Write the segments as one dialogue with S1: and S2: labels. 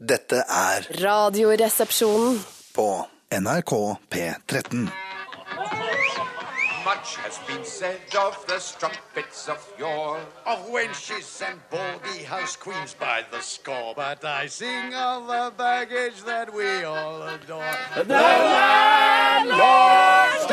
S1: Dette er
S2: Radioresepsjonen.
S1: på NRK P13.
S3: Much has been said of the strumpets of yore, of wenches and baldy house queens by the score. But I sing of the baggage that we all adore. The landlord's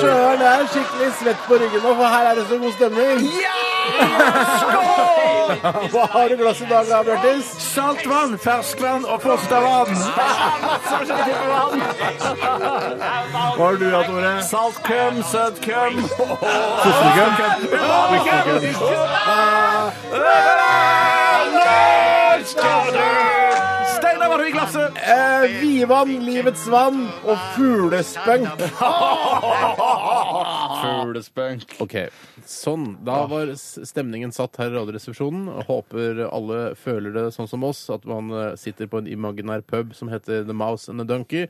S4: Sjøren er skikkelig svett på ryggen nå, for her er det så god stemning. Hva har du i glasset i dag, Altså, da, Bjørtis?
S5: Saltvann, ferskvann og fostervann. Hva har du hatt, Tore? Saltkøm, søtkøm. Steinar, hva har du i glasset?
S4: Eh, Vivann, livets vann og fuglespunk.
S6: Fuglespunk.
S7: Ok, sånn. Da var s- stemningen satt her i Radioresepsjonen. Håper alle føler det sånn som oss, at man eh, sitter på en imaginær pub som heter The Mouse and the Donkey.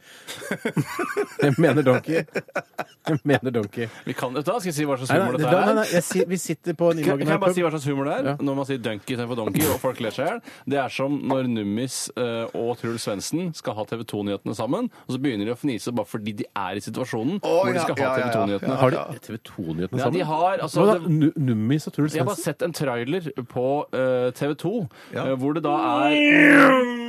S7: Jeg mener Donkey. Jeg mener Donkey.
S6: Vi kan dette. Skal jeg si hva slags
S7: Nei,
S6: humor
S7: nei,
S6: dette
S7: nei,
S6: er?
S7: nei, nei. Jeg, si- vi sitter på en
S6: Kan, kan jeg
S7: imaginær
S6: bare si
S7: pub.
S6: hva slags humor det er?
S7: Ja.
S6: Når man sier Dunky istedenfor Donkey, og folk ler seg i hjel. Det er som når Nummis eh, og Truls Svendsen skal ha TV 2-nyhetene sammen, og så begynner de å fnise bare fordi de er i situasjonen hvor de skal ha
S3: ja, ja,
S6: TV 2-nyhetene.
S7: Har de TV 2-nyhetene
S6: Ja,
S7: sammen?
S6: de har, altså,
S7: Hva da?
S6: det-
S7: Nu- Nummis og Truls
S6: Jeg har bare
S7: Svendsen?
S6: sett en trailer på eh, TV 2 eh, hvor det da er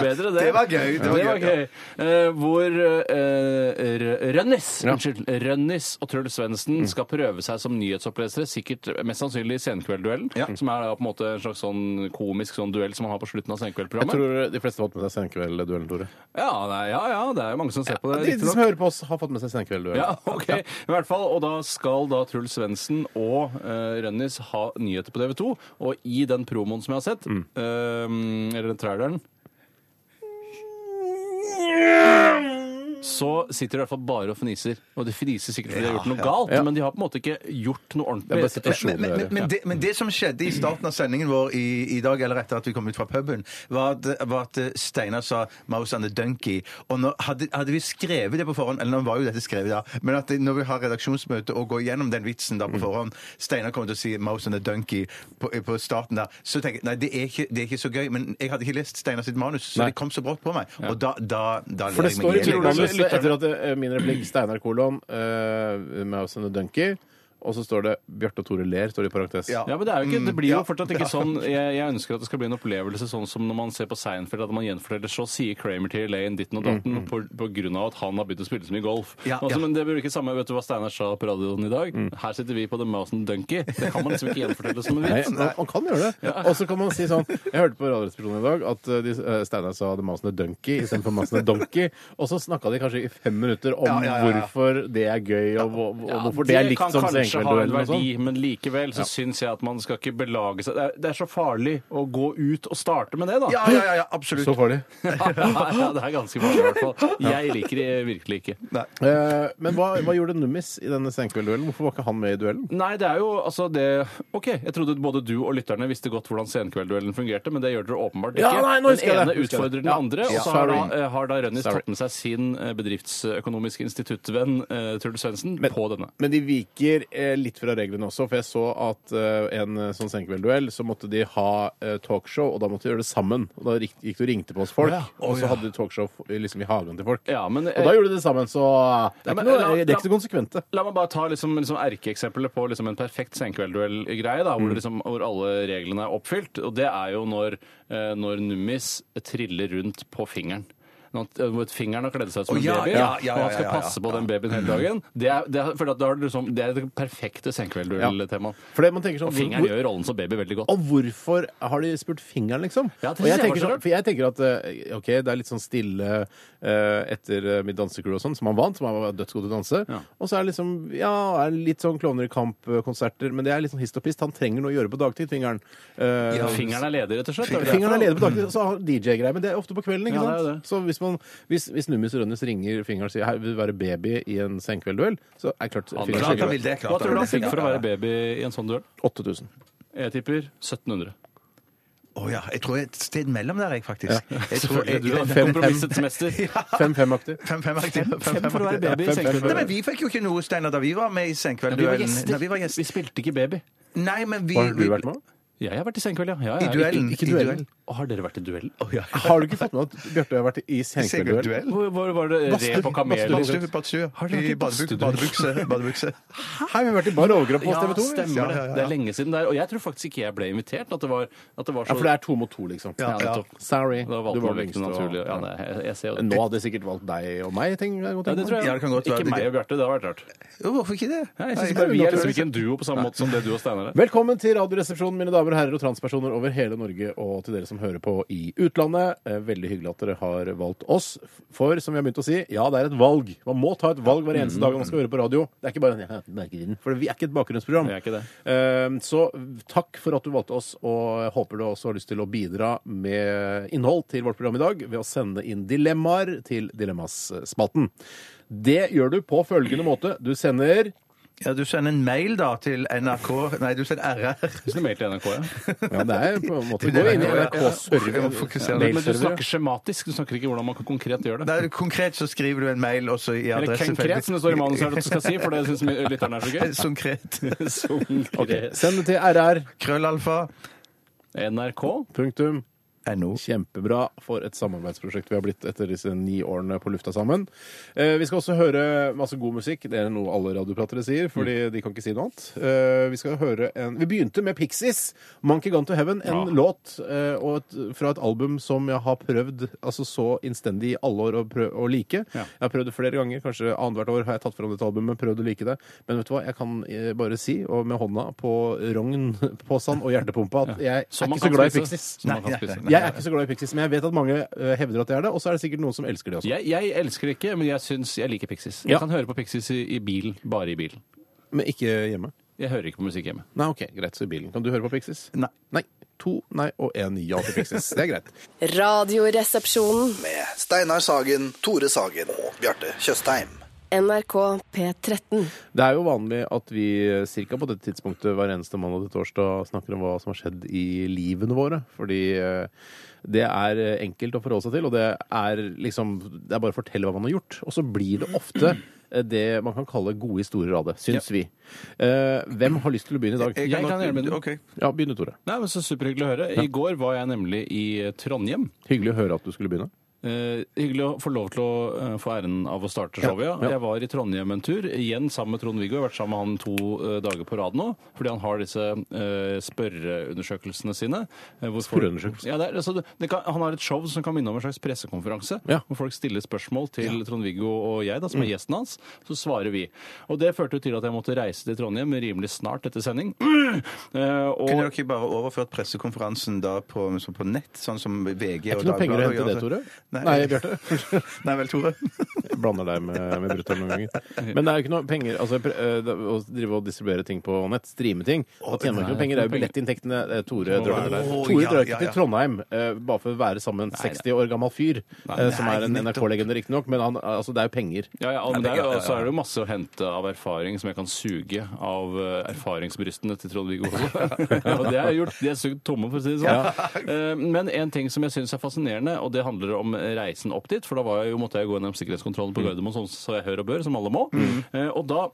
S6: Bedre det.
S3: Det var gøy, det var
S6: Det var
S3: gøy, ja.
S6: gøy. Eh, hvor eh, R- Rønnis Unnskyld, Rønnis og Truls Svendsen skal prøve seg som nyhetsopplesere, sikkert mest sannsynlig i Senkveldduellen, som er da på en måte en slags sånn komisk sånn duell som man har på slutten av
S7: Jeg
S6: Senkveldprogrammet.
S7: tror de fleste har fått med seg Senkveldduellen, Tore.
S6: Ja, nei, ja, ja, det er jo mange som ser på det.
S7: De, de
S6: riktignok.
S7: som hører på oss, har fått med seg Senkveldduellen.
S6: Ja, ok. I hvert fall, Og da skal da Truls Svendsen og eh, Rønnis ha nyheter på TV 2. Og i den promoen som jeg har sett, eh, eller den traileren så sitter de i hvert fall bare og fniser. Og de fniser sikkert fordi de har gjort noe galt, men de har på en måte ikke gjort noe
S7: Det er bare
S6: ordentlig.
S7: situasjonen
S5: Men,
S7: å
S5: men,
S7: gjøre.
S5: men, det, men det som skjedde i starten av sendingen vår i, i dag, eller etter at vi kom ut fra puben, var at, var at Steinar sa 'Mouse and the Donkey'. Og nå, hadde, hadde vi skrevet det på forhånd, eller nå var jo dette skrevet da, men at det, når vi har redaksjonsmøte og går gjennom den vitsen da
S7: Mm.
S5: på forhånd Steinar kommer til å si 'Mouse and the Donkey' på, på starten der, så tenker jeg nei, det er, ikke, det er ikke så gøy. Men jeg hadde ikke lest Steinar sitt manus, så
S7: Nei.
S5: det kom så brått på meg. Og da, da, da
S7: For det
S5: ler jeg meg
S7: står i
S5: ihjel.
S7: programmet etter at eh, min replikk Steinar kolon uh, Mouse and the Donkey, og så står det Bjarte og Tore ler, står det i parentes.
S5: Ja.
S6: Ja, men Det er jo ikke, det blir jo
S5: ja,
S6: fortsatt ikke sånn jeg, jeg ønsker at det skal bli en opplevelse sånn som når man ser på Seinfeld, at man gjenforteller så sier Kramer til Elaine ditten og datten på, på grunn av at han har begynt å spille så mye golf.
S5: Ja,
S6: altså,
S5: ja.
S6: Men det blir ikke samme Vet du hva Steinar sa på radioen i dag? Her sitter vi på The Mouse and Donkey. Det kan man liksom ikke gjenfortelle som en
S7: Nei,
S6: vits.
S7: man, man kan gjøre det. Og så kan man si sånn Jeg hørte på Radioresepsjonen i dag at eh, de, eh, Steinar sa The Mouse and the Donkey istedenfor Mouse and the Donkey, og så snakka de kanskje i fem minutter om
S5: Ja, ja, ja, ja.
S7: hvorfor det er gøy, og, hvor- og
S6: Ja,
S7: hvorfor det er
S6: kan
S7: likt som
S6: kanskje ha en
S7: Senkveldduellen og sånn.
S6: verdi, men likevel så syns jeg at man skal ikke belage seg Det er, det er så farlig å gå ut og starte med det, da.
S5: Ja, ja, ja, ja, absolutt.
S7: Så farlig.
S6: ja, det er ganske farlig, i hvert fall. Jeg liker det virkelig ikke.
S7: Eh, men hva, hva gjorde Nummis i denne Senkveldduellen? Hvorfor var ikke han med i duellen?
S6: Nei, det er jo altså det OK, jeg trodde både du og lytterne visste godt hvordan Senkveldduellen fungerte, men det gjør dere åpenbart ikke.
S7: Ja, nei, nå husker jeg
S6: den
S7: det.
S6: ene
S7: Husker jeg
S6: utfordrer
S7: det.
S6: den
S7: Ja.
S6: andre,
S7: Ja.
S6: og så har da,
S7: Sorry.
S6: eh, har da Rønnis
S7: Sorry.
S6: tatt med seg sin eh, bedriftsøkonomiske instituttvenn eh, Truls Svendsen
S7: Men-
S6: på denne.
S7: Men de viker eh, litt fra reglene også, for jeg så at eh, en eh, sånn senkveldduell, så måtte de ha eh, talkshow, og da måtte de gjøre det sammen. Og da gikk, gikk du og ringte på oss folk, og så hadde du talkshow f- liksom i hagen til folk.
S6: Ja, men,
S7: og da
S6: eh,
S7: gjorde de det sammen, så eh, det
S6: Ja,
S7: er
S6: men
S7: ikke,
S6: eh,
S7: noe,
S6: la-
S7: det er ikke så
S6: la-
S7: konsekvente.
S6: La meg bare ta liksom, liksom erkeeksempelet på liksom en perfekt senkveldduell-greie, da, hvor, det liksom, hvor alle reglene er oppfylt. Og det er jo når, eh, når Nummis triller rundt på fingeren. Når han- eh, hvor Fingeren har kledd seg ut som
S5: Å,
S6: en
S5: ja,
S6: baby,
S5: ja, ja,
S6: og han
S5: ja,
S6: skal
S5: ja, ja,
S6: passe på den babyen hele dagen. Det er, det er, for da, da har du liksom, det er det perfekte senkveldduell-temaet.
S7: For det, man tenker sånn,
S6: Og fingeren
S7: hvor-
S6: gjør rollen som baby veldig godt.
S7: Og hvorfor har de spurt fingeren, liksom?
S6: Ja, det
S7: og jeg
S6: synes jeg
S7: tenker,
S6: var så
S7: sånn,
S6: rart.
S7: for jeg tenker at eh, OK, det er litt sånn stille eh, etter eh, mitt dansecrew og sånn, som han vant, som han var dødsgod til å danse.
S6: Ja.
S7: Og så er det liksom Ja, er det litt sånn Klovner i kamp-konserter, men det er litt sånn hist og pist. Han trenger noe å gjøre på dagtid, fingeren. Eh,
S6: Fingeren er leder, rett og slett. er det det?
S7: Fingeren er ledig på dagtid, og så har DJ-greier, men det er ofte på kvelden. ikke
S6: Ja, det er
S7: sant?
S6: jo det.
S7: Så hvis, man, hvis, hvis Nummis Rønnes ringer fingeren og sier hei, vil du være baby i en senkveldduell, så er det klart
S6: Han-
S7: fingeren
S6: klart
S5: han
S7: sier
S5: vil det, klart
S6: Hva tror du
S5: han
S6: han
S5: vil det.
S6: fikk for å være baby i en sånn duell?
S7: 8000.
S6: Jeg tipper 1700.
S5: Å ja. Jeg tror jeg er et sted mellom der, jeg, faktisk. Jeg tror jeg-
S7: Selvfølgelig, du er
S5: jeg-
S7: fem-
S6: Kompromissets mester.
S7: Fem-fem-aktig.
S5: Fem-fem-aktig.
S6: Fem for å være baby i
S7: Ja, fem, fem.
S5: Nei,
S6: senkveld.
S5: men Vi fikk jo ikke noe, Steinar, da vi var med
S6: Vi
S5: i
S6: var
S5: Senkveldduellen. Nei,
S6: gjester.
S5: vi var gjester.
S6: Vi spilte ikke baby.
S5: Nei, men vi
S7: Har du
S5: vi-
S7: vært med?
S6: Jeg har vært i senkveld, ja. ja,
S5: I
S6: ja.
S5: duellen.
S6: Ikke,
S5: I
S6: ikke
S5: duellen.
S6: duellen. Og har dere vært i duellen?
S7: Har du ikke fått med at Bjarte har vært i senkveldduell?
S5: Senkveldduell?
S6: Hvor, hvor var det re på kamelen?
S5: Badstue, badstue.
S6: Har du vært i
S5: I badebuk-
S6: badstue?
S5: badebukse. badebukse.
S7: Hei, vi har vært i bar overkropp på
S6: Ja,
S7: TV 2.
S6: stemmer det. Det er lenge siden der. Og jeg tror faktisk ikke jeg ble invitert. At det var, at det var
S7: Ja,
S6: så
S7: for det er to mot to, liksom.
S6: Ja, nettopp.
S7: Sorry.
S6: Da valgte
S7: Du var
S6: man vekk
S7: yngst,
S6: det
S7: og-
S6: naturlige. Ja, nei, jeg, jeg ser jo
S7: Nå
S6: det.
S7: hadde de sikkert valgt deg og meg, tenker jeg. godt
S6: Ja,
S7: tenke
S6: det tror jeg.
S5: Ja, det kan godt være.
S6: Ikke meg og Bjarte, det hadde vært rart.
S5: Jo, hvorfor ikke det?
S6: Nei, jeg synes
S5: Nei,
S6: bare Vi er liksom
S5: naturlig.
S6: ikke en duo på samme måte som det du og Steinar er.
S7: meg. Velkommen til Radioresepsjonen, mine damer og herrer og transpersoner over hele Norge og til dere som hører på i utlandet. Eh, Veldig hyggelig at dere har valgt oss. For som vi har begynt å si, ja, det er et valg. Man må ta et valg hver eneste dag man skal høre på radio. Det er ikke bare ja, bakgrunnen. For vi er ikke et bakgrunnsprogram.
S6: Mhm. Vi er ikke det.
S7: Eh, Så takk for at du valgte oss, og jeg håper du også har lyst til å bidra med innhold til vårt program i dag ved å sende inn dilemmaer til Dilemmaspalten. Det gjør du på følgende måte. Du sender
S5: Ja, du sender en mail da til NRK Nei, du sender RR.
S6: Hvis du mailer til NRK, ja.
S7: Ja, det er på en måte Gå inn i
S5: Jeg må fokusere.
S7: NRK-server.
S6: Men, men du snakker skjematisk. Du snakker ikke hvordan man kan konkret gjøre det.
S5: Nei, konkret så skriver du en mail også i
S6: Eller
S5: adressefelt.
S6: konkret, som det står i manuset her at du skal si, for det syns lytterne er så gøy.
S5: Konkret.
S6: Konkret.
S7: Send det til rr.
S5: Krøllalfa.
S6: NRK.
S7: Punktum.
S5: NO.
S7: Kjempebra for et samarbeidsprosjekt vi har blitt etter disse ni årene på lufta sammen. Eh, vi skal også høre masse god musikk. Det er noe alle radiopratere sier, fordi
S6: Mm.
S7: de kan ikke si noe annet. Eh, vi skal høre en Vi begynte med Pixies, 'Monkey Gone to Heaven', en
S6: Ja.
S7: låt eh, og et, fra et album som jeg har prøvd altså så innstendig i alle år å, prø- å like.
S6: Ja.
S7: Jeg har prøvd det flere ganger, kanskje annethvert år har jeg tatt fram dette albumet, prøvd å like det. Men vet du hva, jeg kan eh, bare si, og med hånda på rognposen og hjertepumpa, at jeg
S6: Som
S7: er
S6: man
S7: ikke så
S6: kan
S7: glad i
S6: spise.
S7: Pixies.
S6: Som man kan
S5: Nei,
S6: spise.
S5: nei,
S7: Jeg er ikke så glad i Pixies, men jeg vet at mange eh, hevder at jeg er det. Og så er det sikkert noen som elsker det også.
S6: Jeg, jeg elsker ikke, men jeg syns jeg liker Pixies.
S7: Ja.
S6: Jeg kan høre på Pixies i, i bilen. Bare i bilen.
S7: Men ikke hjemme.
S6: Jeg hører ikke på musikk hjemme.
S7: Nei, ok, greit, så i bilen. Kan du høre på Pixies?
S5: Nei.
S7: Nei. To nei og én ja til Pixies. Det er greit.
S2: Radioresepsjonen.
S1: Med Steinar Sagen, Tore Sagen og Bjarte Tjøstheim.
S2: NRK P13.
S7: Det er jo vanlig at vi cirka på dette tidspunktet hver eneste mandag til torsdag snakker om hva som har skjedd i livene våre. Fordi eh, det er eh, enkelt å forholde seg til, og det er liksom Det er bare å fortelle hva man har gjort. Og så blir det ofte eh, det man kan kalle gode historier av det, syns vi. Eh, hvem har lyst til å begynne i dag?
S5: Jeg
S6: kan
S5: godt-
S6: gjøre med den.
S5: Ok.
S7: Ja, begynn du, Tore.
S6: Nei, men så Superhyggelig å høre. I går var jeg nemlig i Trondheim.
S7: Hyggelig å høre at du skulle begynne.
S6: Eh, hyggelig å få lov til å eh, få æren av å starte showet. Ja.
S7: Ja, ja.
S6: Jeg var i Trondheim en tur, igjen sammen med Trond-Viggo. Jeg har vært sammen med han to eh, dager på rad nå, fordi han har disse eh, spørreundersøkelsene sine. eh, hvor folk-
S7: Spørreundersøkelser?
S6: Ja, det er, altså, det, det kan, han har et show som kan minne om en slags pressekonferanse,
S7: Ja.
S6: hvor folk stiller spørsmål til Trond-Viggo og jeg, da, som er gjesten hans. Så svarer vi. Og det førte jo til at jeg måtte reise til Trondheim rimelig snart etter sending. Eh, og,
S5: Kunne dere ikke bare overført pressekonferansen da på, så på nett, sånn som VG
S7: Er
S5: og
S7: ikke noe penger å
S5: Dagbladet
S7: hente
S5: gjør?
S7: det, Tore?
S5: Nei,
S7: Nei, Bjarte.
S5: Nei vel, Tore.
S7: Jeg blander deg med, med brutter'n noen ganger. Men det er jo ikke noe penger altså, pre- eh, det- Å drive og distribuere ting på nett, streame ting, da tjener man ikke noe penger. Det er jo billettinntektene eh, Tore drar
S6: være
S7: til.
S6: der.
S7: Tore
S5: ja,
S7: drar
S5: ja,
S7: ikke til
S5: ja.
S7: Trondheim eh, bare for å være sammen med en 60 år gammel fyr, eh, som er en
S5: Nei, nettopp.
S7: NRK-legende riktignok, men han, altså, det er jo penger.
S6: Ja, ja, men det
S5: det-
S6: er, jo-
S5: ja, ja, ja.
S6: så er det jo masse å hente av erfaring som jeg kan suge av eh, erfaringsbrystene til Trond-Viggo Holte. Og det har jeg gjort. De er sugd tomme, for å si det sånn. Eh, Men en ting som jeg syns er fascinerende, og det handler om reisen opp dit, for da var jeg jo, måtte jeg gå gjennom sikkerhetskontrollen
S7: Mm.
S6: på Gardermoen, sånn som jeg hør og bør, som alle må. Eh, Og da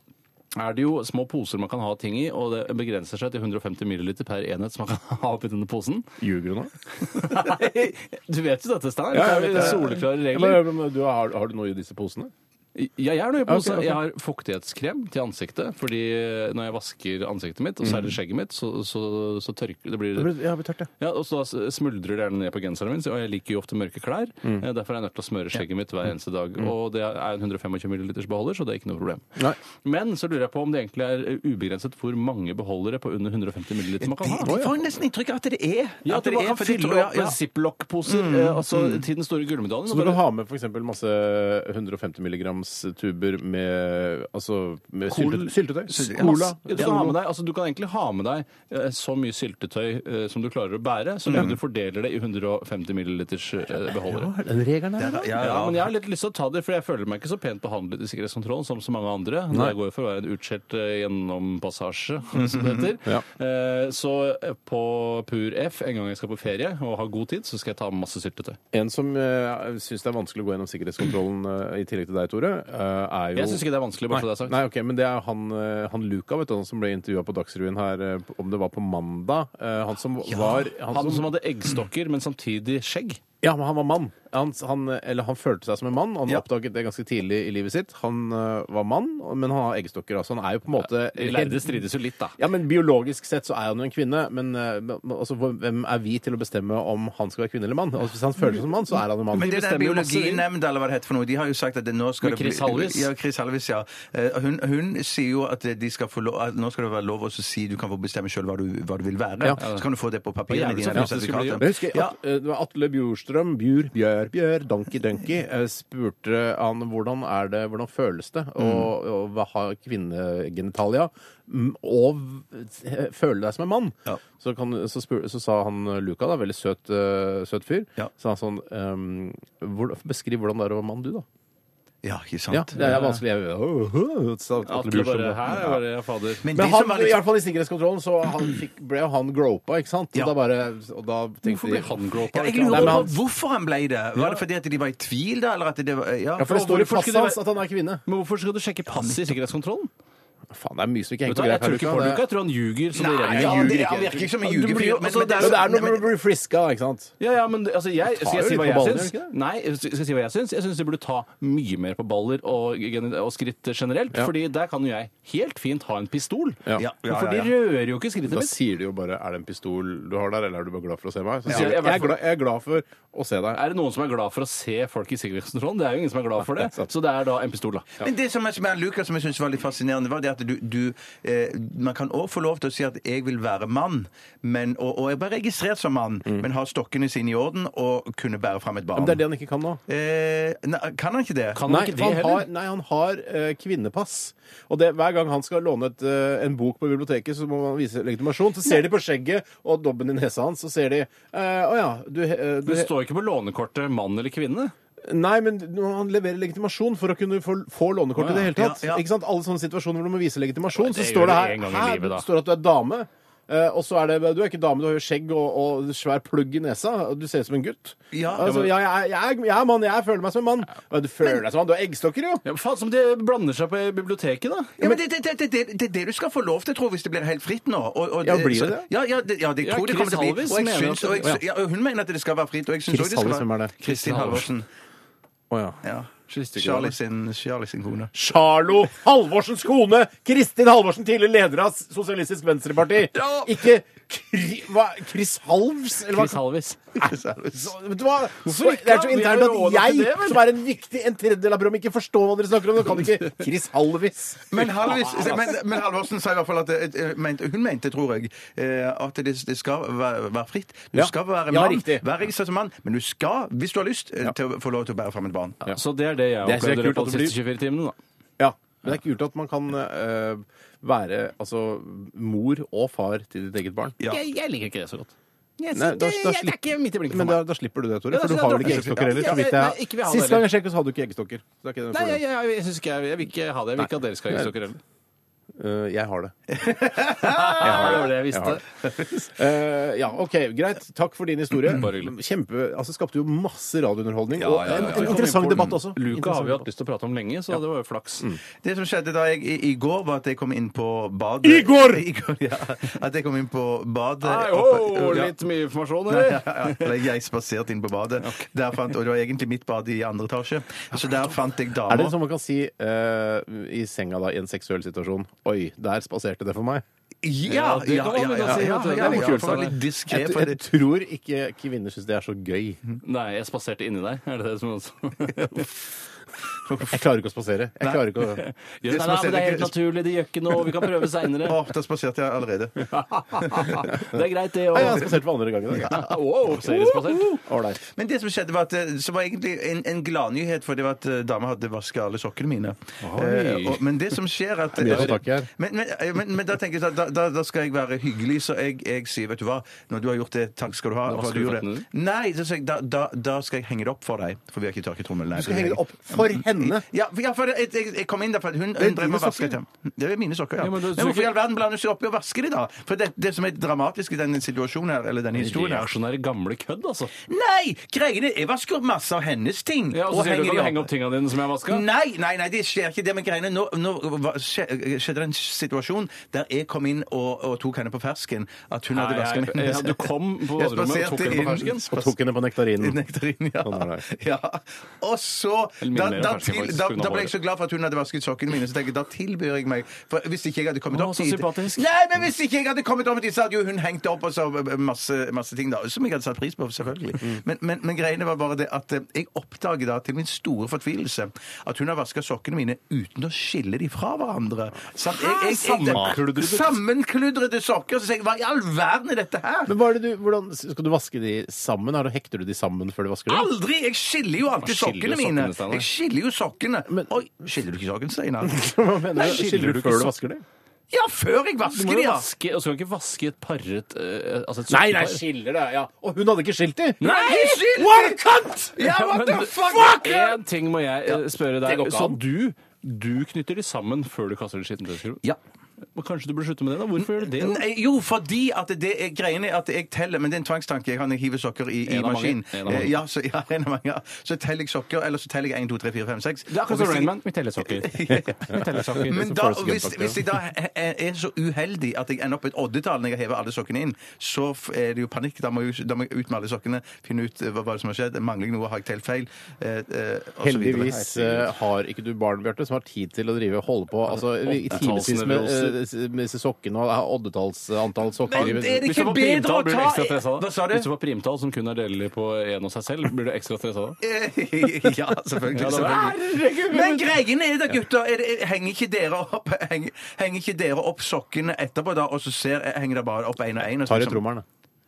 S6: er det jo små poser man kan ha ting i, og det begrenser seg til 150 ml per enhet som man kan ha oppi denne posen.
S7: Ljuger du nå?
S6: Nei, du vet jo dette, Steinar.
S7: Ja, jeg vet
S6: det er
S7: det.
S6: soleklare
S7: Ja,
S6: regler.
S7: men, men, du, har, har du noe i disse posene?
S6: Ja, jeg, er noe i
S7: ok,
S6: pose.
S7: ok.
S6: jeg har fuktighetskrem til ansiktet. Fordi når jeg vasker ansiktet mitt, og særlig skjegget mitt, så, så, så tørker det blir
S7: Ja, Mm. det blir tørt, ja.
S6: ja, og så smuldrer det gjerne ned på genseren min, så- og jeg liker jo ofte mørke klær.
S7: Mm.
S6: Eh, Derfor er jeg nødt til å smøre skjegget mitt hver eneste dag. Og det er en 125 milliliters beholder, så det er ikke noe problem.
S7: Nei.
S6: Men så lurer jeg på om det egentlig er eh, ubegrenset hvor mange beholdere på under 150 milliliter man kan ha.
S5: Jeg får nesten inntrykk av at det er.
S6: Ja,
S5: At
S6: at du
S5: det
S6: bare
S5: er,
S6: kan
S5: for det
S6: fylle
S5: tror jeg-
S6: opp med ziplock-poser eh, altså, til den store gullmedaljen.
S7: Mm, Så
S6: og
S7: du
S6: bare-
S7: kan ha med f.eks. masse 150 mg glasstuber med altså med sylte,
S6: Col-
S7: syltetøy.
S5: Sylte-
S7: Cola.
S6: Masse- Du, kan ha med deg, altså, du kan egentlig ha med deg eh, så mye syltetøy eh, som du klarer å bære, så lenge du fordeler det i 150 milliliters eh, beholdere.
S7: Den regelen der, da?
S5: Ja,
S6: Ja,
S5: ja.
S6: men jeg har litt lyst til å ta det, for jeg føler meg ikke så pent behandlet i sikkerhetskontrollen som så mange andre. Når jeg går for å være en utskjelt eh, gjennompassasje, som det heter. Eh, Så eh, på Pur F, en gang jeg skal på ferie og har god tid, så skal jeg ta med masse syltetøy.
S7: En som uh, syns det er vanskelig å gå gjennom sikkerhetskontrollen eh, i tillegg til deg, Tore, eh, er jo
S6: Jeg syns ikke det er vanskelig, bare så det er sagt.
S7: Nei, ok, men det er han, eh, han Luca, vet du, han som ble intervjua på Dagsrevyen her, eh, om det var på mandag. Eh, Han som var
S6: Han, som hadde eggstokker, men samtidig skjegg.
S7: Ja, men han var mann. Han, han, eller han følte seg som en mann. Han
S5: Ja.
S7: oppdaget det ganske tidlig i livet sitt. Han eh, var mann, men han har eggstokker. Altså. Han er jo på en måte
S6: Lærde strides jo litt, da.
S7: Ja, men Biologisk sett så er han jo en kvinne, men eh, men- altså, hvor- hvem er vi til å bestemme om han skal være kvinne eller mann? Altså, hvis han føler seg som mann, så er han jo mann.
S5: Men det der
S6: bestemmer jo masse, de.
S5: biologinemnda, eller hva det heter for noe, de har jo sagt at det, nå skal
S6: Med
S5: det bli-
S6: Chris Halvis?
S5: Ja, Chris Halvis, ja. Eh, Hun, hun sier jo at de skal få lov, at nå skal det være lov å si du kan få bestemme sjøl hva, du- hva du vil være. Så kan du få det på papirene
S6: Og jævlig
S5: dine. sånn
S6: så
S5: på
S6: flott det skulle bli.
S5: sertifikatet.
S7: Men Jeg husker
S5: Ja.
S7: at, eh, det var Atle Bjurstrøm, Bjur, Bjør, Bjør, Donkey Donkey, eh, spurte han hvordan er det, hvordan føles det å, å hva- ha kvinnegenitalia mm, og v- eh, føle deg som en mann?
S5: Ja.
S7: Så, kan, så, spur, så sa han eh, Luca, da, veldig søt, eh, søt fyr,
S5: Ja.
S7: sa han sånn ehm, hvor, Beskriv hvordan det er å være mann, du, da.
S5: ja, ikke sant?
S7: Ja, det er vanskelig. Jeg, Åh, åh, sa Atle
S6: Atle
S7: Bjurstrøm.
S6: bare
S7: da.
S6: Her var det fader.
S5: Men,
S7: Men
S5: det
S7: han,
S5: som var
S7: i
S5: litt...
S7: hvert fall i sikkerhetskontrollen så han fikk, ble jo han gropa, ikke sant? Og
S5: Ja.
S7: da bare, og da tenkte
S6: Hvorfor
S7: de
S6: ble han gropa?
S5: ja, jeg
S7: Nei,
S5: lurer
S7: men
S5: på
S7: han-
S5: hvorfor han ble det. Var det fordi at de var i tvil, da? Eller at det var, ja.
S7: Ja, for det står i
S6: Hvorfor skulle
S7: passet
S6: det
S7: hans
S6: være-
S7: at han er kvinne.
S6: Men hvorfor skal du sjekke passet i sikkerhetskontrollen?
S7: Faen, det er mye som ikke henger
S6: Vet du,
S7: på
S6: hva, jeg
S7: greip
S6: tror ikke på
S7: her.
S6: Luka, jeg tror han ljuger. som det
S5: Nei,
S6: renner.
S5: han,
S6: Ja,
S5: det, han virker ikke som en
S6: Du blir
S5: ljugefyr.
S6: jo-
S5: men-
S6: altså,
S5: men
S6: det
S5: er
S7: Men
S6: jo-
S7: det er
S5: men-
S7: noe med å bli friska, ikke sant?
S6: Ja, ja, men det- altså, jeg,
S7: jo
S6: skal jeg
S7: litt
S6: si hva
S7: på
S6: jeg
S7: baller,
S6: syns?
S7: gjør det ikke det?
S6: Nei, skal jeg si hva jeg syns? Jeg syns de burde ta mye mer på baller og, gen- og skritt generelt.
S7: Ja.
S6: Fordi der kan jo jeg helt fint ha en pistol.
S7: Ja.
S5: Ja, ja,
S6: For de
S5: ja, ja.
S6: rører jo ikke skrittet
S7: Da
S6: mitt.
S7: sier de jo bare 'er det en pistol du har der', eller 'er du bare glad for å se meg'? Så
S6: Ja.
S7: sier de,
S6: Jeg er i hvert
S7: jeg, er glad, 'jeg er glad for å se deg'.
S6: Er det noen som er glad for å se folk i sikkerhetskontrollen? Det er jo ingen som er glad for det. Så det er da en pistol, da.
S5: Men det som er med Lucas som jeg synes var litt fascinerende, var det at du, du eh, Man kan òg få lov til å si at 'jeg vil være mann', men, og, og jeg ble registrert som mann, men har stokkene sine i orden og kunne bære fram et barn.
S7: Mm. Men det er det han ikke kan nå.
S5: Eh, nei, kan han ikke det?
S6: Kan
S7: Nei,
S6: han ikke
S7: for
S6: det
S7: han
S6: heller?
S7: har, nei, han har eh, kvinnepass. Og det, hver gang han skal låne et, eh, en bok på biblioteket, så må han vise legitimasjon. Så ser de på skjegget og dobben i nesa hans, så ser de eh, Å ja, du, eh, du
S6: Det står ikke på lånekortet mann eller kvinne.
S7: Nei, men når han leverer legitimasjon for å kunne få, få lånekort i det hele tatt.
S5: Ja, ja.
S7: Ikke sant? Alle sånne situasjoner hvor du må vise legitimasjon, så
S6: Det gjør
S7: står det
S6: du
S7: her,
S6: en gang i
S7: her
S6: livet, da.
S7: står det at du er dame. eh, og så er det Du er ikke dame, du har jo skjegg og, og svær plugg i nesa. og Du ser ut som en gutt.
S5: Ja.
S7: altså, ja, jeg, er- jeg, er- jeg er mann, jeg føler meg som en mann. Ja, du føler deg som mann. Du har eggstokker, jo!
S6: Ja, men faen som de blander seg på biblioteket, da.
S5: Ja, men det det- det- det- det- det er det du skal få lov til, tror jeg, hvis det blir helt fritt nå. Og, og,
S7: Ja, blir det
S5: så-
S7: det?
S5: Ja, ja, det, ja, det
S6: Ja,
S5: tror jeg det kommer til å bli.
S6: Chris
S5: Og jeg
S6: Halvorsen
S5: syns, og jeg,
S6: mener at-
S5: sy- ja, og hun mener at det skal være fritt. Og jeg syns
S7: Chris
S5: også det skal
S7: Halvorsen, hvem er
S5: være
S7: det?
S5: Kristin Halvorsen.
S7: Å ja.
S5: Ja.
S6: Kristin
S5: Charlie sin, Charlie sin kone.
S7: Charlo Halvorsens kone! Kristin Halvorsen, tidligere leder av Sosialistisk Venstreparti.
S5: Ja.
S7: Ikke Kri, hva, Chris Halvs? Eller hva
S6: Chris Halvis.
S7: Så- Vet du hva? Så,
S6: Hvorfor ikke?
S7: det er så
S6: Vi er
S7: internt
S6: jo rådet
S7: at
S6: til
S7: jeg,
S6: det, vel?
S7: som er en viktig en tredjedel av programmet, ikke forstår hva dere snakker om. Nå kan ikke Chris Halvis.
S5: Men, Halvis, men, men Halvorsen sa i hvert fall at det- eh, mente, hun mente, tror jeg, eh, at det, det skal være, være fritt. Du
S7: Ja.
S5: skal være
S7: Ja,
S5: mann,
S7: riktig.
S5: være registrert som mann, men du skal, hvis du har lyst, eh, til å få lov til å bære fram et barn.
S6: Så det er det jeg
S7: Det er så
S6: opplevde i løpet
S7: kult
S6: av
S7: at
S6: de
S7: det
S6: siste 24 timene, da.
S7: Ja, men det er kult at man kan eh, være altså, mor og far til ditt eget barn.
S5: Ja.
S6: Jeg, jeg liker ikke det så godt.
S7: Nei, da- da
S6: det- jeg- det
S7: slipper-
S6: er ikke midt i blinken for
S7: Men da,
S6: meg.
S7: da slipper du det, Tore.
S6: Ja, da
S7: For du har
S6: skal jeg
S7: vel
S6: droppe
S7: ikke
S6: det.
S7: eggstokker heller?
S6: Ja,
S7: så vidt
S6: nei, ikke
S7: jeg
S6: vil jeg ha det
S7: Sist gang jeg sjekket, så hadde du ikke eggstokker. Så det er ikke det
S6: Nei, jeg,
S7: problemet.
S6: jeg, jeg, synes ikke, jeg, jeg vil ikke ha det. Jeg vil ikke at dere skal ha eggstokker heller.
S7: Eh, jeg har det.
S6: Ja, det var det jeg
S7: Jeg har
S6: visste.
S7: Eh, ja, OK, greit. Takk for din historie.
S6: Bare hyggelig.
S7: Kjempe, altså Skapte jo masse radiounderholdning.
S5: Ja, ja, ja, ja.
S7: Og en, en interessant debatt også.
S6: Luka har
S7: Interessant Mm.
S6: vi hatt
S7: debatt.
S6: lyst til å prate om lenge, så det var jo flaks.
S5: Det som skjedde da jeg i, i går, var at jeg kom inn på badet
S7: I går!
S5: I går, ja. At jeg kom inn på badet
S6: Nei,
S5: oppe-
S6: ho,
S5: ja.
S6: oh, litt mye informasjon,
S5: Ja, ja,
S6: eller?
S5: ja. Eller jeg spaserte inn på badet. Der fant, og det var egentlig mitt bad i andre etasje. Så der fant jeg
S7: Er det
S5: damer.
S7: som man kan si eh, i senga da, i en seksuell situasjon Oi, der spaserte det for meg.
S5: Ja,
S6: det kan man jo si, vet du. Det er litt kult,
S5: for å være
S6: det.
S5: litt
S7: Jeg,
S5: diskret. for
S7: jeg
S5: det-
S7: tror ikke kvinner syns det er så gøy.
S6: Nei, jeg spaserte inni deg. Er det det som også
S7: Jeg klarer ikke å spasere. Jeg klarer ikke å
S6: Ja, nei, nei, men det er helt naturlig, det gjør ikke noe, vi kan prøve seinere.
S5: Å, da spaserte jeg allerede.
S6: det er greit, det
S7: Nei, jeg har
S6: òg.
S7: spasert for andre altså. gang i dag.
S6: Wow, seriespasert.
S7: Ålreit.
S5: Men det som skjedde var at eh, som var egentlig en, en gladnyhet, for det var at eh, dama hadde vaska alle sokkene mine. Eh, og, men det som skjer at
S7: Mye å ta tak i her.
S5: Men, men, eh, men, men da tenker jeg at da, da, da skal jeg være hyggelig, så jeg, jeg sier vet du hva, når du har gjort det, takk skal du ha.
S6: Da
S5: for at
S6: vasker
S5: du
S6: du
S5: gjorde det.
S6: føttene
S5: Nei, så sier jeg, da, da, da skal jeg henge det opp for deg, for vi har ikke tak i
S7: Du
S5: trommelen.
S7: Mm. skal henge det opp for henne.
S5: Ja, for, ja, for jeg, jeg, jeg kom inn der, for hun, hun drev med å
S7: dine
S5: vaske dem. Det er mine sokker, ja.
S6: Ja, men
S5: men
S6: da-
S5: hvorfor i all verden blander du seg oppi og vasker de, da? For det, det som er dramatisk i denne situasjonen her, eller denne historien her
S6: Reaksjonære sånn gamle kødd, altså.
S5: Nei! Greiene Jeg vasker opp masse av hennes ting.
S6: Ja, og så sier du kan du henge opp tinga dine som jeg vaska?
S5: Nei, nei, nei, det skjer ikke det med greiene. Nå, nå var- skje- skjedde det en situasjon der jeg kom inn og, og tok henne på fersken. At hun hadde
S6: Nei,
S5: vasket
S6: jeg- ja, du kom på baderommet og
S5: spaserte
S6: tok henne på
S5: inn-
S6: fersken?
S7: Og tok henne på nektarinen.
S5: Nektarin, ja.
S7: Sånn er det.
S5: ja. Og så
S6: Eller
S5: da,
S6: minner
S5: da,
S6: jeg kanskje
S5: til,
S6: faktisk
S5: da,
S6: på grunn av
S5: da ble
S6: håret.
S5: jeg så glad for at hun hadde vasket sokkene mine, så tenkte jeg da tilbyr jeg meg For Hvis ikke jeg hadde kommet
S6: Å,
S5: opp
S6: så sympatisk.
S5: Nei, men hvis ikke jeg hadde kommet opp dit, så hadde jo hun hengt opp og så eh, masse, masse ting, da. Som jeg hadde satt pris på, selvfølgelig.
S6: Mm.
S5: Men, men, men greiene var bare det at eh, jeg oppdaget da, til min store fortvilelse, at hun har vaska sokkene mine uten å skille de fra hverandre. Sant? Jeg- jeg- jeg-
S7: Sammenkludret.
S5: Sammenkludrede sokker. Så sier jeg hva i all verden er dette her?
S7: Men hva er det du, hvordan, Skal du vaske de sammen? Har du- Hekter du de sammen før du vasker dem?
S5: Aldri! Jeg skiller jo alltid
S6: Hva skiller
S5: sokkene
S6: du
S5: mine.
S6: sokkene, Steinar?
S5: Jeg skiller jo sokkene.
S7: Men-
S5: Oi, skiller du ikke sokken, Steinar?
S7: Hva mener
S5: Nei,
S7: du? Skiller du før du vasker dem?
S5: Ja, før jeg
S6: Du
S5: vasker
S6: må
S5: de,
S6: jo
S5: ja!
S6: vaske, og så kan du ikke vaske et parret eh, altså et
S7: Nei, nei,
S6: sokkepar.
S7: skiller det, ja. Og hun hadde ikke skilt dem!
S6: Nei,
S5: ikke skilt!
S7: What cunt!
S5: Ja,
S6: Ja,
S5: what
S6: men
S5: the
S6: du-
S5: fuck?
S6: En ting må jeg eh, spørre
S7: det
S6: deg.
S7: går ikke
S6: Så
S7: an.
S6: du, du knytter de sammen før du kaster de skittentøyskrop?
S5: Ja.
S6: Men Kanskje du burde slutte med det? da? Hvorfor gjør du det? da?
S5: Nei, jo, fordi at det er greien er at jeg teller Men det er en tvangstanke. Jeg har når jeg hiver sokker i,
S6: En
S5: i
S6: av mange.
S5: maskinen.
S6: En av mange.
S5: Eh, Ja, så, ja, en av mange. ja. Så teller jeg sokker, eller så teller jeg 1, 2, 3, 4, 5, 6.
S6: Det er akkurat som Rain Man. Vi teller sokker. Vi teller sokker.
S5: Men
S7: som
S5: da,
S7: Forrest Gump,
S5: hvis,
S7: faktisk,
S5: hvis jeg da er- er så uheldig at jeg ender opp i et oddetall når jeg hever alle sokkene inn, så f- er det jo panikk. Da må jeg, da må jeg ut med alle sokkene, finne ut eh, hva, hva som har skjedd. Mangler jeg noe? Har jeg telt feil? Eh, eh, og så videre.
S7: Heldigvis eh, har ikke du barn, Bjarte, som har tid til å drive holde på altså, i i timevis med, eh, s- med disse sokkene og eh, oddetallsantall sokker.
S5: Men er det
S6: Hvis du
S5: ikke
S6: får
S5: bedre å
S6: primtall, blir du
S5: ta-
S6: ekstra stressa da?
S5: Hva sa du?
S6: Hvis du får primtall som kun er delelig på en og seg selv, blir du ekstra stressa da?
S5: ja, selvfølgelig.
S6: Ja, da-
S5: selvfølgelig. Men greien er da, gutter er det, henger, ikke dere opp, henger, henger ikke dere opp sokkene etterpå, da, og så ser, henger dere bare opp én og én?
S7: Tar i trommelen, da.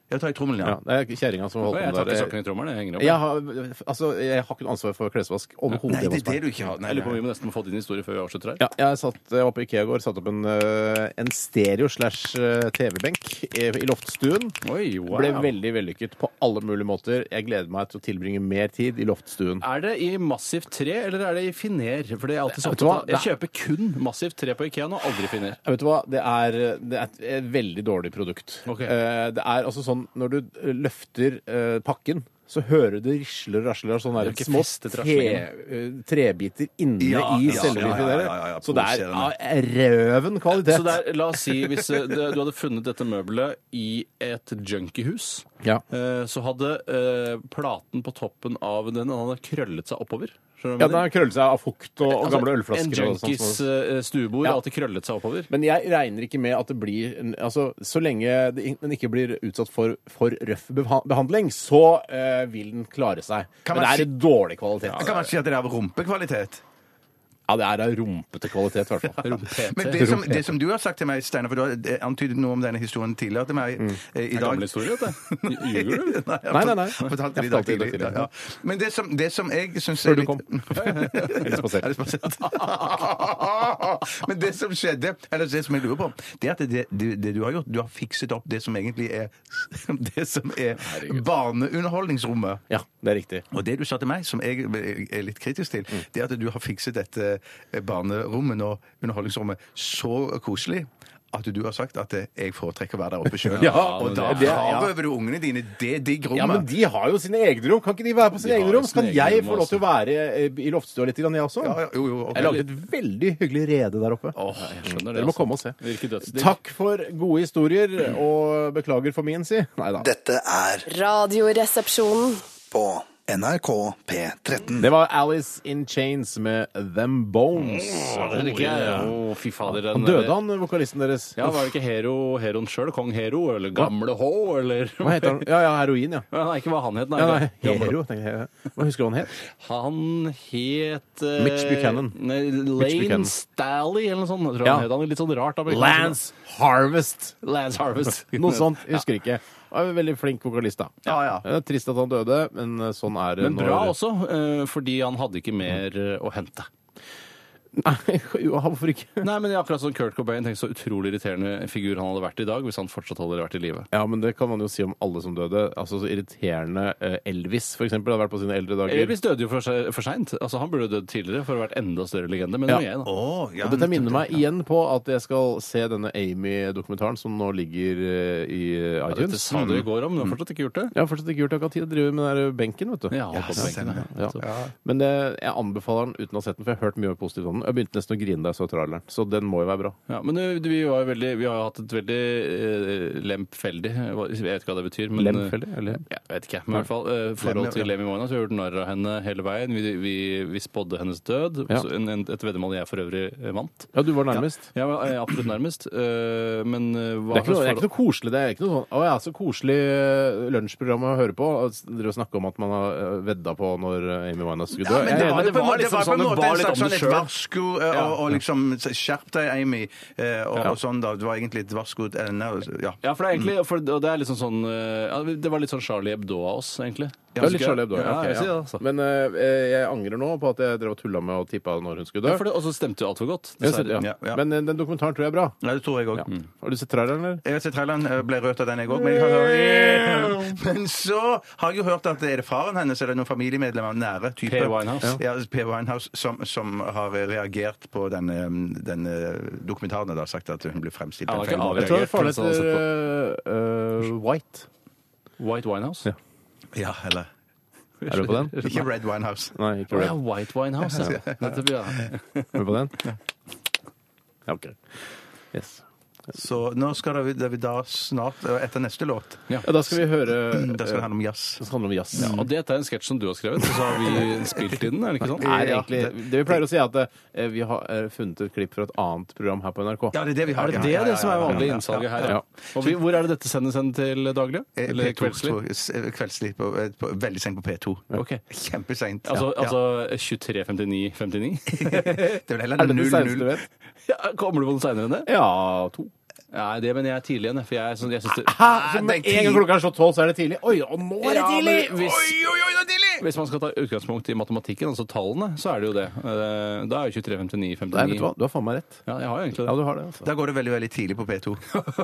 S5: Ja, tar i trommelen, ja.
S7: Ja, det er kjerringa som
S6: Og
S7: holder
S6: jeg
S7: på med
S6: tar ikke
S7: det. der.
S6: sokkene i trommelen. Jeg henger opp.
S7: Jeg har, altså, jeg har ikke noe ansvar for klesvask overhodet.
S5: Nei, det er
S7: hos meg.
S5: det du ikke har. Nei,
S6: Jeg lurer på om
S5: nei.
S6: vi må nesten få din historie før vi avslutter her.
S7: Ja, jeg, satt, jeg var på Ikea i går, satte opp en, eh, en stereo slash eh, TV-benk i i loftstuen.
S6: Oi, wow.
S7: Ble veldig vellykket på alle mulige måter. Jeg gleder meg til å tilbringe mer tid i loftstuen.
S6: Er det i massivt tre, eller er det i finer? For det er jeg alltid så
S7: Vet du hva?
S6: opptatt av. Jeg kjøper kun massivt tre på Ikea nå, aldri finer.
S7: Ja, Eh, Vet du hva? Det er, det er et veldig dårlig produkt.
S6: Ok.
S7: Eh, Det er altså sånn Når du løfter eh, pakken så hører du det risler og rasler av sånne
S6: Det er
S7: der
S6: ikke
S7: små
S6: festet
S7: tre,
S6: raslingen.
S7: eh, trebiter inne
S5: Ja,
S7: i
S5: ja,
S7: selve
S5: ja, ja,
S7: refrigereren.
S5: ja, ja, ja,
S7: Så det er av røven kvalitet.
S6: Så der, la oss si, hvis eh, det- du hadde funnet dette møbelet i et junkiehus,
S7: Ja.
S6: eh, så hadde eh, platen på toppen av den han hadde krøllet seg oppover. Skjønner du
S7: Ja,
S6: hva
S7: den har
S6: jeg
S7: krøllet seg av fukt og, og
S6: mener?
S7: gamle
S6: Altså,
S7: ølflasker.
S6: En
S7: og sånt
S6: junkies
S7: som-
S6: eh, stuebord
S7: Ja.
S6: har alltid krøllet seg oppover.
S7: Men jeg regner ikke med at det blir en- altså, Så lenge det, den ikke blir utsatt for for røff beha- behandling, så eh, vil den klare seg.
S5: Kan
S7: Men
S5: man
S7: det er i dårlig kvalitet.
S5: Kan man si at det er av rumpekvalitet?
S7: Ja, det er av rumpete kvalitet, i hvert fall.
S5: Men det som, det som du har sagt til meg, Steinar, for du har eh, antydet noe om denne historien tidligere til meg eh, i
S6: Det er
S5: dag
S6: gammel historie, dette. Ljuger du?
S5: Nei, jeg
S7: Mm. Nei, nei, nei.
S5: har fortalt det i
S7: Jeg
S5: dag
S7: fortalte det
S5: tidlig.
S7: tidligere.
S5: Ja. Men det som, det som jeg syns
S7: Før
S5: er
S7: du
S5: litt
S7: kom. Eller spasert.
S5: Eller spasert. Men det som skjedde, eller det som jeg lurer på, det er at det, det, det du har gjort, du har fikset opp det som egentlig er det som er barneunderholdningsrommet.
S7: Ja, det er riktig.
S5: Og det du sa til meg, som jeg er litt kritisk til,
S7: Mm.
S5: det er at du har fikset dette eh, barnerommet og underholdningsrommet så koselig at du har sagt at eh, jeg foretrekker å være der oppe sjøl.
S7: Ja,
S5: og
S7: men
S5: da
S7: det- det- ja.
S5: frarøver du ungene dine det digg rommet.
S7: Ja, men de har jo sine egne rom. Kan ikke de være på sine
S6: har
S7: egne
S6: jo
S7: rom? Så
S6: sine
S7: Kan
S6: egne
S7: jeg
S6: rom
S7: få lov til å være eh, i loftstua litt, grann, jeg også?
S5: Ja, ja, jo, jo, ok.
S7: Jeg lagde et veldig hyggelig rede der oppe.
S6: Åh, jeg skjønner det.
S7: Dere må
S6: altså.
S7: komme og se.
S6: Virker dødsdigg.
S7: Takk for gode historier, og beklager for min, si. Nei da.
S1: Dette er
S2: Radioresepsjonen.
S1: på NRK P13.
S7: Det var Alice in Chains med Them Bones.
S6: det liker jeg. Å, fy fader. den- eh,
S7: Han døde, han vokalisten deres.
S6: Ja, var det ikke Hero, Heron sjøl? Kong Hero? Eller Gamle H? Eller
S7: Hva heter han? Ja, ja, heroin, ja.
S6: Ja, Nei, ikke hva han het, nei.
S7: ja nei, Hero, tenker jeg. Hva husker du hva han het?
S6: Han het eh,
S7: Mitch Buchanan.
S6: nei,
S7: Mitch Buchanan.
S6: Lane Stally eller noe sånt. Tror jeg
S7: Ja.
S6: han het. Han er litt sånn rart. amerikansk.
S7: Harvest.
S6: Lance Harvest.
S7: Noe sånt. Jeg husker ikke. Han var en veldig flink vokalist, da.
S5: Ja, ja.
S7: Det er trist at han døde, men sånn er det
S6: Men bra også, eh, fordi han hadde ikke mer eh, å hente.
S7: Nei, jo, hvorfor ikke?
S6: Nei, men det er akkurat som Kurt Cobain. Tenk så utrolig irriterende figur han hadde vært i dag hvis han fortsatt hadde vært i live.
S7: Ja, men det kan man jo si om alle som døde. Altså, så irriterende eh, Elvis, for eksempel, hadde vært på sine eldre dager.
S6: Elvis døde jo for, se- for seint. Altså, han burde dødd tidligere for å vært enda større legende. Men
S7: Ja.
S6: nå er jeg, da.
S5: Å, ja,
S7: Og dette
S5: nettopp
S7: minner
S5: det.
S7: meg igjen på at jeg skal se denne Amy-dokumentaren som nå ligger eh, i eh,
S6: Ja, dette
S7: iTunes.
S6: sa du i går om,
S7: Mm.
S6: men du har fortsatt ikke gjort det.
S7: Jeg har fortsatt ikke gjort det. Jeg har ikke hatt tid å drive med den der benken, vet du.
S6: Ja,
S7: Jeg har
S6: stemmer.
S7: holdt på benken, ja. Men eh, jeg anbefaler den uten å ha sett den, for jeg har hørt mye positivt om den. Jeg begynte nesten å grine da jeg så traileren, så den må jo være bra.
S6: Ja, men eh, vi, var jo veldig, vi har jo hatt et veldig eh, lempfeldig eh, hva- Jeg vet ikke hva det betyr. Men, eh,
S7: Lemfeldig, eller?
S6: Ja, jeg vet ikke. Men i hvert fall eh, forhold til Lemmy Moynas. Vi har gjort narr av henne hele veien. Vi, vi, vi spådde hennes død.
S7: Ja.
S6: Så En, en, et veddemål jeg for øvrig eh, vant.
S7: Ja, du var nærmest.
S6: Jeg var eh, absolutt nærmest. eh, Men eh,
S7: Det
S6: hva
S7: er, ikke noe, det er
S6: slags
S7: ikke noe koselig. Det er ikke noe sånn 'Å ja, så koselig eh, lunsjprogram å høre på'. og s- Dere snakker om at man har eh, vedda på når eh, Amy Winehouse skulle dø.
S5: Ja, men
S7: Jeg er
S5: det,
S7: enig.
S5: var,
S6: det
S5: på en
S6: var
S5: måte- det
S6: liksom
S5: var på
S6: sånn,
S5: en
S6: det
S5: måte
S6: bar
S5: en
S6: litt om
S5: slags
S6: det
S5: sånn et
S6: selv.
S5: varsko eh, og, og liksom Skjerp deg, Amy. eh, Og, og sånn, da. Det var egentlig et varsko eh, nei, ja.
S6: Ja, for det er egentlig for, og det, er liksom sånn, eh, ja, det var litt sånn Charlie Hebdo av oss, egentlig.
S7: Ja, litt Charlie Hebdo. Ja,
S6: Ja,
S7: ok,
S6: jeg sier
S7: ja.
S6: det, altså.
S7: Men eh, jeg angrer nå på at jeg drev og tulla med og tippa når hun skulle dø.
S6: Ja, for det- Og så stemte jo alt for godt.
S7: Jeg ser-
S6: dessverre.
S7: ja. Mm.
S5: Ja, ja.
S7: Men eh, den dokumentaren tror jeg er bra.
S5: Nei, det tror jeg òg.
S7: Har du sett traileren, eller?
S5: Jeg har sett traileren, eh, ble rørt av den jeg òg. Men, jeg har- men så har jeg jo hørt at det er det faren hennes eller noen familiemedlemmer nære type
S6: Per Winehouse.
S5: Ja, per Winehouse som, som har eh, reagert på denne, denne eh, dokumentaren og da sagt at hun ble fremstilt
S6: Han har ikke
S5: på en feil
S6: avreagert.
S7: Jeg tror
S6: reagerte,
S5: måte.
S7: faren
S6: så hadde
S7: heter eh, eh, White.
S6: White Winehouse.
S7: Ja.
S5: Ja, eller
S7: Er du på den?
S5: Ikke Red Winehouse.
S7: Nei, ikke
S6: Å ja,
S7: Red.
S6: White Winehouse, ja. Nettopp, ja.
S7: Er du på den? Ja, OK. Yes.
S5: Så nå skal vi, det vi da snart, eh, etter neste låt,
S7: Ja, da skal vi høre
S6: Eh,
S7: eh,
S5: da skal det handle om jazz.
S7: Det handler om jazz.
S6: Ja, og dette er en sketsj som du har skrevet, og så har vi spilt i den, er det ikke sånn?
S7: er
S5: Ja,
S7: egentlig, det, vi pleier å si er at eh, vi har eh, funnet et klipp fra et annet program her på NRK.
S5: Ja, det er det vi har.
S6: Er det
S5: Ja,
S6: det,
S5: ja, ja,
S6: det som er
S5: ja, ja,
S6: vanlig
S5: ja,
S6: innsalget her?
S7: ja.
S6: Ja. Og vi, hvor er det dette sendes hen til daglig?
S5: Eh,
S6: Eller
S5: P2,
S6: kveldslig?
S5: tror jeg. S- eh, Kveldslig. På, eh, på, veldig sent på P2.
S6: Ok.
S5: Kjempeseint.
S6: Altså,
S5: Ja.
S6: altså 23.59.59?
S5: Det er vel
S7: Er
S5: heller
S7: det den
S5: 00.
S7: seneste du vet?
S6: Ja, kommer du på den seinere enn det?
S7: Ja, to.
S6: Nei, det mener jeg er tidlig igjen, for jeg, er sånn- jeg syns det
S7: Hæ?
S5: det
S7: Så
S5: er
S7: med
S5: ti-
S7: en gang klokka er slått tolv, så er det tidlig? Oi, og nå er det
S6: Ja,
S7: tidlig!
S6: men hvis-
S7: oi, oi, det er tidlig!
S6: Hvis man skal ta utgangspunkt i matematikken, altså tallene, så er det jo det. Eh, Da er jo 23.59.59.
S7: Nei, vet du hva? Du har faen meg rett.
S6: Ja, jeg har jo egentlig
S7: Ja,
S6: det.
S7: du har det, altså.
S5: Da går det veldig veldig tidlig på P2.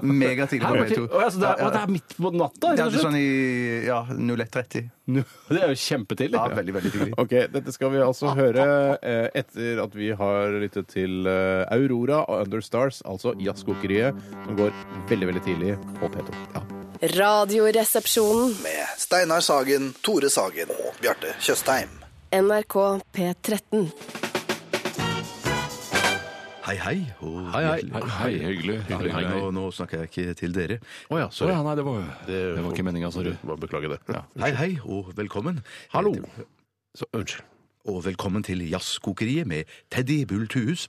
S5: Megatidlig på
S6: Her,
S5: P2.
S6: Å, ja, så det, er, å, det er midt på natta? rett
S5: Ja,
S6: og
S5: det er
S6: slett.
S5: sånn i ja, 01.30.
S6: Det er jo kjempetidlig.
S5: Ja, veldig, veldig tidlig.
S7: Ok, dette skal vi altså høre eh, etter at vi har lyttet til eh, Aurora og Understars, altså jazzkokeriet, som går veldig, veldig tidlig på P2. Ja.
S2: Radioresepsjonen.
S1: Med Steinar Sagen, Tore Sagen og Bjarte Tjøstheim.
S2: NRK P13.
S5: Hei, hei. og
S7: Hei, hei.
S5: hjertelig-
S6: Hei, hyggelig.
S5: Hei, hei, nå, nå snakker jeg ikke til dere.
S7: Å ja, sorry.
S6: nei, det var, ikke altså, meninga, sorry.
S7: Bare beklager det.
S5: Hei, hei, og velkommen.
S7: Hallo.
S5: Eh,
S7: Så, unnskyld.
S5: og velkommen til Jazzkokeriet med Teddy Bull Thues.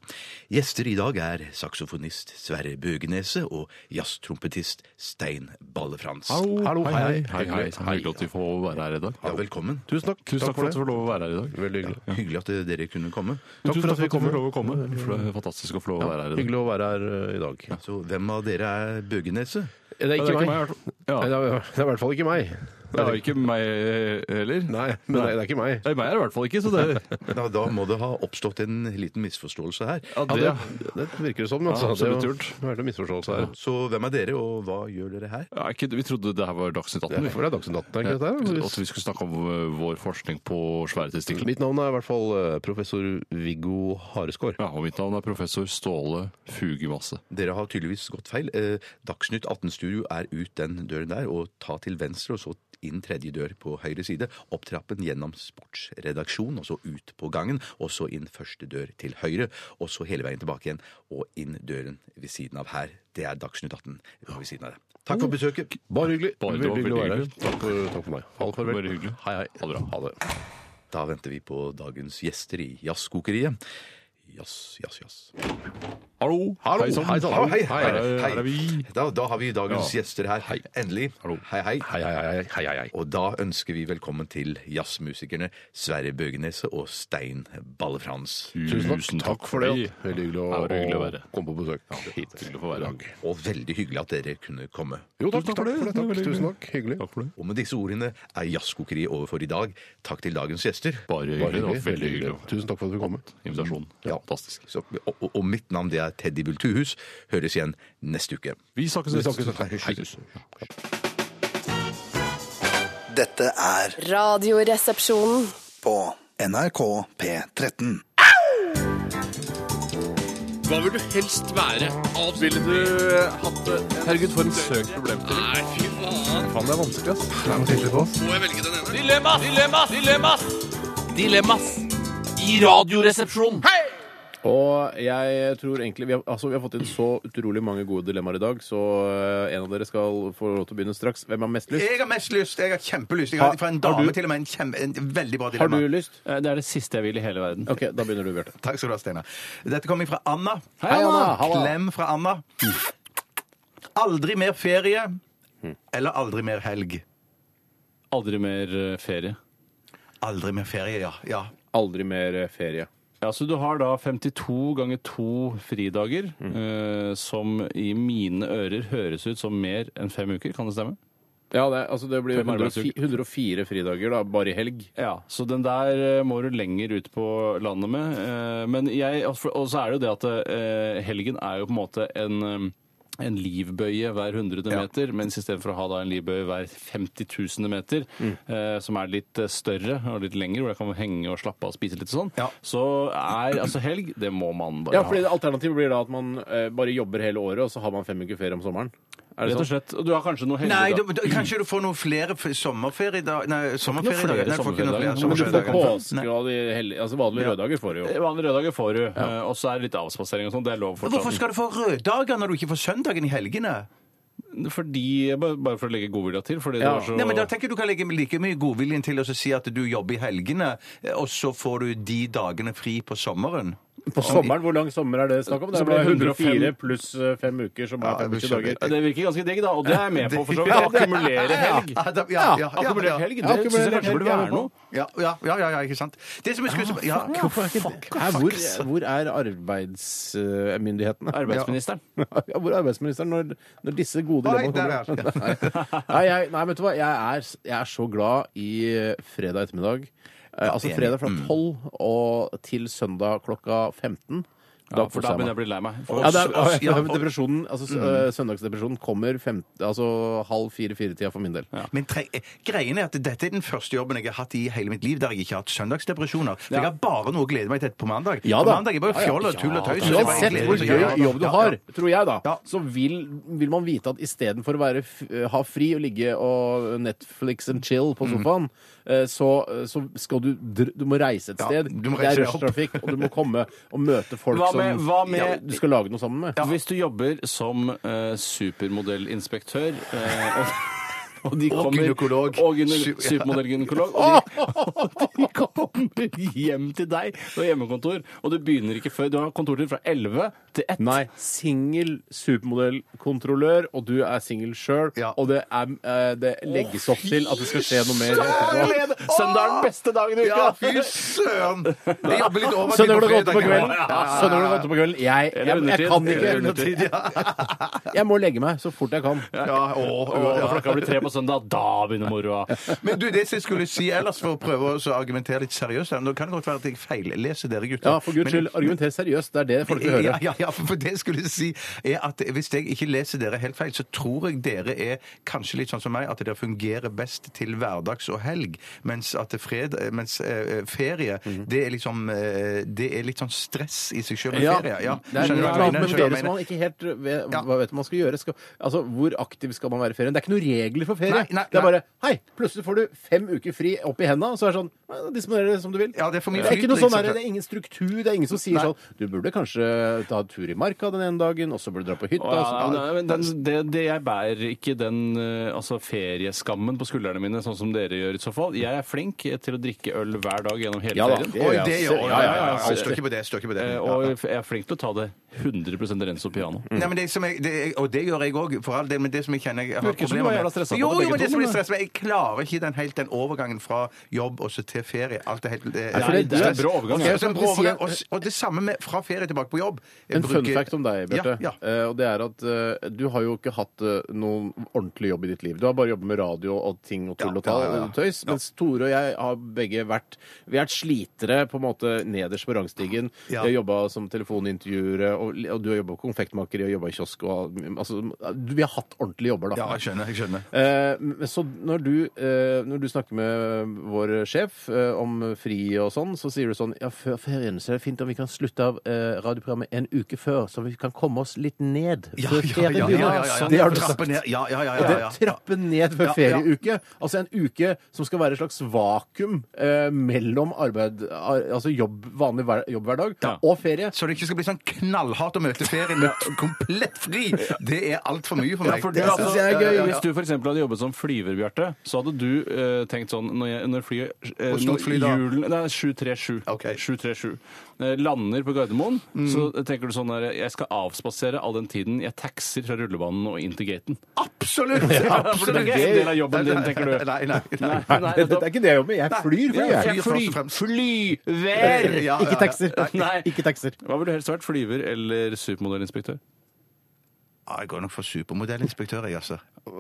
S5: Gjester i dag er saksofonist Sverre Bøgenese og jazztrompetist Stein Balle-Frans.
S7: Hallo, hei, hei.
S6: Hyggelig at vi får være her i dag.
S5: Ja, velkommen.
S7: Tusen takk.
S6: Tusen takk for at
S7: det.
S6: du får lov å være her i dag.
S7: Veldig hyggelig.
S5: Hyggelig at dere kunne komme.
S7: Takk for at vi kommer.
S6: å komme. For det er fantastisk å få lov å være her i dag.
S7: Hyggelig å være her eh, i dag.
S5: Så hvem av dere er Bøgenese?
S7: Det er
S6: Ja,
S7: ikke meg.
S6: Ja.
S7: Nei, Det er det er i hvert fall ikke meg.
S6: Det er jo ikke meg heller.
S7: Nei, men det er- det er ikke meg.
S6: Nei, meg er det i hvert fall ikke, så det
S5: Da, da må det ha oppstått en liten misforståelse her.
S6: ja,
S7: Ja,
S6: det,
S7: det, det virker det som.
S6: Ja,
S7: Altså.
S6: absolutt
S7: det
S6: gjort.
S7: har vært en misforståelse her.
S5: Så hvem er dere, og hva gjør dere her?
S6: ja, ikke, Vi trodde det her var Dagsnytt 18.
S7: Det
S6: vi.
S7: er for det er Dagsnytt 18, er ikke dette?
S6: At
S7: her?
S6: vi skulle snakke om eh, vår forskning på svære testikler.
S7: Mitt navn er i hvert fall eh, professor Viggo Hareskår.
S6: Ja, og mitt navn er professor Ståle Fugemasse.
S5: Dere har tydeligvis gått feil. Eh, Dagsnytt 18-studio er ut den døren der, og ta til venstre, og så inn tredje dør på høyre side. Opp trappen gjennom sportsredaksjon, og så ut på gangen, og så inn første dør til høyre, og så hele veien tilbake igjen, og inn døren ved siden av her. Det er Dagsnytt 18 ved siden av det.
S1: Takk for besøket.
S7: Bare hyggelig.
S6: Bare- det
S7: Veldig
S6: var
S7: hyggelig å
S6: veldig
S7: være her. Takk for, takk for meg. Ha det farvel.
S6: Bare hyggelig.
S7: Hei, hei.
S6: Ha det bra.
S7: Ha det.
S8: Da venter vi på dagens gjester i Jazzkokeriet. Jazz, jazz, jazz.
S6: Hallo!
S8: Hallo,
S6: sann.
S8: hei sann.
S6: Hallo,
S8: Hei,
S6: hei,
S8: hei,
S6: her er vi.
S8: Da, da har vi dagens gjester her. Endelig. Hei, hei.
S7: Hei, hei, hei, hei, hei, hei.
S8: Og da ønsker vi velkommen til jazzmusikerne Sverre Bøgenese og Stein Balle-Frans.
S7: Tusen takk, takk for det.
S6: Hei.
S7: Veldig hyggelig å,
S6: Ja, det var hyggelig å
S7: å
S6: være.
S7: komme på besøk.
S6: Helt hyggelig å få være her.
S8: Og veldig hyggelig at dere kunne komme.
S7: Jo, takk, takk for det.
S6: Det var
S7: Takk.
S6: veldig
S7: Tusen takk. Hyggelig.
S6: Takk for det.
S8: Og med disse ordene er jazzkokeriet over for i dag. Takk til dagens gjester.
S6: Bare
S7: Bare
S6: hyggelig. Det var
S7: hyggelig.
S6: veldig hyggelig.
S7: Tusen takk for at du kom.
S6: Invitasjon. Fantastisk.
S8: Så, og, og- og mitt navn det er Teddy Bultuhus. Høres igjen neste uke.
S6: Vi snakkes.
S8: Hei.
S1: Dette er
S2: Radioresepsjonen.
S1: på NRK P13.
S9: Hva vil du helst være? Avspillet
S7: Herregud, for en søk problem.
S9: Nei, fy faen.
S7: Faen, det er vanskelig, ass.
S9: Må jeg velge den ene? Dilemmas! Dilemmas! Dilemmas! Dilemmas i Radioresepsjonen.
S7: Og jeg tror egentlig vi har, altså, vi har fått inn så utrolig mange gode dilemmaer i dag, så eh, en av dere skal få lov til å begynne straks. Hvem har mest lyst?
S5: Jeg har mest lyst. Jeg har kjempelyst. Jeg har, fra en
S7: Har- har
S5: dame
S7: du-
S5: til og med en, kjempe, en veldig bra
S7: Har
S5: dilemma.
S7: du lyst?
S6: Eh, Det er det siste jeg vil i hele verden.
S7: OK, da begynner du, Bjarte.
S5: Takk skal du ha, Steinar. Dette kommer fra Anna.
S7: Hei, Anna. Halla.
S5: Klem fra Anna. Aldri mer ferie eller aldri mer helg?
S6: Aldri mer eh, ferie.
S5: Aldri mer ferie, ja. ja.
S7: Aldri mer eh, ferie.
S6: Ja, så Du har da 52 ganger 2 fridager,
S7: Mm.
S6: eh, som i mine ører høres ut som mer enn fem uker. Kan det stemme?
S7: Ja, det, altså det blir
S6: Fem
S7: 104, 104 fridager, da, bare i helg.
S6: Ja, Så den der eh, må du lenger ut på landet med. Eh, men jeg, og for- Og så er det jo det at eh, helgen er jo på en måte en eh, en livbøye hver hundrede meter, mens istedenfor å ha da en livbøye hver 50 000 meter,
S7: Mm.
S6: eh, som er litt eh, større og litt lengre, hvor jeg kan henge og slappe av og spise litt og sånn, så er altså helg Det må man bare
S7: Ja,
S6: ha.
S7: fordi det Alternativet blir da at man eh, bare jobber hele året, og så har man fem uker ferie om sommeren. Er det
S6: Rett og
S7: sånn?
S6: slett. Og du har kanskje noe
S5: Nei,
S6: helgedag.
S5: du, du, kanskje du får noen flere f- sommerferiedager Nei, sommerferiedager.
S6: flere
S5: Nei, du får ikke noen flere
S6: sommerferiedager.
S7: Men du får
S5: sommerferiedager.
S7: påske og de hellige Altså vanlige røddager får du jo.
S6: Vanlige røddager får du, eh, og så er det litt avspasering og sånn. Det er lov
S5: Men
S6: fortsatt.
S5: Hvorfor skal du få røddager når du ikke får søndagen i helgene?
S6: Fordi, bare, bare for å legge godvilja til, fordi det
S7: Ja.
S6: var så
S5: Nei, men Da tenker jeg du kan legge like mye godviljen til å si at du jobber i helgene, eh, og så får du de dagene fri på sommeren.
S7: På sommeren, hvor lang sommer er det snakk om? Det er
S6: Så blir
S7: bare
S6: det
S7: 104
S6: 105
S7: pluss 5 uker, som er
S5: Ja, jeg
S7: 50
S5: skjønner.
S7: dager.
S6: Det virker ganske digg, da, og det er jeg med på, for så vidt.
S5: Ja, det-
S6: Akkumulere helg.
S5: Ja, da- ja, ja, ja,
S6: Akkumulere
S5: ja.
S6: helg,
S7: Ja,
S6: det syns jeg
S7: akkumulere
S6: kanskje
S7: helg
S6: burde
S7: er
S6: være
S7: med
S6: noe.
S5: Ja, ja, ja, ja, ja, ikke sant? Det som jeg skulle ja,
S7: Hæ, hvor, hvor er arbeidsmyndighetene?
S6: Arbeidsministeren.
S7: Ja, hvor er arbeidsministeren når, når disse gode
S5: Nei,
S7: dilemmaene
S5: der
S7: kommer? Nei, nei, jeg, nei, vet du hva? Jeg er, jeg er så glad i fredag ettermiddag. Eh, altså
S5: enig. Mm.
S7: fredag fra 12 og til søndag klokka 15.
S6: Ja, for da
S7: koser jeg meg.
S6: begynner jeg å bli lei meg.
S7: Ja, det er,
S5: Og- og-
S7: ja,
S5: ja, og-
S7: depresjonen, altså, s-
S6: Mm.
S7: eh, Søndagsdepresjonen kommer fem, altså, halv fire-fire-tida for min del.
S5: Men tre, eh, greien er at dette er den første jobben jeg har hatt i hele mitt liv der jeg ikke har hatt søndagsdepresjoner. For Jeg har bare noe å glede meg til på mandag.
S7: Ja
S5: på
S7: da.
S5: mandag er bare fjoll og tull og tøys. og det er bare
S7: Uansett
S5: glede.
S7: hvor gøy jobb du
S5: Ja, ja.
S7: har, tror jeg, da,
S5: Ja.
S7: så vil, vil man vite at istedenfor å være, f- eh, ha fri og ligge og Netflix and chill
S5: Mm.
S7: på sofaen, eh, så, så skal du dr- Du må reise et
S5: Ja,
S7: sted.
S5: du må
S7: det
S5: reise
S7: er
S5: deg opp.
S7: rushtrafikk, og du må komme og møte folk
S6: Hva med-
S7: som
S6: hva med-
S7: ja, du skal lage noe sammen med.
S6: Hvis du jobber som eh, supermodellinspektør eh, og og, de kommer,
S5: gynekolog.
S6: Og gyne,
S5: Su- ja.
S6: supermodellgynekolog. Og, de- og de kommer hjem til deg. Du har hjemmekontor, og du begynner ikke før Du har kontortid fra 11 til 1.
S7: Nei. Singel supermodellkontrollør, og du er singel sjøl,
S5: Ja.
S7: og det, er, eh, det legges opp til at det skal skje noe mer. etterpå.
S6: Søndag er den beste dagen i uka!
S5: Ja, fy søren! Jeg jobber litt over
S7: Søndag klokka åtte på kvelden.
S5: Ja, ja, ja.
S7: Søndag klokka åtte på kvelden. Jeg, jeg, jeg,
S6: undertid.
S7: kan
S6: Eller
S7: ikke.
S6: undertid,
S7: Jeg må legge meg så fort jeg kan.
S5: Ja, å, å,
S6: Og
S5: ja.
S6: klokka blir tre på søndag, da begynner moroa.
S5: Men du, det som jeg skulle si ellers, for å prøve å så argumentere litt seriøst her, Nå kan det godt være at jeg feilleser dere, gutter.
S7: Ja, for guds
S5: Men-
S7: skyld, argumenter seriøst. Det er det folk vil
S5: Ja,
S7: høre.
S5: ja, ja, for for det jeg skulle si er at hvis jeg ikke leser dere helt feil, så tror jeg dere er kanskje litt sånn som meg, at dere fungerer best til hverdags og helg, mens at det fred, mens eh, ferie, det er liksom eh, det er litt sånn stress i seg selv med ferie. Ja,
S7: Det er
S5: Skjønner du hva jeg
S7: noe
S5: mener?
S7: med
S5: Skjønner du hva jeg
S7: dere som
S5: mener?
S7: man ikke helt vet,
S5: Ja.
S7: hva vet man man skal gjøre. Skal, altså, Hvor aktiv skal man være i ferien? Det er ikke noen regler for ferie.
S5: Nei, nei,
S7: det er
S5: nei.
S7: bare hei, plutselig får du fem uker fri opp i henda, og så er det sånn «Ja, disponer det som du vil.
S5: Ja, det er for mye
S7: ikke noe
S5: flyt,
S7: sånn der,
S5: ikke sant?
S7: det er ingen struktur, det er ingen som sier
S5: Nei.
S7: sånn Du burde kanskje ta en tur i marka den ene dagen, og så burde du dra på hytta. og så-
S6: Ja, nei, men den, det, det jeg bærer ikke den eh, altså ferieskammen på skuldrene mine, sånn som dere gjør i så fall. Jeg er flink til å drikke øl hver dag gjennom hele
S7: Ja da,
S6: ferien.
S7: det gjør
S5: Oi,
S7: jeg,
S5: det
S7: altså.
S5: gjør
S7: Ja, ja, ja,
S5: jeg.
S7: altså.
S5: Jeg står ikke på det. jeg Står ikke på det.
S6: Eh,
S5: Ja.
S6: Og jeg er flink til å ta det 100 rens og piano.
S5: Nei, men det som jeg, det, og det gjør jeg òg, for all del. Men det som jeg kjenner jeg har
S6: Virker som du
S5: problemer
S6: var
S5: med-
S6: jævla stressa på
S5: Jo,
S6: det,
S5: jo,
S6: begge
S5: men det
S6: to,
S5: som blir
S6: men-
S5: stress med Jeg klarer ikke den, helt den overgangen fra jobb og så til ferie. Alt er helt eh, det,
S7: for det- det er en
S6: brå overgang,
S5: Og så-
S6: ja.
S5: og så en brå overgang, og, s- og det samme med fra ferie tilbake på jobb. Jeg
S7: En fun
S5: bruker-
S7: fact om deg, Bjarte.
S5: Ja, ja.
S7: eh, og det er at eh, du har jo ikke hatt eh, noen ordentlig jobb i ditt liv. Du har bare jobbet med radio og ting og tull
S5: Ja,
S7: og tall
S5: ja, ja, ja.
S7: og tøys. Mens Tore og jeg har begge vært Vi har vært slitere på en måte nederst på rangstigen. Vi
S5: Ja.
S7: har jobba som telefonintervjuere, og, og du har jobba på konfektmakeri og jobba i kiosk og altså, du- Vi har hatt ordentlige jobber, da.
S5: ja, jeg skjønner. jeg skjønner.
S7: Eh, men så når du, eh, når du snakker med vår sjef eh, om fri og sånn, så sier du sånn Ja, før ferien så er det fint om vi kan slutte av eh, radioprogrammet en uke før, så vi kan komme oss litt ned
S5: Ja,
S7: før
S5: ja, ja, ja, ja, ja, ja.
S7: ferien. Det har du
S5: Trappe
S7: sagt.
S5: ned. Ja, ja, ja,
S7: Og det
S5: ja, ja.
S7: trappe ned før
S5: Ja, ja.
S7: ferieuke. Altså en uke som skal være et slags vakuum eh, mellom arbeid, ar- altså jobb, vanlig hver, jobbhverdag
S6: Ja.
S7: og ferie.
S5: Så det ikke skal bli sånn knallhardt å møte ferien med komplett fri! Det er altfor mye for meg.
S6: for du,
S5: Ja,
S6: altså,
S5: ja, ja, ja, ja.
S6: Hvis du f.eks. hadde jobbet som flyver, Bjarte, så hadde du eh, tenkt sånn Når, jeg, når flyet eh,
S5: Hvor stort
S6: når
S5: fly da?
S6: hjulen- Nei, 737.
S5: Ok. Mm.
S6: 737 eh, lander på Gardermoen, så tenker du sånn der Jeg skal avspasere all den tiden jeg taxer fra rullebanen og inn til gaten.
S5: Absolutt!
S6: for det er
S5: absolutt.
S6: ikke en del av jobben din, tenker du.
S5: Nei, nei. nei.
S7: det, det er ikke det jeg jobber med. Jeg flyr, flyr
S5: Ja,
S7: jeg.
S5: flyr først og fremst.
S6: flyver!
S5: Ja, ja,
S7: Ikke
S5: ja.
S7: taxer.
S6: Nei.
S7: Ikke taxer.
S6: Hva ville du helst vært? Flyver eller supermodellinspektør?
S5: Ja, Jeg går nok for supermodellinspektør, jeg, altså.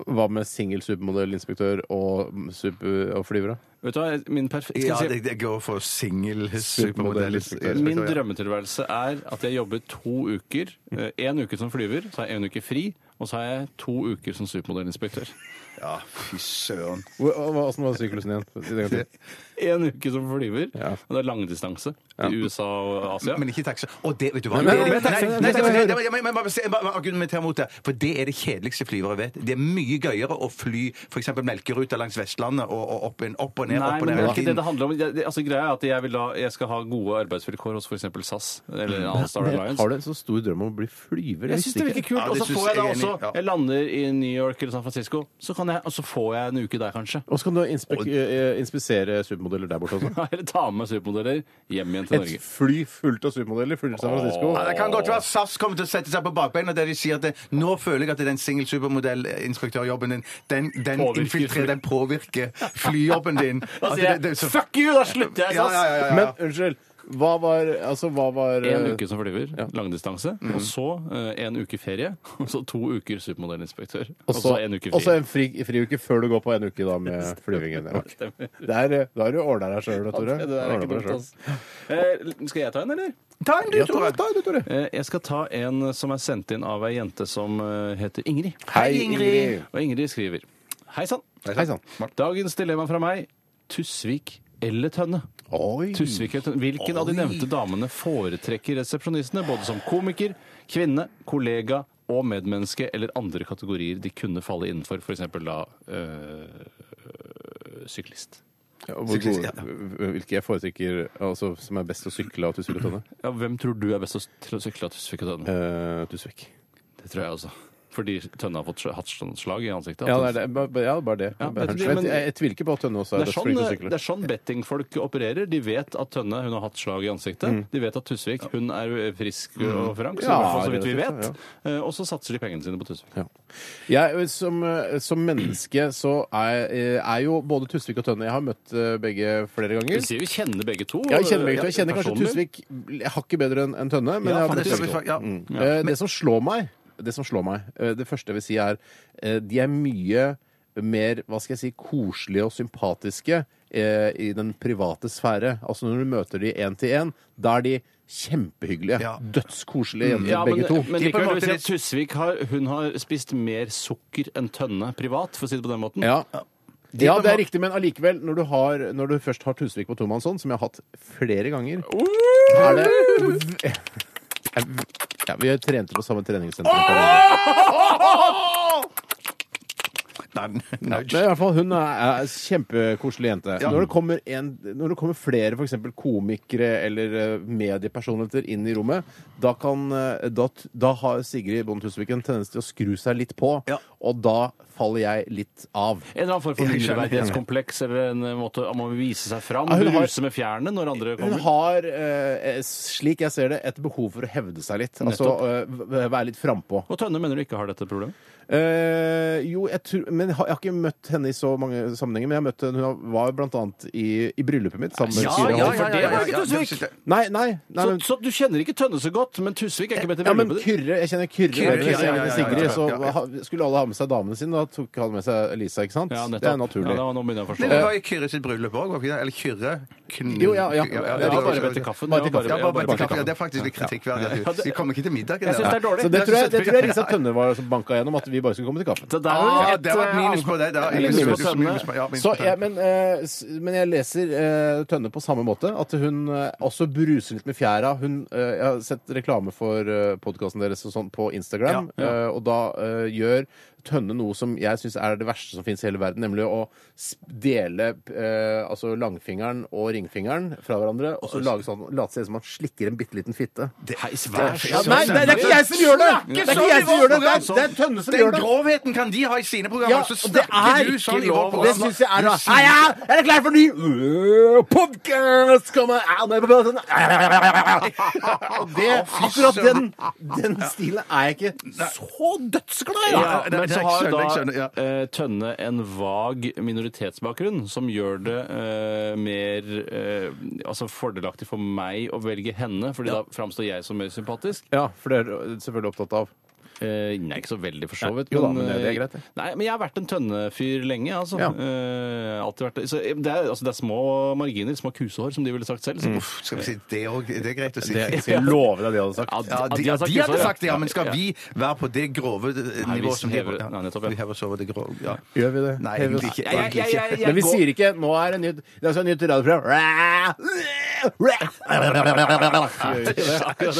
S7: Hva med singel supermodellinspektør og, super, og flyvere?
S6: Vet du hva, min perf... Skal
S5: Ja,
S6: jeg si-
S5: det, det går for singel
S7: Supermodellinspektør.
S5: supermodellinspektør.
S6: Min drømmetilværelse er at jeg jobber to uker. Én uke som flyver, så har jeg én uke fri, og så har jeg to uker som supermodellinspektør.
S5: Ja, fy søren.
S7: Åssen var syklusen igjen? Si det en gang til.
S6: Én uke som flyver,
S7: Ja.
S6: og det er langdistanse til USA og Asia.
S5: Men ikke taxi. Og det, vet du hva
S7: Nei, men-
S5: Det-
S7: men taxi-
S5: nei, nei, taxi- nei, nei, Jeg må- jeg må bare se- jeg må bare argumentere mot det. For det er det kjedeligste flyvere vet. Det er mye gøyere å fly f.eks. Melkeruta langs Vestlandet og, og opp, en, opp og ned,
S6: Nei,
S5: opp og
S6: men
S5: ned
S6: det er ikke
S5: hele
S6: det
S5: tiden.
S6: det handler om. Jeg, det, altså, greia er at jeg, vil ha, jeg skal ha gode arbeidsvilkår hos f.eks. SAS eller
S5: Mm.
S6: en annen Star Alliance.
S7: Har du en så stor drøm om å bli flyver?
S6: Jeg syns det virker kult.
S5: Ja, det
S6: Og så
S5: synes
S6: får jeg da
S5: jeg er enig i.
S6: også
S5: Ja.
S6: Jeg lander i New York eller San Francisco, så kan jeg, og så får jeg en uke der, kanskje.
S7: Og så kan du inspe eh, inspisere supermodeller der borte også.
S6: Eller ta med supermodeller hjem igjen til
S7: Et
S6: Norge.
S7: fly fullt av supermodeller flyr til San Francisco.
S5: Ja, det kan godt være SAS kommer til å sette seg på bakbeina der de sier at det, nå føler jeg at den singel supermodellinspektørjobben din, den, den
S6: Påvirker.
S5: infiltrerer, den påvirker flyjobben din.
S6: Da
S5: At
S6: sier
S5: det- det-
S6: jeg
S5: så-
S6: fuck you, da slutter jeg i
S5: Ja,
S6: SAS!
S5: ja, ja, ja, ja.
S7: Men unnskyld, hva var Altså, hva var eh, Mm.
S6: En uke som flyver, langdistanse, og så eh, en uke ferie, og så to uker supermodellinspektør, og så en uke
S7: og så
S6: ferie.
S7: en fri, friuke før du går på en uke da med flyvingen. Ja. Det er, eh, Da har du ordna deg sjøl, Tore.
S6: Det der er ikke
S7: Ordnet deg
S6: dumt,
S7: selv.
S6: altså. Eh, skal jeg ta en, eller?
S5: Ta en, du,
S7: Ja, Tore,
S5: Tore.
S7: ta det, Tore.
S6: Eh, jeg skal ta en som er sendt inn av ei jente som eh, heter Ingrid.
S7: Hei, Ingrid.
S6: Og Ingrid skriver Hei sann.
S7: Hei sann.
S6: Dagens dilemma fra meg Tusvik eller Tønne.
S7: Oi.
S6: Tusvik eller Tønne. Hvilken av de nevnte damene foretrekker resepsjonistene, både som komiker, kvinne, kollega og medmenneske eller andre kategorier de kunne falle innenfor, f.eks. da øh, syklist?
S7: Ja, hvor gode, hvilke jeg foretrekker altså, som er best å sykle av Tusvik og Tønne?
S6: Ja, hvem tror du er best til å sykle av Tusvik og Tønne?
S7: Uh, Tusvik.
S6: Det tror jeg også. Fordi Tønne har fått sl- hatt sånn slag i ansiktet.
S7: Ja,
S6: at
S7: det
S6: hun-
S7: er det. Ba- ba- ja, bare det.
S6: Ja,
S7: Bare
S6: men-
S7: hunch.
S6: men-
S7: jeg, jeg, jeg tviler ikke på at Tønne også
S6: Det
S7: er
S6: er,
S7: best
S6: sånn,
S7: flink til å
S6: det
S7: sykle.
S6: er sånn bettingfolk opererer. De vet at Tønne hun har hatt slag i ansiktet. De vet at Tusvik hun er frisk og frank,
S7: Mm.
S6: så,
S7: Ja,
S6: i hvert fall så vidt vi
S7: relativt,
S6: vet. Eh, Og så satser de pengene sine på Tusvik.
S7: Jeg, som, eh, som menneske så er, eh, er jo både Tusvik og Tønne Jeg har møtt eh, begge flere
S6: Du
S7: ganger.
S6: sier vi kjenner begge to.
S7: Jeg kjenner, begge to. jeg
S6: Ja,
S7: kjenner kanskje
S6: personlig.
S7: Tusvik Jeg har ikke bedre enn enn Tønne, men jeg
S5: Ja,
S7: har
S5: faen,
S7: møtt
S5: det Mm. skal
S7: Tusvik.
S5: vi fa- ja.
S7: Eh, Det som slår meg, det som slår meg, eh, det første jeg vil si er eh, de er mye mer, hva skal jeg si, koselige og sympatiske eh, i den private sfære. Altså når du møter de én til én, da er de kjempehyggelige.
S5: Ja.
S7: Dødskoselige jenter,
S6: Mm. Ja, men,
S7: begge to.
S6: men
S5: De er på en
S6: likevel vil
S5: måte
S6: jeg si at
S5: litt-
S6: Tusvik har, hun har spist mer sukker enn Tønne privat, for å si det på den måten.
S7: Ja.
S5: er
S7: Ja,
S5: på en
S7: det er
S5: måte-
S7: riktig, men allikevel, når du, har, når du først har Tusvik på tomannshånd, som jeg har hatt flere ganger, er det Ja, vi trente på samme treningssenter. Oh! Ja, men i hvert fall, hun er, er en kjempekoselig jente. Når, det kommer en, når det kommer flere for eksempel komikere eller eh, mediepersonligheter inn i rommet, da, kan, eh, da, t- da har Sigrid Bonde Tusvik en tendens til å skru seg litt på,
S5: Ja.
S7: og da faller jeg litt av.
S6: En eller annen form for
S5: Jeg skjønner.
S6: mindreverdighetskompleks eller en eh, måte om å vise seg fram.
S7: Ja, hun
S6: Hun
S7: har-
S6: ruser med fjærene når andre
S7: Hun
S6: kommer.
S7: har, eh, slik jeg ser det, et behov for å hevde seg litt. Altså eh, v- være litt frampå.
S6: Og Tønne mener du ikke har dette problemet?
S7: Eh, jo, jeg, tror, men jeg har jeg har ikke møtt henne i så mange sammenhenger. Men jeg møtte henne, hun var blant annet i, i bryllupet mitt sammen med
S6: Ja,
S7: Siri
S6: ja,
S7: Hall.
S6: for det var jo ikke Tusvik.
S7: Nei, nei, nei
S6: Så,
S7: men,
S6: så du kjenner ikke Tønne så godt, men Tusvik er ikke med til
S7: ja, men
S6: bryllupet? ditt?
S7: Kyrre, jeg kjenner Kyrre,
S5: Kyrre,
S7: bedre,
S5: ja, ja, ja,
S7: jeg kjenner
S5: ja,
S7: Sigrid,
S5: ja,
S7: så
S5: ja, ja.
S7: ha- skulle alle ha med seg damene sine. Da tok han med seg Lisa, ikke sant?
S6: Ja, nettopp.
S7: det er naturlig.
S6: Ja, da, nå begynner jeg å
S5: Det
S6: forstå.
S5: var i Kyrre sitt bryllup òg, var ikke det? Eller Kyrre? Kn-
S7: Jo, ja, ja.
S5: ja,
S6: Det
S5: det
S6: var
S5: var-
S6: bare bedt til kaffen.
S7: Bare
S6: Det
S7: til
S6: var
S7: kaffe,
S5: Ja, bare bare
S7: Bare
S5: kaffe. Ja, det er faktisk litt kritikkverdig. at du- Vi kommer ikke til middag.
S6: Jeg synes det er sånn- dårlig.
S7: Så det tror, jeg, det tror jeg Lisa Tønne var som banka gjennom at vi bare skulle komme til kaffen.
S6: Så der var
S5: Ah,
S6: et,
S5: det var et minus på deg. da.
S6: eh, minus på
S5: Minus-
S6: Tønne.
S5: minus på- ja, minus
S7: Så
S5: på
S7: jeg, men, eh, s- men jeg leser eh, Tønne på samme måte. At hun eh, også bruser litt med fjæra. Hun, eh, jeg har sett reklame for eh, podkasten deres og sånn på Instagram, eh, og da eh, gjør Tønne noe som jeg syns er det verste som fins i hele verden, nemlig å s- dele eh, altså langfingeren og ringfingeren fra hverandre, og så lage sånn, late seg som man slikker en bitte liten fitte.
S5: Ja,
S7: nei, det er ikke jeg som gjør det! Det er
S5: sånn
S7: ikke jeg som gjør det, det er, det er Tønne som gjør
S5: Den
S7: det.
S5: grovheten kan de ha i
S7: Ja,
S5: sine programmer. så
S7: og det
S5: snakker
S7: er
S5: du
S7: ikke
S5: sånn i vårt
S7: lov.
S5: program.
S7: Det syns jeg er
S5: Du
S7: da.
S5: sier-
S7: Hei, ja, er dere klare for ny øh, podcast? Kom her, ja, nå er vi på podkast? Det, akkurat den, den stilen er jeg ikke så dødsglad i.
S6: Ja,
S7: da.
S5: det-
S6: men så
S5: jeg
S6: har
S5: skjønner, jeg skjønner,
S6: da eh, Tønne en vag minoritetsbakgrunn som gjør det eh, mer eh, altså fordelaktig for meg å velge henne, fordi da framstår jeg som mer sympatisk.
S7: Ja, for det er du selvfølgelig opptatt av.
S6: Eh, nei, ikke så veldig for så vidt.
S7: jo da, men det-
S6: eh,
S7: det er greit, det.
S6: Nei, men jeg har vært en tønnefyr lenge, altså.
S7: Ja.
S6: Eh, alltid vært det. Så det er, altså, det er små marginer, små kusehår, som de ville sagt selv. Så, uff,
S5: Skal vi si det òg? Det er greit å si.
S7: skal love deg det jeg hadde sagt.
S6: ja,
S5: Ja,
S6: de
S5: de, ja,
S6: har
S5: de hadde
S6: kusehår,
S5: sagt det, ja, men skal vi være på det grove eh,
S6: Nei, vi
S5: nivået som de
S6: hever- Nei, nettopp, ja.
S5: Vi hever oss over det grove. Ja.
S7: Gjør vi det?
S5: Nei,
S7: Hever oss-
S5: egentlig ikke.
S6: Ja, jeg-
S5: Egentlig
S6: jeg- jeg-
S5: ikke.
S6: jeg-
S7: Men vi
S6: går-
S7: sier ikke 'nå er det nytt'. Det er altså et nytt radioprogram.
S6: Akkurat det,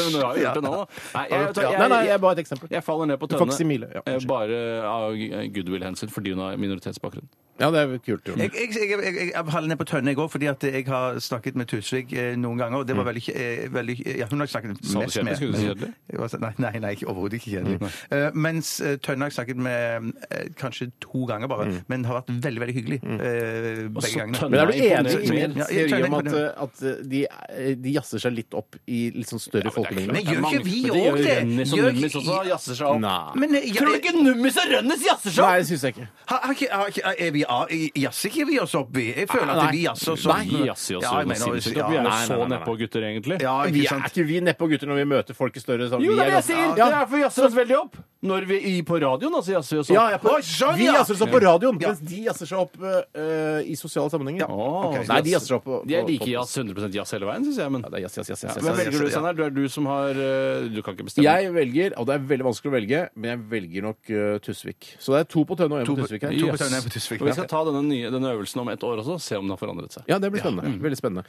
S6: men du har jo gjort det nå, da. Nei, jeg, jeg,
S7: Nei, nei, jeg er bare et eksempel.
S6: Jeg faller ned på
S7: får ikke si
S6: tønne
S7: Mile, ja,
S6: eh, bare av eh, goodwill-hensyn fordi hun har minoritetsbakgrunn.
S7: Ja, det er kult.
S6: Mm.
S7: jo.
S5: Jeg, jeg, jeg, jeg, jeg, jeg holder ned på tønne, jeg òg, fordi at jeg har snakket med Tusvik eh, noen ganger. og det var veldig, eh, veldig ja, Hun har jeg snakket
S6: Mm. Sa du
S5: mest
S6: kjedelig?
S5: med.
S6: Skulle du si kjedelig? Mm.
S5: Jeg var sånn, Nei, nei, nei ikke- overhodet ikke kjedelig. Eh, mens eh, Tønne har jeg snakket med eh, kanskje to ganger bare, men det har vært veldig veldig hyggelig eh, begge
S6: Mm. så
S5: gangene.
S6: Tønne
S7: Men er du
S6: Nei,
S7: enig i
S6: imponert
S7: min
S5: mer.
S7: teori om
S5: Ja,
S7: at, eh,
S5: imponert.
S7: at de, eh, de jazzer seg litt opp i litt sånn større folkemengder?
S5: Men gjør ikke vi
S6: Men
S5: òg det?
S6: Rønnis og
S5: Gjør-
S6: Nummis også jazzer seg opp.
S7: Nei.
S5: Men eh, jeg-
S6: Tror du ikke Nummis og Rønnis jazzer seg
S7: Nei,
S6: opp?
S7: det syns jeg ikke.
S5: Har- har ikke- har ikke- Er vi av- jazzer ikke vi oss opp, vi? Jeg føler
S7: Nei.
S5: at vi jazzer oss opp.
S6: Vi jazzer oss
S5: Ja, jeg
S6: jo
S5: mener,
S6: sinnssykt opp. Vi
S5: ja.
S6: er jo
S7: nei,
S6: så
S7: nei, nei,
S6: nedpå gutter, egentlig.
S5: Ja,
S7: Vi
S5: ikke
S7: er
S5: sant?
S7: ikke vi nedpå gutter når vi møter folk i større sånn- sammen?
S6: Jo, det er det jeg sier!
S7: Ja,
S6: Det er for vi jazzer oss veldig opp. Når vi i- På radioen, altså, jazzer vi oss opp.
S7: ja, ja, på,
S5: Oi, sånn,
S7: vi
S5: ja!
S7: jazzer oss opp på radioen, mens de jazzer seg opp eh, i sosiale sammenhenger.
S6: Å,
S5: Ok.
S7: Nei, de jazzer seg opp på, på
S6: De er like
S7: på-
S6: jazz, 100 jazz hele veien, syns jeg. Men
S7: Ja, det er jazz, jazz, jazz, jazz,
S6: hvem
S7: jazz.
S6: velger du, Steinar? Du er du som har eh, Du kan ikke bestemme.
S7: Jeg velger, og det er veldig vanskelig å velge, men jeg velger nok eh, Tusvik. Så det er to på Tønne og én på Tusvik her.
S5: to på Tønne, en på Tusvik.
S6: Og vi skal ta denne, nye, denne øvelsen om et år også, se om den har forandret seg.
S7: Ja, det blir spennende.
S9: Mm.
S7: Veldig spennende.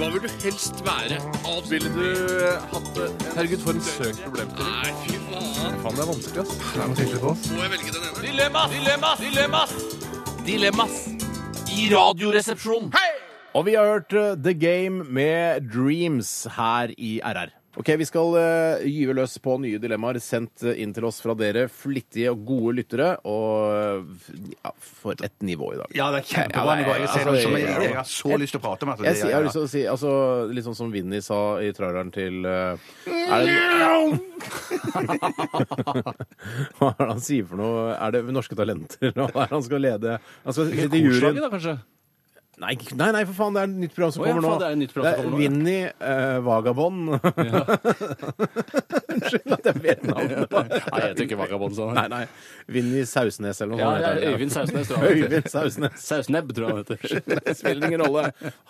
S9: Hva vil du helst være? Ville du eh, hatt det? Herregud, for en søk problem til. Nei, fy faen. Faen, det er vanskelig, ass. Må jeg velge den ene? Dilemmas! Dilemmas! Dilemmas! Dilemmas i radioresepsjonen.
S7: Og vi har hørt eh, The Game med Dreams her i RR. Ok, Vi skal eh, gyve løs på nye dilemmaer sendt eh, inn til oss fra dere flittige og gode lyttere. Og eh, ja, for et nivå i dag.
S5: Ja, det
S7: Ja,
S5: er kjempebra
S7: det er-
S5: nivå. Jeg ser
S7: altså,
S5: det som
S7: jeg-
S5: jeg, jeg har så lyst til å prate om dette.
S7: Jeg, sier- jeg har lyst til å si altså, litt sånn som Vinni sa i traileren til eh, er det, Hva er det han sier for noe? Er det Norske Talenter? Hva er det han skal lede? Han skal sitte i juryen.
S6: Korslaget, da, kanskje?
S7: Nei, ikke- nei, nei, for faen, det er et nytt program som
S6: Å ja,
S7: kommer nå.
S6: faen, det er et nytt program som
S7: Det er
S6: kommer nå, ja.
S7: Vinni eh, Vagabond. Unnskyld at jeg vet navnet.
S6: Nei, jeg heter ikke Vagabond, sa
S7: Nei, nei. Vinni Sausnes eller noe
S6: Ja,
S7: sånt.
S6: ja,
S7: heter det.
S6: Øyvind Sausnes, tror jeg.
S7: Øyvind Sausnes.
S6: Sausnebb, tror jeg han heter.
S7: Det spiller ingen rolle.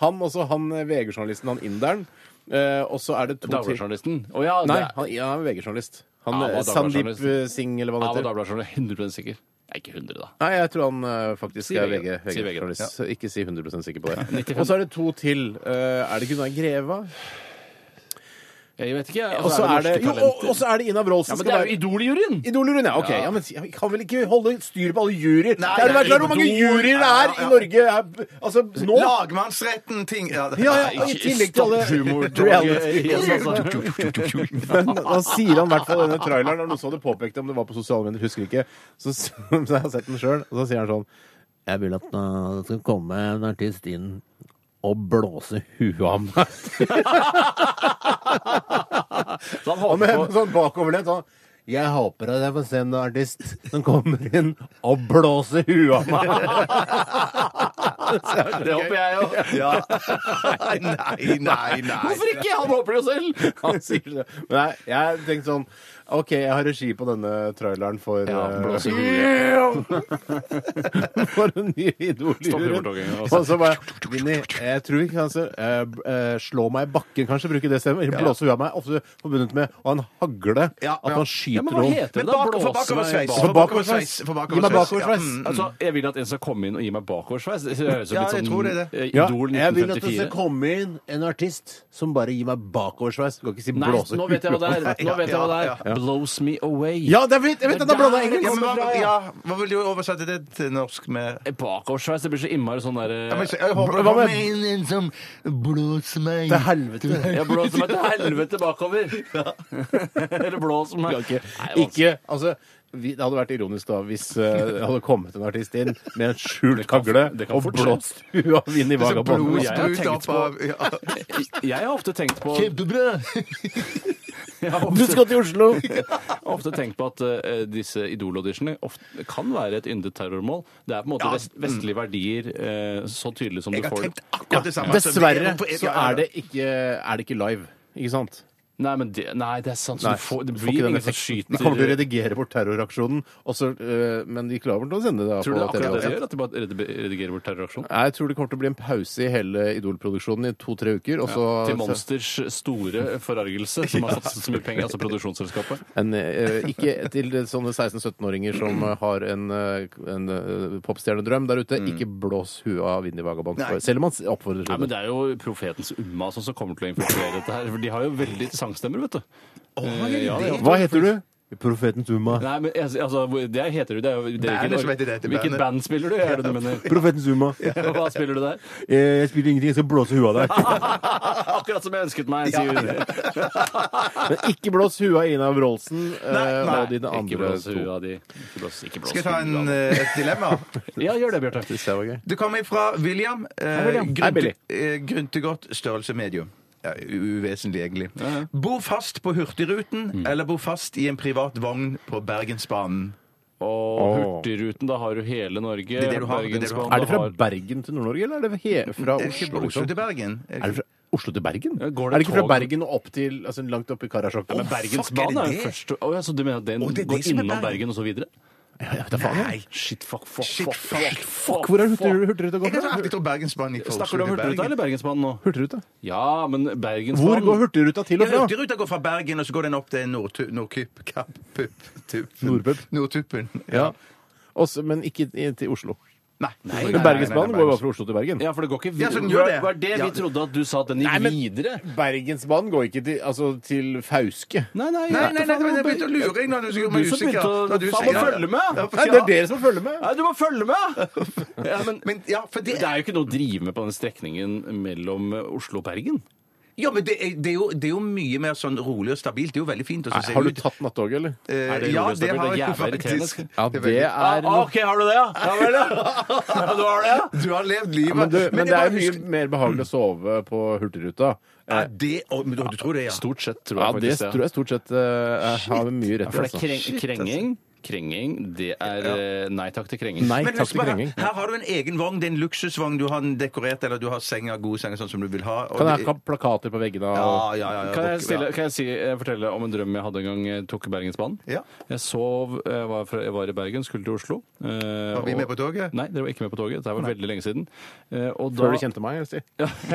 S7: Han også, han eh, VG-journalisten, han inderen. Eh, og så er det to til-
S6: Dagbladjournalisten. Å ja,
S7: Nei,
S6: det er-
S7: han, ja, han er VG-journalist. Han
S6: Ja, han var
S7: eh, Sandeep
S6: Dagbladjournalist.
S7: eh, Singh, eller hva
S6: han var
S7: han heter.
S6: Dagbladjournalist. 100 sikker. Jeg er ikke 100, da.
S7: Nei, jeg tror han eh, faktisk
S6: Si
S7: er
S6: VG. Si VG,
S7: VG-journalist. Ikke si 100 sikker på det.
S6: 95.
S7: Og så er det to til. Eh, er det Gunnar Greva?
S6: Jeg vet ikke, jeg.
S7: Og så er det, jo, og, og så er det Ina Wrold
S6: ja,
S7: som
S6: men
S7: skal
S6: det er
S7: være
S6: jo Idol-juryen!
S7: Idol-juryen, ja. Ok,
S6: Ja.
S7: ja, men si- vi kan vel ikke holde styr på alle juryer?
S5: Nei,
S7: det er jo
S5: nei,
S7: vært klart hvor mange
S5: Idol-
S7: juryer det
S5: Ja,
S7: er
S5: ja, ja.
S7: i Norge er, altså, nå.
S5: Lagmannsretten, ting ja, det-
S7: Ja, ja, og i tillegg til alle
S5: eh,
S7: Men da sier han i hvert fall denne traileren, og noen som hadde påpekt det, om det var på sosiale medier, husker ikke, så, så jeg har sett den sjøl, og så sier han sånn Jeg vil at eh, det skal komme en artist inn og blåse huet av meg.
S6: Så
S7: Og
S6: han håper
S7: med
S6: på
S7: med sånn bakoverlent sånn jeg håper at jeg får se en artist som kommer inn og blåser huet av meg.
S6: Det håper jeg òg.
S5: Ja. Nei, nei, nei.
S6: Hvorfor ikke? Han håper det jo selv!
S7: Han sier det. Men jeg, jeg tenkte sånn OK, jeg har regi på denne traileren for
S6: Ja,
S7: eh,
S6: blåser huet.
S7: for en ny
S6: Stopp
S7: Idol-juryen.
S6: humortogingen, altså.
S7: Og så bare Vinni, jeg tror ikke altså, eh, b- eh, Slå meg i bakken, kanskje. Bruke det stemmet. Eller Blåse huet av meg. Ofte forbundet med å ha en hagle.
S5: Ja,
S7: At
S5: ja.
S7: man
S6: Ja,
S7: skyter
S6: men hva
S7: noen.
S6: heter det
S5: Men
S6: da?
S5: bak- for
S6: Blåse meg
S5: bakoversveis.
S6: bak-
S5: For bakoversveis. For
S7: Gi meg bakoversveis.
S5: Ja, mm.
S6: Altså, jeg vil at en skal komme inn og gi meg bakoversveis. Det høres ut
S5: Ja,
S6: litt
S5: jeg
S6: sånn
S5: tror det er det.
S6: eh,
S7: Ja,
S6: Idol
S7: jeg vil at det skal
S6: 1954.
S7: komme inn en artist som bare gir meg bakoversveis. Du kan ikke si
S6: Nei,
S7: blåse
S6: nå vet jeg hva det er. Nå vet jeg hva det
S5: Ja,
S6: er. Blows me away.
S7: Ja, det er fint! Jeg vet at det er blanda engelsk!
S5: Ja, men hva, ja, hva vil du oversette det til norsk med
S6: Bakoversveis, det blir så innmari sånn derre
S5: ja, men, jeg håper det
S7: Hva med-
S5: kommer inn en som blåser meg
S7: Til helvete.
S6: Jeg blåser meg til helvete bakover! Eller blåser meg
S7: Ikke,
S6: Nei,
S7: ikke altså vi, Det hadde vært ironisk da hvis eh, det hadde kommet en artist inn med en skjult
S6: kan-
S7: hagle
S6: det kan
S7: og
S6: fort skje.
S7: blåst huet av Vinni
S5: Så
S7: Vagabonden.
S5: blod
S6: Jeg har
S5: sprut
S6: tenkt
S5: opp av ja.
S6: vanskelig. Jeg har ofte tenkt på
S5: Kjempebra!
S6: jeg har
S7: Du
S6: ofte,
S7: skal til Oslo!
S6: jeg har ofte tenkt på at eh, disse Idol-auditionene ofte kan være et yndet terrormål. Det er på en måte vest,
S7: mm.
S6: vestlige verdier eh, så tydelig som du
S5: Jeg har
S6: får
S5: tenkt akkurat det samme. altså, det er
S7: Dessverre
S5: hvorfor- ja,
S7: så
S5: ja, ja.
S7: er det ikke, er det ikke live. Ikke sant?
S6: Nei, men det, nei, det er sant. Så
S7: Nei,
S6: du får, det
S7: du får ikke
S6: blir
S7: den
S6: ingen som
S7: effekten.
S6: skyter
S7: De kommer til å redigere bort terroraksjonen, og så, øh, men de klarer vel til å sende det. da
S6: Tror du det
S7: på
S6: er akkurat det de
S7: TV?
S6: gjør? At de bare redi- redigerer bort terroraksjon?
S7: Nei, Jeg tror det kommer til å bli en pause i hele Idol-produksjonen i to-tre uker. Og så
S6: Til Monsters store forargelse, som har satset så mye penger, altså produksjonsselskapet.
S7: En, eh, ikke til sånne 16-17-åringer som eh, har en, eh, en eh, popstjernedrøm der ute. Ikke blås huet av Vinni Vagabond. Selv om han s- oppfordrer
S6: Nei,
S7: til
S6: Mm.
S7: det.
S6: men Det er jo profetens umma altså, som kommer til å infiltrere dette her. For de har jo veldig sangstemmer, vet du. Eh, ja, ja.
S7: Hva heter du? Profeten Zuma.
S6: Nei, men jeg- altså, hvor- det heter du. Det er jo det er
S5: Bandet
S6: ikke
S5: som
S6: noe-
S5: heter det, det
S6: Hvilket
S5: bandet.
S6: band spiller du? Er det du mener?
S7: Profeten Zuma.
S6: Hva spiller du der?
S7: Eh, Jeg spiller ingenting, jeg skal blåse huet av deg.
S6: Akkurat som jeg ønsket meg, sier hun.
S7: Men ikke blås huet av Ina Wroldsen eh,
S5: nei.
S7: og dine
S6: Ikke
S7: andre
S6: blås
S7: to.
S6: huet av de. Ikke blås, ikke blås
S5: Skal jeg ta
S6: huet av
S5: en,
S6: de.
S5: eh, et dilemma?
S6: Ja, gjør det, Bjarte.
S7: Det var gøy.
S5: Det kommer fra William. Eh,
S7: William.
S5: grunte-
S7: Hei, Billy.
S5: eh, Gruntegodt størrelse medium. Ja, u- uvesentlig, egentlig. Bo fast på Hurtigruten, eller bo fast i en privat vogn på Bergensbanen.
S6: Og Hurtigruten, da har du hele Norge.
S5: er det du har, det er det du har.
S6: Bergensbanen,
S7: Er det fra
S6: da har-
S7: Bergen til Nord-Norge, eller er det he- fra
S5: Er
S7: Oslo?
S5: det Eh, ikke fra Oslo
S7: liksom?
S5: til Bergen?
S7: Er det fra Oslo til Bergen?
S6: Ja, går det
S7: Er det ikke fra
S6: tog-
S7: Bergen og opp til altså, langt opp i Karasjok?
S6: Men
S5: fuck,
S6: Bergensbanen
S5: er
S6: er
S5: det
S6: jo
S5: det?
S6: først Å ja, så du mener at den
S5: Å, det er det
S6: går
S5: som er
S6: innom
S5: Bergen.
S6: Bergen og så videre?
S7: Jeg vet da faen. jeg.
S5: Nei.
S6: Shit, fuck, fuck,
S5: Shit,
S6: fuck,
S5: fuck,
S6: fuck, fuck.
S7: Hvor er Hurtig- Hurtigruta
S5: Jeg
S7: går
S5: har
S7: fra?
S5: alltid trodd Bergensbanen gikk fra Oslo
S6: Snakker du
S5: til
S6: om Hurtigruta
S5: Bergen.
S6: eller Bergensbanen nå?
S7: Hurtigruta.
S6: Ja, men
S7: Hvor
S6: Bergensbanen
S7: går Hurtigruta til og
S5: Ja,
S7: fra?
S5: Hurtigruta går fra Bergen, og så går den opp til Nordtu- Nordkypp Kapp- Pupp- Tuppen.
S7: Nordpupp.
S5: Nordtuppen.
S7: Ja. Også, men ikke i- til Oslo.
S5: Nei. nei,
S7: Men Bergensbanen går jo bare fra Oslo til Bergen.
S6: Ja, for det går ikke
S5: Ja,
S6: videre.
S5: så den gjør det.
S6: Var det vi
S5: Ja.
S6: trodde at du sa at den gikk
S7: Nei, men-
S6: videre?
S7: Bergensbanen går ikke til, altså, til Fauske.
S6: Nei, nei,
S5: Nei, nei, nei, men jeg begynte å lure inn når du skulle
S6: Du som begynte å- faen, må følge med.
S7: Nei, det er dere som følger med!
S6: Nei, du må følge med! Ja, men,
S5: Men ja, for det
S6: det er jo ikke noe å drive med på den strekningen mellom eh, Oslo og Bergen.
S5: Ja, men det er, det, er jo, det er jo mye mer sånn rolig og stabilt. Det er jo veldig fint å se
S7: Har du
S5: ut.
S7: tatt nattoget, eller?
S5: Eh,
S6: Er det rolig
S5: ja,
S6: og
S5: det
S6: stabilt?
S5: har
S6: Det er
S5: jeg
S6: jævla
S5: faktisk.
S6: irriterende.
S7: Ja, det er
S6: Ah,
S7: noe
S6: OK, har du det, ja? Ja vel, ja. ja du har det, ja?
S5: Du har levd livet.
S7: Men, du, men det er
S5: jeg bare
S7: jo mye
S5: husker-
S7: mer behagelig å sove på Hurtigruta.
S5: Ja, det, å, men du, du tror det, ja.
S6: Stort sett, tror
S7: Ja,
S6: jeg
S7: det
S6: faktisk.
S7: tror jeg stort sett eh, har mye rett i.
S6: For det er
S7: Altså.
S6: kreng, krenging. Krenging, det er eh, Nei takk til krenging.
S7: Nei
S5: Men
S7: takk
S5: husk
S7: til
S5: bare,
S7: kranging.
S5: her har du en egen vogn. Det er en luksusvogn. Du har den dekorert, eller du har senga, gode senger, sånn som du vil ha. og
S7: Kan jeg
S5: det-
S7: ha plakater på veggene?
S5: ja,
S7: Og...
S5: ja, ja, ja,
S6: Kan jeg,
S5: bok-
S6: stille, kan jeg si, eh, fortelle om en drøm jeg hadde en gang jeg tok Bergensbanen?
S5: Ja.
S6: Jeg sov, jeg var, fra, jeg var i Bergen, skulle til Oslo. eh,
S5: Var vi
S6: og-
S5: med på toget?
S6: Nei, dere var ikke med på toget. Dette var veldig lenge siden. Eh, og da-
S7: Før du kjente meg? jeg vil Si.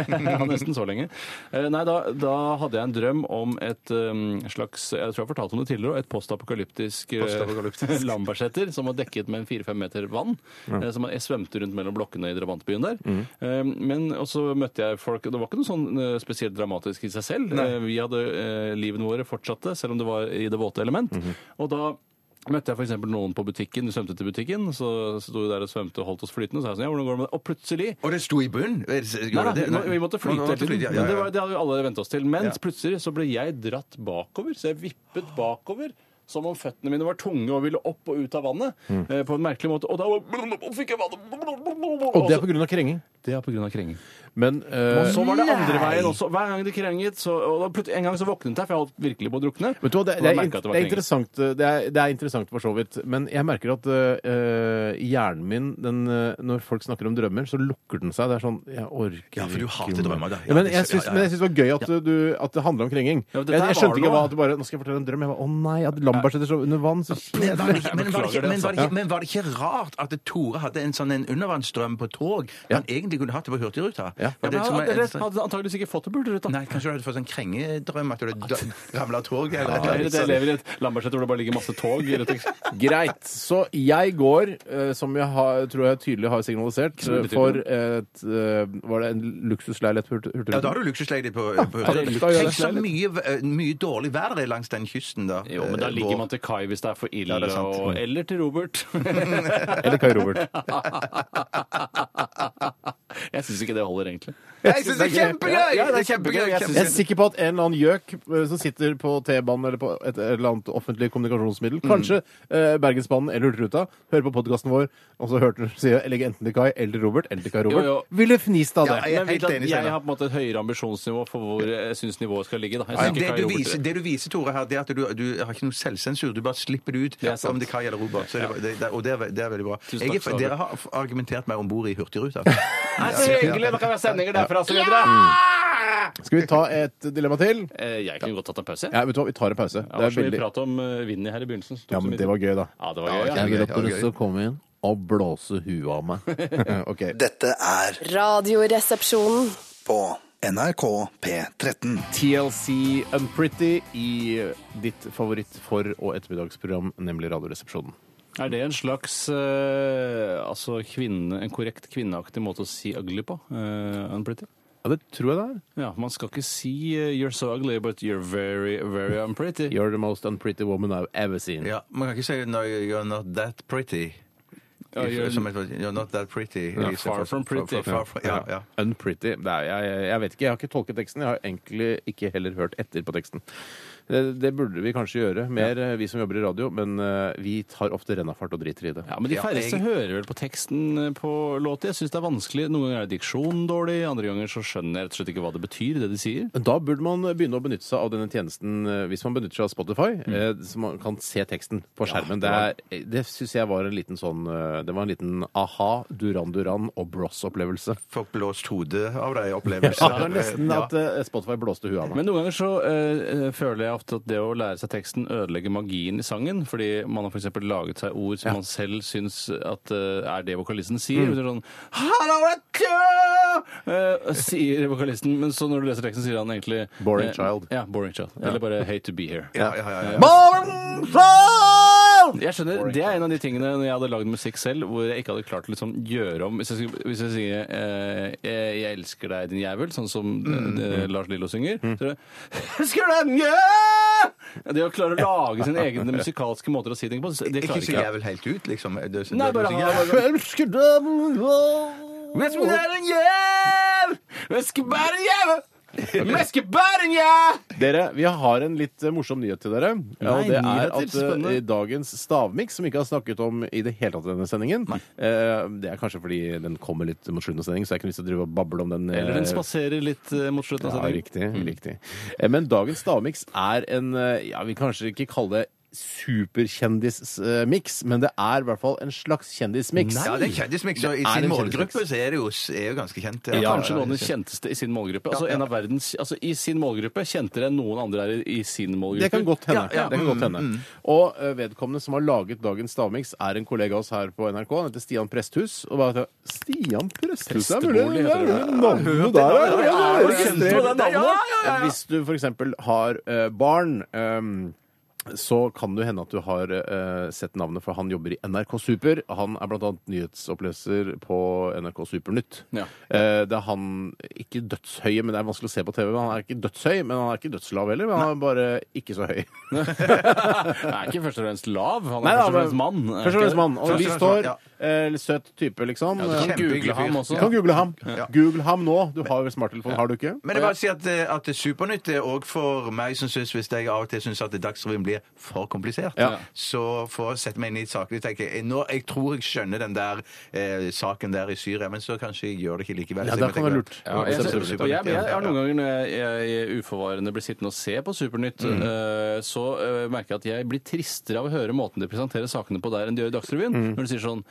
S6: ja, nesten så lenge. Eh, Nei, da, da hadde jeg en drøm om et um, slags Jeg tror jeg har fortalt om det tidligere, også, et postapokalyptisk eh, faktisk. Lambertseter, som var dekket med en fire-fem meter vann. eh, Som jeg svømte rundt mellom blokkene i drabantbyen der. Eh, Men og så møtte jeg folk og Det var ikke noe sånn eh, spesielt dramatisk i seg selv. Eh, Vi hadde eh, livene våre fortsatte, selv om det var i det våte element. Og da møtte jeg for eksempel noen på butikken, vi svømte til butikken, så sto vi der og svømte og holdt oss flytende, og så sa jeg sånn, ja, hvordan går det med det? Og plutselig
S5: Og det sto i bunnen? Gjorde
S6: Nei, nei,
S5: det?
S6: nå- vi måtte
S5: Nå
S6: flyte hele
S5: måtte
S6: tiden.
S5: flyte, ja,
S6: Men
S5: ja,
S6: det,
S5: ja.
S6: var, det hadde vi alle venta oss til. Men plutselig så ble jeg dratt bakover, så jeg vippet bakover. Som om føttene mine var tunge og ville opp og ut av vannet.
S7: Mm.
S6: eh, På en merkelig måte. Og da var- fikk jeg vannet
S7: Og det
S6: Og
S7: er pga. krenging.
S6: pga. krenging.
S7: Men eh,
S6: Og så var det andre veien også. Hver gang de krenget, så og da plut- En gang så våknet jeg, for jeg holdt virkelig på å drukne.
S7: Vet du hva, det,
S6: Og da
S7: det, er,
S6: merket jeg
S7: int-
S6: at
S7: det
S6: det var
S7: er
S6: krenging.
S7: interessant eh, det er, det er interessant for så vidt. Men jeg merker at øh, hjernen min den, øh, Når folk snakker om drømmer, så lukker den seg. Det er sånn Jeg orker ikke
S5: Ja, for du hater
S7: mer.
S5: drømmer, da.
S7: Ja,
S5: Ja,
S7: men
S5: det
S7: jeg
S5: skjø-
S7: syns
S5: ja, ja.
S7: men jeg syns det var gøy at, du, at det handla om krenging.
S6: Ja, men dette
S7: jeg,
S6: her
S7: jeg
S6: var
S7: skjønte
S6: det
S7: ikke hva
S6: nå.
S7: at du bare Nå skal jeg fortelle en drøm. Jeg var, Å nei, at Lambertseter sov under vann. Så
S5: Men var, det ikke, men, var det
S6: Beklager
S5: ikke,
S6: det,
S5: men, var
S7: altså.
S5: det ikke, men var det ikke rart at Tore hadde en sånn en undervannsstrøm på tog? Han egentlig kunne hatt det på Hurtigruta.
S7: Ja.
S5: Var det
S6: Ja,
S5: som
S6: men
S5: en-
S6: Dere hadde antageligvis ikke fått det på Hurtigruten.
S5: Nei, kanskje du hadde fått sånn krengedrøm at du hadde ramla av toget? eller et eller
S6: Eller
S5: annet.
S6: at Jeg lever i et Lambertseter hvor det bare ligger masse tog. rett og slett.
S7: Greit. Så jeg går, eh, som jeg har, tror jeg tydelig har signalisert, eh,
S6: Kjempetydelig.
S7: for et eh, Var det en luksusleilighet på Hurt-
S5: Ja, da
S7: Hurtigruten?
S5: har du luksusleie på, på
S7: det er
S5: Hurtigruta.
S7: luksus-
S5: Tenk så mye, eh, mye dårlig vær det er langs den kysten, da.
S6: Jo, men da
S5: Eh,
S6: ligger
S5: vår.
S6: man til kai hvis det er for ille,
S5: Ja, det er sant. Mm.
S6: og, eller til Robert.
S7: Eller Kai Robert?
S6: jeg syns ikke det holder, egentlig.
S5: Jeg syns det er kjempegøy!
S7: Ja, det
S5: Det
S7: er kjempegøy. Jeg,
S5: kjempegøy.
S7: er sikker på at en eller annen gjøk eh, som sitter på T-banen eller på et eller annet offentlig kommunikasjonsmiddel,
S6: Mm.
S7: kanskje eh, Bergensbanen eller Hurtigruta, hører på podkasten vår, og så hørte du si legge enten til Kai eller til Robert, eller til Kai Robert,
S6: jo.
S7: ville fnist av det.
S5: Ja, jeg er
S6: Men vet
S5: helt
S6: du at
S5: enig,
S6: jeg
S5: Steinar.
S6: har på en måte et høyere ambisjonsnivå for hvor jeg syns nivået skal ligge. Da. Jeg
S5: Ja,
S6: synes ikke
S5: Altså, det,
S6: Kai
S5: du
S6: Robert-
S5: viser, det du viser, Tore, her, det er at du, du har ikke noe selvsensur. Du bare slipper det ut.
S6: Det er sant.
S5: om det er Kai eller Robert. Så det, det, det, og det er, ve- det er veldig bra.
S6: Tusen
S5: Jeg,
S6: takk
S5: er-
S6: skal du ha.
S5: dere har argumentert meg om bord i Hurtigruta.
S6: Nei, så hyggelig! Da kan vi ha sendinger derfra og så videre. Mm.
S7: Skal vi ta et dilemma til?
S6: Eh, Jeg kunne godt tatt en pause. jeg.
S7: Ja, vet du hva, vi tar en pause.
S6: Det var
S7: det
S6: så
S7: er
S6: mye
S7: veldig...
S6: prat om eh, Vinny her i begynnelsen. så tok
S7: Ja,
S6: så
S7: men
S6: mye
S7: det var gøy, da.
S6: Ja, det var gøy. Ja.
S5: Jeg vil at dere skal
S7: komme inn og blåse huet av meg. OK.
S1: Dette er
S2: Radioresepsjonen.
S1: på NRK P13.
S7: TLC Unpretty i eh, ditt favoritt for- og ettermiddagsprogram, nemlig Radioresepsjonen.
S6: Er det en slags eh, altså kvinne, en korrekt kvinneaktig måte å si ugly på? eh, unpretty?
S7: Ja, det tror jeg det er.
S6: Ja, man skal ikke si eh, 'you're so ugly, but you're very, very unpretty'.
S7: You're the most unpretty woman I've ever seen.
S5: Ja, man kan ikke si no, 'you're not that pretty'.
S6: Ja, you're-
S5: Som et- you're not that pretty.
S6: Ja,
S5: I stedet
S6: far
S5: for-
S6: from pretty.
S5: far- far from- ja, ja.
S7: Unpretty. Det er, jeg, jeg vet ikke, jeg har ikke tolket teksten. Jeg har egentlig ikke heller hørt etter på teksten. Det, det burde vi kanskje gjøre, mer eh, vi som jobber i radio, men eh, vi tar ofte rennafart og driter i det.
S6: Ja, men De
S5: Ja,
S6: færreste
S5: jeg-
S6: hører vel på teksten eh, på låter. Jeg syns det er vanskelig. Noen ganger er diksjonen dårlig, andre ganger så skjønner jeg rett og slett ikke hva det betyr, det de sier.
S7: Men Da burde man begynne å benytte seg av denne tjenesten eh, hvis man benytter seg av Spotify, eh, så man kan se teksten på skjermen. det er- det syns jeg var en liten sånn eh, Det var en liten aha, Duran Duran og Bross-opplevelse.
S5: Folk blåst hodet av deg,
S7: Ja,
S5: opplevelser.
S7: det er nesten at eh, Spotify blåste huet av meg.
S6: Men noen ganger så eh, eh, føler jeg ofte at det å lære seg teksten ødelegger magien i sangen, fordi man har f.eks. laget seg ord som man selv syns at eh, er det vokalisten sier. Det er Sånn, Hello, uh, sier vokalisten, men så når du leser teksten, sier han egentlig
S7: Boring
S6: eh,
S7: child.
S6: Ja, boring child. Eller bare Hate to be here.
S5: Ja, ja, ja, ja.
S6: Jeg skjønner, Det er en av de tingene når jeg hadde lagd musikk selv, hvor jeg ikke hadde klart å liksom, gjøre om Hvis jeg, skulle- hvis jeg sier eh, jeg, 'Jeg elsker deg, din jævel', sånn som eh, Lars Lillo synger så er det, «Elsker deg, mjø!» Det å klare å lage sine egne musikalske måter å si ting på, det
S5: Ikke
S6: klarer
S5: så
S6: ikke jeg.
S5: jævel helt ut, liksom. Det-
S6: Nei,
S5: det-
S6: bare
S5: det-
S6: ha-
S7: Elsker deg
S6: Jeg skal være en jævel! Jeg skal være en jævel! Jeg skal være en jævel!
S7: Dere, vi har en litt eh, morsom nyhet til dere. Ja, og det er
S6: nyheter,
S7: at
S6: spennende.
S7: eh, i dagens stavmiks, som vi ikke har snakket om i det hele tatt i denne sendingen eh, Det er kanskje fordi den kommer litt mot slutten av sendingen, så jeg har ikke lyst til å drive og bable om den. eh,
S6: Eller den spaserer litt eh, mot slutten
S5: Altså,
S6: av
S7: Ja,
S6: sendingen.
S7: riktig.
S5: Mm.
S7: riktig. Eh, Men dagens stavmiks er en eh, Ja, vi kan kanskje ikke kalle det superkjendismiks, men det er i hvert fall en slags kjendismiks.
S5: Ja, det er kjendismix, og i
S7: Det er
S5: sin
S7: en
S5: målgruppe
S7: kjendismiks.
S5: så er det jo, er jo ganske kjent.
S6: Ja, kanskje noen av de kjenteste i sin målgruppe. Altså en av verdens, altså I sin målgruppe kjentere enn noen andre er i- i sin målgruppe.
S7: Det kan godt hende.
S5: Ja, Mm, ja.
S7: Det kan godt hende. Og eh, vedkommende som har laget dagens stavmiks, er en kollega av oss her på NRK. Han heter Stian Presthus. Og bare at, Stian Presthus det er mulig? Det
S6: Prestebolig
S7: er
S6: heter det.
S7: mulig navnet der, ja, ja, ja,
S6: Ja,
S7: ja,
S6: du kjente jo det navnet.
S7: Hvis du for eksempel har eh, barn ehm, så kan det jo hende at du har eh, sett navnet, for han jobber i NRK Super. Han er bl.a. nyhetsoppleser på NRK Supernytt.
S6: Ja.
S7: Eh, det er han ikke dødshøye, men det er vanskelig å se på TV. men Han er ikke dødshøy, men han er ikke dødslav heller. Men han er bare ikke så høy.
S6: Han er ikke først og fremst lav, han er
S7: Nei, da,
S6: først og fremst
S7: men-
S6: mann. er
S7: Først og
S6: ikke
S7: fremst
S6: det?
S7: mann. Og
S5: Først og
S7: lyst
S5: fremst
S7: hår.
S5: mann,
S7: eh, Litt søt type, liksom.
S5: Ja,
S6: Du kan
S5: Kjempehyggelig
S6: google ham
S5: fyr.
S6: også.
S7: Du kan google ham. Google ham nå. Du har vel smarttelefon? Har du ikke?
S5: Men jeg vil bare si at, eh, at Supernytt er òg for meg som syns Hvis jeg av og til syns at Dagsrevyen blir for komplisert,
S7: Ja.
S5: så får jeg sette meg inn i saker og tenke jeg, nå, jeg tror jeg skjønner den der eh, saken der i Syria, men så kanskje jeg gjør det ikke likevel.
S7: Ja,
S5: Så
S7: det
S5: jeg
S7: kan
S5: må
S7: være
S5: tenke,
S7: lurt.
S6: Ja, jeg,
S5: Absolutt.
S6: og jeg, jeg har noen ganger når jeg, jeg, uforvarende blir sittende og se på Supernytt, eh, så eh, merker jeg at jeg blir tristere av å høre måten de presenterer sakene på der enn de gjør i Dagsrevyen. Når de sier sånn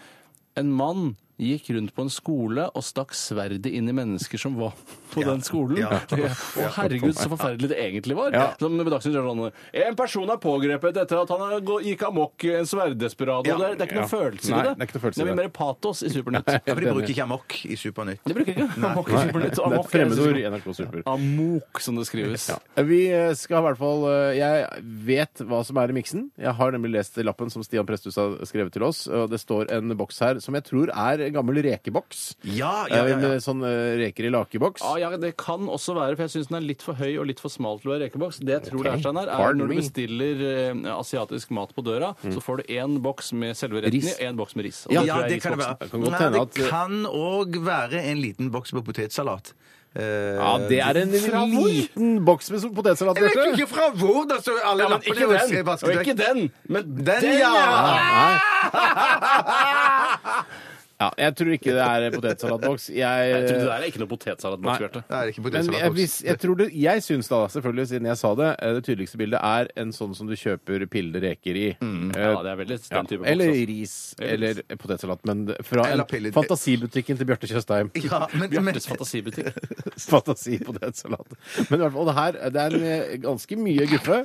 S6: En mann gikk rundt på en skole og stakk sverdet inn i mennesker som var på den skolen.
S5: Ja.
S6: Ja. Og herregud, så forferdelig det egentlig var.
S7: Ja.
S6: Som med Dagsnytt gjør sånn En person er pågrepet etter at han har gå- gikk amok i en sverddesperado.
S5: Ja.
S6: Det, er- det er ikke
S7: Ja.
S6: noen følelse
S7: Nei,
S6: i det.
S7: det er ikke noe følelse i
S6: det er mye
S7: det.
S6: mer patos i Supernytt.
S5: Ja,
S6: Det
S5: for de bruker ikke amok i Supernytt.
S6: bruker ikke amok i Supernytt.
S7: Det er
S6: Amok
S7: et
S6: er-
S7: fremmedord i NRK Super.
S6: Amok, som det skrives.
S7: Vi eh, skal i hvert fall eh, Jeg vet hva som er i miksen. Jeg har nemlig lest lappen som Stian Presthus har skrevet til oss. og Det står en boks her som jeg tror er en gammel rekeboks.
S5: Ja, ja, ja,
S7: Eh,
S5: ja. Ah,
S7: Med sånn eh, reker i lakeboks.
S6: Ja, ja, Det kan også være, for jeg syns den er litt for høy og litt for smal til å være rekeboks. Det jeg tror det er, Steinar, er
S7: Pardon
S6: når du
S7: me.
S6: bestiller eh, asiatisk mat på døra, så får du én boks med selve retten i,
S7: Ris.
S6: én boks med ris. Og
S5: Ja,
S6: det tror jeg er
S5: det kan det
S6: risboksen.
S5: være.
S7: Det kan godt
S5: Men
S7: hende
S5: det
S7: at-
S5: kan òg være en liten boks med potetsalat. Eh,
S7: Ja, det er en
S6: hvor?
S7: liten boks med potetsalat,
S5: Jeg vet jo
S7: Bjarte.
S5: ikke fra hvor! Da står alle
S6: Ja, men
S5: lappene
S6: ikke
S5: og
S6: den,
S5: ser vasket
S6: og
S5: vekk.
S6: ikke den, men
S5: Den, ja!
S7: Ja, jeg tror ikke det er potetsalatboks. Jeg,
S6: Jeg trodde det der er ikke noe potetsalatboks,
S7: Nei.
S6: Bjarte.
S5: Nei, det er ikke
S7: Men jeg,
S5: potetsalatboks.
S7: hvis, jeg, tror det, jeg syns da, selvfølgelig, siden jeg sa det, eh, det tydeligste bildet er en sånn som du kjøper pillede reker i.
S5: Mm.
S7: Eh,
S6: Ja, det er veldig
S7: Ja.
S6: den type boks.
S7: Eller
S6: altså.
S7: ris eller potetsalat. Men fra
S5: Eller
S7: en
S5: piller-
S7: fantasibutikken til Bjarte Tjøstheim.
S5: Ja, men, men,
S6: Bjartes fantasibutikk.
S7: Fantasipotetsalat. Men i hvert fall, det her det er en, eh, ganske mye guffe.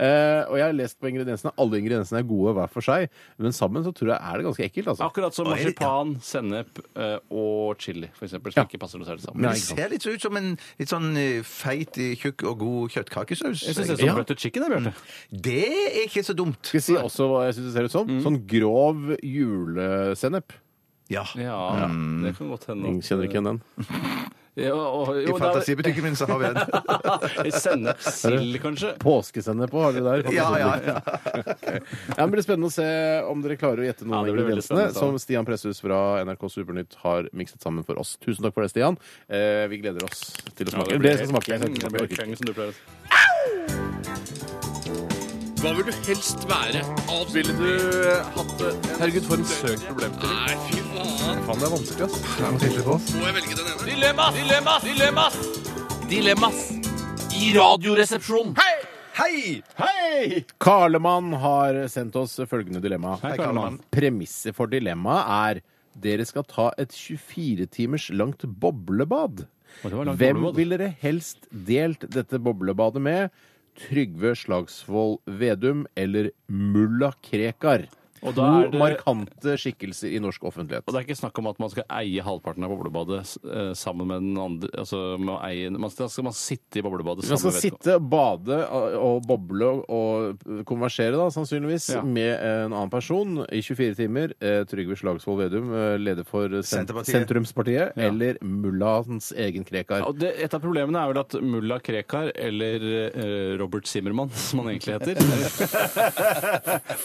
S7: Eh, og jeg har lest på ingrediensene. Alle ingrediensene er gode hver for seg, men sammen så tror jeg er det ganske ekkelt. altså.
S6: Akkurat som marsipan, sennep eh, og chili, for eksempel, som ikke passer noe særlig sammen.
S7: Nei,
S5: det
S7: ikke sant.
S5: ser litt så ut som en litt sånn eh, feit, eh, tjukk og god kjøttkakesaus.
S6: Jeg syns det er
S5: egentlig.
S6: som butter chicken, det, Bjarte.
S5: Det er ikke så dumt.
S7: sånn- Skal jeg si også hva jeg syns det ser ut som? Sånn grov julesennep.
S5: Ja.
S6: Ja, det kan godt hende.
S7: Jeg
S6: at-
S7: Kjenner ikke igjen den.
S6: Ja, og,
S5: I
S6: jo, da-
S5: fantasibutikken min så har vi den.
S6: Sennepsild, kanskje?
S7: Påskesennep òg har dere der.
S5: Ja, ja, ja.
S7: Ja, men det blir spennende å se om dere klarer å gjette noen
S6: Ja,
S7: av
S6: det blir veldig
S7: ingrediensene
S6: spennende,
S7: som Stian Presshus fra NRK Supernytt har mikset sammen for oss. Tusen takk for det, Stian. Eh, vi gleder oss til å smake. Dere skal smake. Jeg skal ikke smake. Jeg orker ikke.
S9: Hva vil du helst være? Ville du hatt det? Herregud, for en søk problemstilling. Nei, fy faen. Faen, det er vanskelig, ass. Det er noe tydelig på. Må jeg velge den ene? Dilemmas! Dilemmas! Dilemmas! Dilemmas i radioresepsjonen. Hei!
S5: Hei!
S7: Hei! Karlemann har sendt oss følgende dilemma.
S5: Hei, Karlemann.
S7: Premisset for dilemmaet er dere skal ta et 24 timers langt boblebad.
S6: det var langt
S7: Hvem
S6: boblebad.
S7: ville dere helst delt dette boblebadet med? Trygve Slagsvold Vedum eller Mulla Krekar?
S6: Og
S7: To
S6: da er det-
S7: markante skikkelser i norsk offentlighet.
S6: Og det er ikke snakk om at man skal eie halvparten av boblebadet eh, sammen med den andre altså, man, eier, man, skal, skal man sitte i
S7: Man
S6: boblebadet
S7: skal
S6: sammen med
S7: sitte,
S6: vedkommende.
S7: bade og boble og konversere, da, sannsynligvis,
S6: Ja.
S7: med en annen person i 24 timer. Eh, Trygve Slagsvold Vedum, eh, leder for sen
S5: Senterpartiet.
S7: Sentrumspartiet, eller mullahens egen Krekar.
S6: Ja, og det, et av problemene er vel at mulla Krekar, eller eh, Robert Zimmermann, som han egentlig heter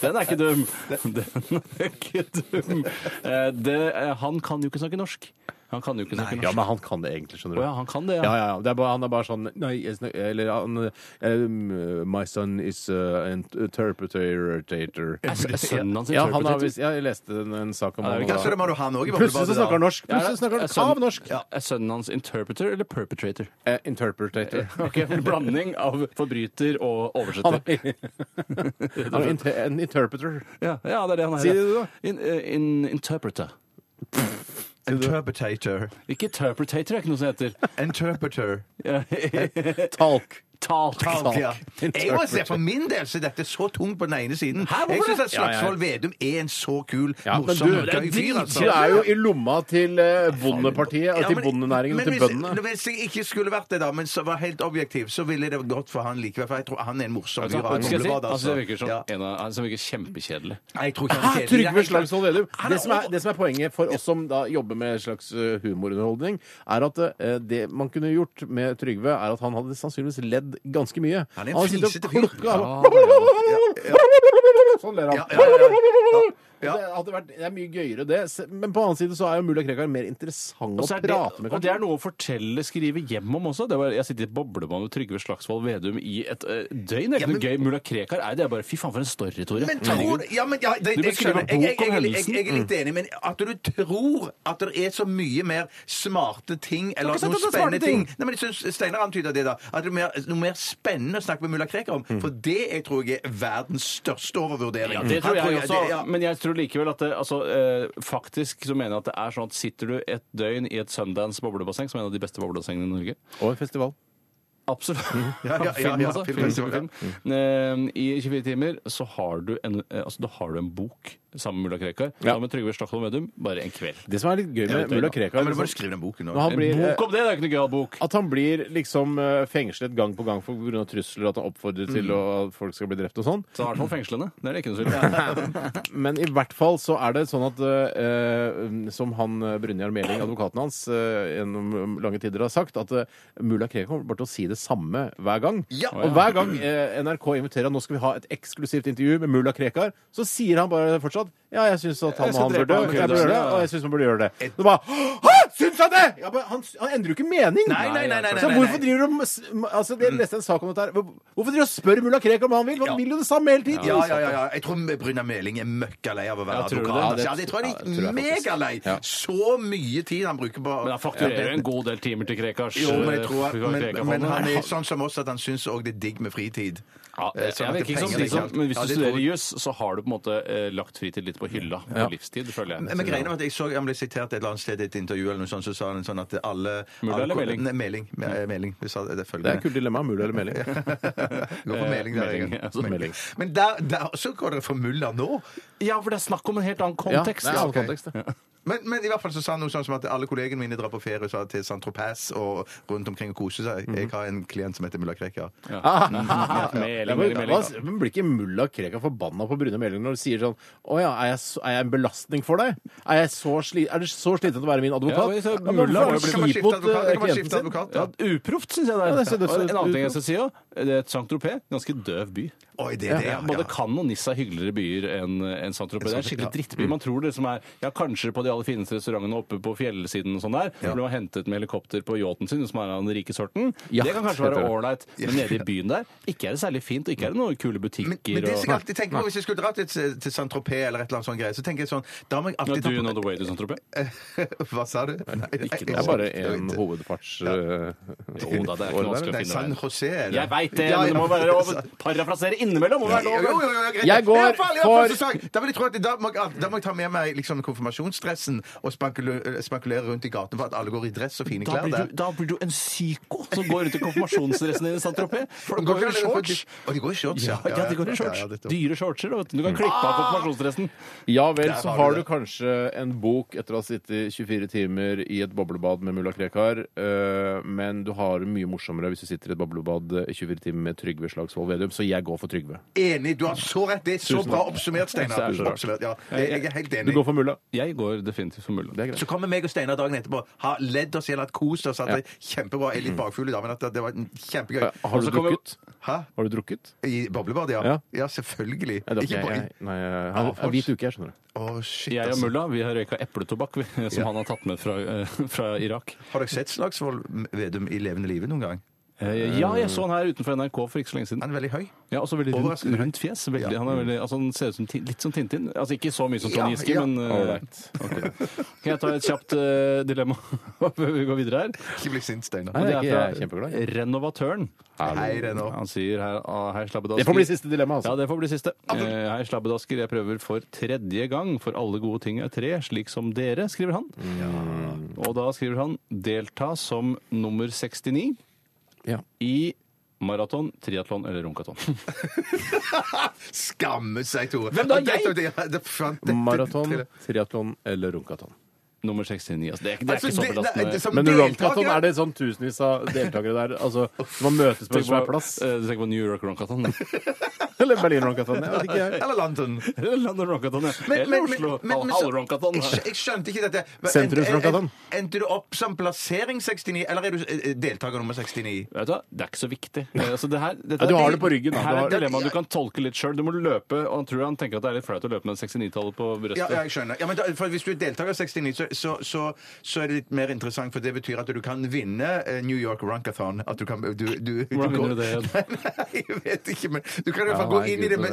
S6: Den er ikke dum! Den er ikke dum. Eh, det, eh, han kan jo ikke snakke norsk. Han kan jo ikke snakke
S7: Ja,
S6: norsk.
S7: men han kan det egentlig, skjønner
S6: Å
S7: du.
S6: ja, han kan det,
S7: Ja, ja, ja. Det er bare, han er bare sånn Nei, jeg snak- Eller han eh, My son is uh, an interpreter tater.
S6: Er s- er sønnen hans
S7: Ja, han har
S6: interpreter?
S7: visst ja, Jeg leste en, en sak om
S6: Ja, det er
S7: han,
S6: ikke-
S7: og da-
S5: Kanskje det må du ha den òg i
S7: Plutselig så
S5: boblebadet.
S7: snakker han
S5: da.
S7: norsk. Plutselig så snakker
S6: Er
S7: han
S6: sønnen-
S7: kav norsk.
S6: Er sønnen hans interpreter eller perpetrator?
S7: Eh, interpretator.
S6: Ok, en Blanding av forbryter og
S7: Han
S6: oversetter.
S7: er, han er inter en interpreter.
S6: Ja, ja, det er det han er.
S7: Si det du, da.
S6: In, eh, in, interpreter.
S5: Interpretator.
S6: Ikke interpretator, er ikke noe som heter.
S5: Interpreter.
S6: Ja.
S7: Talk.
S6: Talk.
S5: Alt, ja. Jeg må se, For min del så er dette så tungt på den ene siden.
S6: hvorfor
S5: Jeg syns at
S7: Ja, ja, ja.
S5: Slagsvold Vedum er en så kul,
S7: Ja, men
S5: morsom,
S7: du, det er
S5: gøy fyr. altså.
S7: Du er jo i lomma til eh, bondepartiet og
S5: Ja,
S7: til
S5: men-
S7: bondenæringen og
S5: men
S7: til
S5: hvis-
S7: bøndene.
S5: Hvis jeg ikke skulle vært det, da, men så var helt objektiv, så ville det gått for han likevel. For jeg tror han er en morsom fyr. og
S6: Hva
S5: han
S6: skal jeg si?
S5: kommer bra,
S6: Altså, det virker som
S5: Ja.
S6: en av, han som virker kjempekjedelig.
S5: Nei, jeg tror ikke han er
S7: Hæ,
S5: kjedelig.
S7: Trygve
S5: Jeg-
S7: Slagsvold Vedum.
S5: Han er
S7: Det, som er-
S5: over-
S7: det som er poenget for oss som da jobber med en slags eh, humorunderholdning, er at eh, det man kunne gjort med Trygve, er at han hadde sannsynligvis ledd ganske mye.
S5: Han er en
S7: har sittet og
S5: flisete fyr.
S7: klukket, han
S6: Ja,
S7: bare- Sånn ler han.
S5: Ja, ja, ja, ja.
S7: Det, hadde vært, det er mye gøyere, det. Se- Men på annen side så er jo Mulla Krekar mer interessant å
S6: Og, så er det,
S7: prate med.
S6: og det er noe å fortelle, skrive hjem om også. Det var, jeg sitter i boblebane med Trygve Slagsvold Vedum i et eh, døgn. Det er ikke noe gøy. Mulla Krekar er det er bare Fy faen, for en story, Tore.
S5: Men tror, ja, men, ja, det,
S6: Du
S5: det
S6: beskriver
S5: skjønner
S6: bok om
S5: jeg. Jeg, jeg, jeg, jeg,
S6: hendelsen.
S5: jeg er litt enig, men at du tror at det er så mye mer smarte ting eller
S6: ikke sant at det
S5: noe
S6: er smarte
S5: spennende ting.
S6: ting.
S5: Nei, men jeg synes Steinar antyder det, da. At det er mer, noe mer spennende å snakke med mulla Krekar om. For det jeg tror jeg er verdens største overvurdering.
S6: Mm. Ja, det tror
S5: Han
S6: jeg også,
S5: det- ja.
S6: men jeg tror likevel at det, altså, eh, faktisk så mener jeg at det er sånn at sitter du et døgn i et Sundance boblebasseng, som er en av de beste boblebassengene i Norge
S7: Og en festival.
S6: Absolutt.
S5: Mm. Ja, ja, ja,
S6: film,
S5: ja, mm.
S6: altså.
S5: film,
S6: Film,
S5: festival,
S6: film, film. Eh, I 24 timer så har du en, eh, altså, da har du en bok sammen med Mulla Krekar, sammen med Trygve Slagsvold Vedum, bare en kveld.
S7: Det som er litt gøy
S5: Ja,
S7: med
S5: men
S7: Mulla
S5: du
S7: Krekar
S5: må
S7: liksom,
S5: bare skrive den boken
S7: når
S5: nå.
S7: han blir, eh,
S6: En bok om det! Det er jo ikke noe gøyal bok.
S7: At han blir liksom eh, fengslet gang på gang pga. trusler, at han oppfordrer til å, at folk skal bli drept og sånn.
S6: Så i hvert fall fengslende. Det er det ikke noe tvil om.
S7: Men i hvert fall så er det sånn at eh, som han eh, Brynjar Meling, advokaten hans, eh, gjennom lange tider har sagt, at eh, mulla Krekar kommer bare til å si det samme hver gang.
S5: Ja.
S7: Og hver gang eh, NRK inviterer nå skal vi ha et eksklusivt intervju med mulla Krekar, så sier han bare fortsatt ja, jeg syns at han og
S6: skal
S7: han
S6: drepe
S7: burde,
S6: han,
S7: jeg burde
S6: Krekar,
S7: gjøre det,
S6: ja.
S7: og jeg syns man burde gjøre det. Nå bare Hæ! Syns han det?! Ja, men han, han endrer jo ikke mening!
S5: Nei, nei, nei, nei, nei,
S7: så
S5: nei,
S7: hvorfor
S5: nei.
S7: driver du om altså, Jeg leste en sak om dette her. Hvor- Hvorfor driver du og spør mulla Krekar om han vil? For Han
S5: Ja.
S7: vil jo det samme hele tiden!
S5: Ja, ja, ja, ja. Jeg tror Brynjar Meling er møkkalei av å være
S6: Ja, tror du det?
S5: advokat.
S6: Ja,
S5: altså.
S6: det-
S5: Ja, det tror
S7: ja,
S5: jeg
S7: det tror jeg
S5: er
S7: faktisk.
S5: megalei.
S7: Ja.
S5: Så mye tid han bruker på
S6: Men han fakturerer jo en god del timer til Krekars.
S5: Jo, men jeg tror at,
S6: eh,
S5: men,
S6: Krekar-fondet.
S5: men han er sånn som oss at han syns òg det er digg med fritid.
S6: Ja,
S5: Eh,
S6: jeg
S5: sånn at
S6: vet ikke
S5: penger
S6: som
S5: er
S6: de som,
S5: alt.
S6: men Hvis
S5: Ja,
S6: du
S5: det
S6: studerer
S5: tror-
S6: juss, så har du på en måte eh, lagt fritid litt på hylla på livstid, føler jeg.
S5: men men greiene var at jeg så, Han ble sitert et eller annet sted i et intervju, eller noe sånt, så sa han sånn at alle
S6: Mulla eller Meling?
S5: Nei, Meling. Me- eh, Meling. Du sa det, det
S7: Det er
S5: følgende.
S7: et kult dilemma. Mulla eller melding.
S5: Gå for
S6: Eh,
S5: Meling der,
S6: Meling,
S5: Jørgen.
S6: altså, Meling.
S5: Men der, der, så går dere for Mulla nå.
S6: Ja, for det er snakk om en helt annen kontekst.
S7: Ja, det er
S5: ok.
S7: annen kontekst, det.
S5: Men, men i hvert fall så sa han noe sånn som at alle kollegene mine drar på ferie sa til Saint-Tropez og rundt omkring og koser seg.
S6: Mhm.
S5: Jeg har en klient som heter mulla Krekar.
S6: Mm,
S7: Ah,
S6: Meling,
S7: ja, men-
S6: meling, meling.
S7: hva- Men blir ikke mulla Krekar forbanna på Brune Meling når du sier sånn Å ja, er jeg, så, er jeg en belastning for deg? Er, jeg så sli, er det så slitsomt å være min
S6: Ja, men
S7: advokat?
S6: så
S7: Ja, men
S6: mulla
S7: hvorfor
S6: må jo bli- sånn
S7: si
S5: Kan man skifte
S7: mot,
S5: advokat?
S7: eh,
S5: Kan man
S7: klienten
S5: skifte
S7: sin?
S5: advokat?
S6: Ja,
S5: da?
S6: uproft, syns jeg det er.
S7: Ja, det synes jeg
S6: Og
S7: også.
S6: en annen ting jeg skal si òg. Saint-Tropez, ganske døv by.
S5: Oi, det er det, ja.
S6: Både
S5: ja.
S6: Cannes og Nice er hyggeligere byer enn enn Saint-Tropez. Det er en skikkelig drittby. Man tror det som er ja, kanskje på de aller fineste restaurantene oppe på fjellsiden og sånn der. Hvor de har hentet med helikopter på yachten sin, som er av den rike sorten.
S7: Ja,
S6: Det kan kanskje
S7: heter
S6: være
S7: det.
S6: ålreit, men nede i byen der ikke er det særlig fint. og Ikke er det noen kule
S5: Men,
S6: butikker
S5: men det som jeg
S6: og
S5: alltid tenker på, hvis jeg skulle dratt til, til Saint-Tropez eller et eller annet sånt greie, så tenker jeg sånn Da må jeg
S6: No,
S5: alltid
S6: Do you know the way to Saint-Tropez?
S5: Hva sa du? Nei,
S6: Ikke
S5: jeg-
S7: Det er bare
S5: jeg-
S7: en hovedfarts...
S6: Jo da, det er ikke noe vanskelig å
S5: Nei,
S6: finne
S5: San
S6: veien.
S5: José er det.
S6: Jeg veit det,
S5: Ja,
S6: men det må
S5: ja.
S6: være lov å parafrasere innimellom! Må være
S5: Jo,
S6: lov.
S5: jo, jo, jo, greit.
S7: Jeg går
S5: I hvert fall, i hvert fall
S7: for-
S5: så sa jeg- Da vil jeg tro at da må, jeg- da må jeg ta med meg liksom, konfirmasjonsdressen og spankule- spankulere rundt i gaten for at alle går i dress og fine
S6: Da
S5: klær
S6: blir,
S5: der.
S6: du, da blir du en psyko som går rundt i konfirmasjonsdressen din i Saint-Tropez. For det går jo i shorts.
S5: Å, de går i shorts,
S6: Ja, ja, det går i shorts.
S5: Ja, ja, det tror jeg.
S6: Dyre shortser. da, vet Du Du kan klippe av konfirmasjonsdressen.
S7: Ja vel,
S5: Der
S7: så
S5: har
S7: har
S5: du
S7: du
S5: det.
S7: kanskje en bok etter å ha sittet 24 timer i et boblebad med mulla Krekar, eh, men du har det mye morsommere hvis du sitter i et boblebad i 24 timer med Trygve Slagsvold Vedum, så jeg går for Trygve.
S5: Enig, du har så rett. Det er så bra oppsummert, Steinar.
S6: Det er så rart.
S5: Oppsummert, ja. Jeg jeg er helt
S7: Du går
S5: enig.
S7: for mulla.
S6: Jeg går definitivt for mulla.
S7: Det er greit.
S5: Så kommer meg og Steinar dagen etterpå, har ledd oss i hjel, hatt kost oss, hatt det kjempebra. Jeg er litt bakfull i dag, men at det- det var kjempegøy.
S7: Har du
S6: så kommer-
S7: drukket?
S5: Hæ?
S7: Har du drukket?
S5: I boblebad, ja.
S7: Ja.
S5: ja? selvfølgelig.
S7: Nei, det er
S5: Ikke
S7: ikke
S5: bare
S7: jeg.
S5: i-
S7: Nei, jeg har
S5: Ja,
S7: har hvit uke, jeg skjønner det.
S5: Å, shit,
S6: Jeg og
S5: altså.
S6: mulla vi har røyka epletobakk vi, som han har tatt med fra, eh, fra Irak.
S5: Har dere sett Slagsvold Vedum i levende live noen gang?
S6: Eh, Ja, jeg så han her utenfor NRK for ikke så lenge siden.
S5: Han er veldig høy.
S6: Ja, også veldig rundt,
S5: Overraskende.
S6: rundt fjes. Veldig,
S5: Ja.
S6: han, er veldig, altså, han ser ut som Tin- litt som Tintin. Altså ikke så mye som Trond
S5: Ja,
S6: Giske,
S5: ja.
S6: men eh, ok. Kan jeg ta et kjapt eh, dilemma før vi går videre her?
S5: Ikke bli sint, Steinar.
S7: Nei, det er ikke jeg er
S6: fra
S7: kjempeglad. i.
S6: Renovatøren.
S5: Hei, det nå.
S6: Han sier her, ah, hei, slabbedasker.
S7: Det får bli siste dilemma,
S6: Ja,
S7: altså.
S6: det får bli siste. Eh, hei, slabbedasker, jeg prøver for tredje gang, for alle gode ting er tre, slik som dere, skriver han. Og da skriver han delta som nummer 69
S7: Ja.
S6: i Maraton, triatlon eller runkaton?
S5: Skamme seg, Tore.
S6: Hvem da,
S5: Og dette-
S6: jeg?
S5: det- ja, det- faen, dette-
S7: Maraton, triatlon eller runkaton.
S6: Nummer 69. Altså, det er, ikke- det er
S5: Altså,
S6: ikke så
S5: det-
S6: belastende.
S5: det er- det er som
S7: Men
S5: deltaker-
S7: runkaton er det sånn tusenvis av deltakere der. Altså, man møtes på en
S6: Tenk
S7: svær
S6: på-
S7: plass.
S6: eh, Du tenker på New York Runkaton? da.
S7: Eller Berlin runkaton. Jeg vet ikke, jeg.
S5: Eller London.
S6: Eller London Runkaton, ja. Eller Oslo.
S5: så-
S6: Halvrunkaton.
S5: Jeg, skj- jeg skjønte ikke dette. Men-
S7: Sentrumsrunkaton.
S5: en- en- Endte du opp som plassering 69, eller er du eh, deltaker nummer 69?
S6: Vet du, hva? det er ikke så viktig. Eh, Altså, det her, dette
S7: Ja, du
S6: er-
S7: har det på ryggen, da.
S6: Her
S7: Du
S6: er
S7: har-
S6: et dilemma du kan tolke litt sjøl. Du må løpe, og han tror han tenker at det er litt flaut å løpe med 69-tallet på brystet.
S5: Ja, ja, jeg skjønner. Ja, men da, for hvis du er deltaker 69, så, så, så, så er det litt mer interessant, for det betyr at du kan vinne eh, New York Runkathon. At du kan, du, du,
S6: Hvordan
S5: går-
S6: vinner du det igjen?
S5: Nei, nei, jeg vet ikke, men du kan i hvert fall
S7: Ja,
S5: gå inn i det. Men,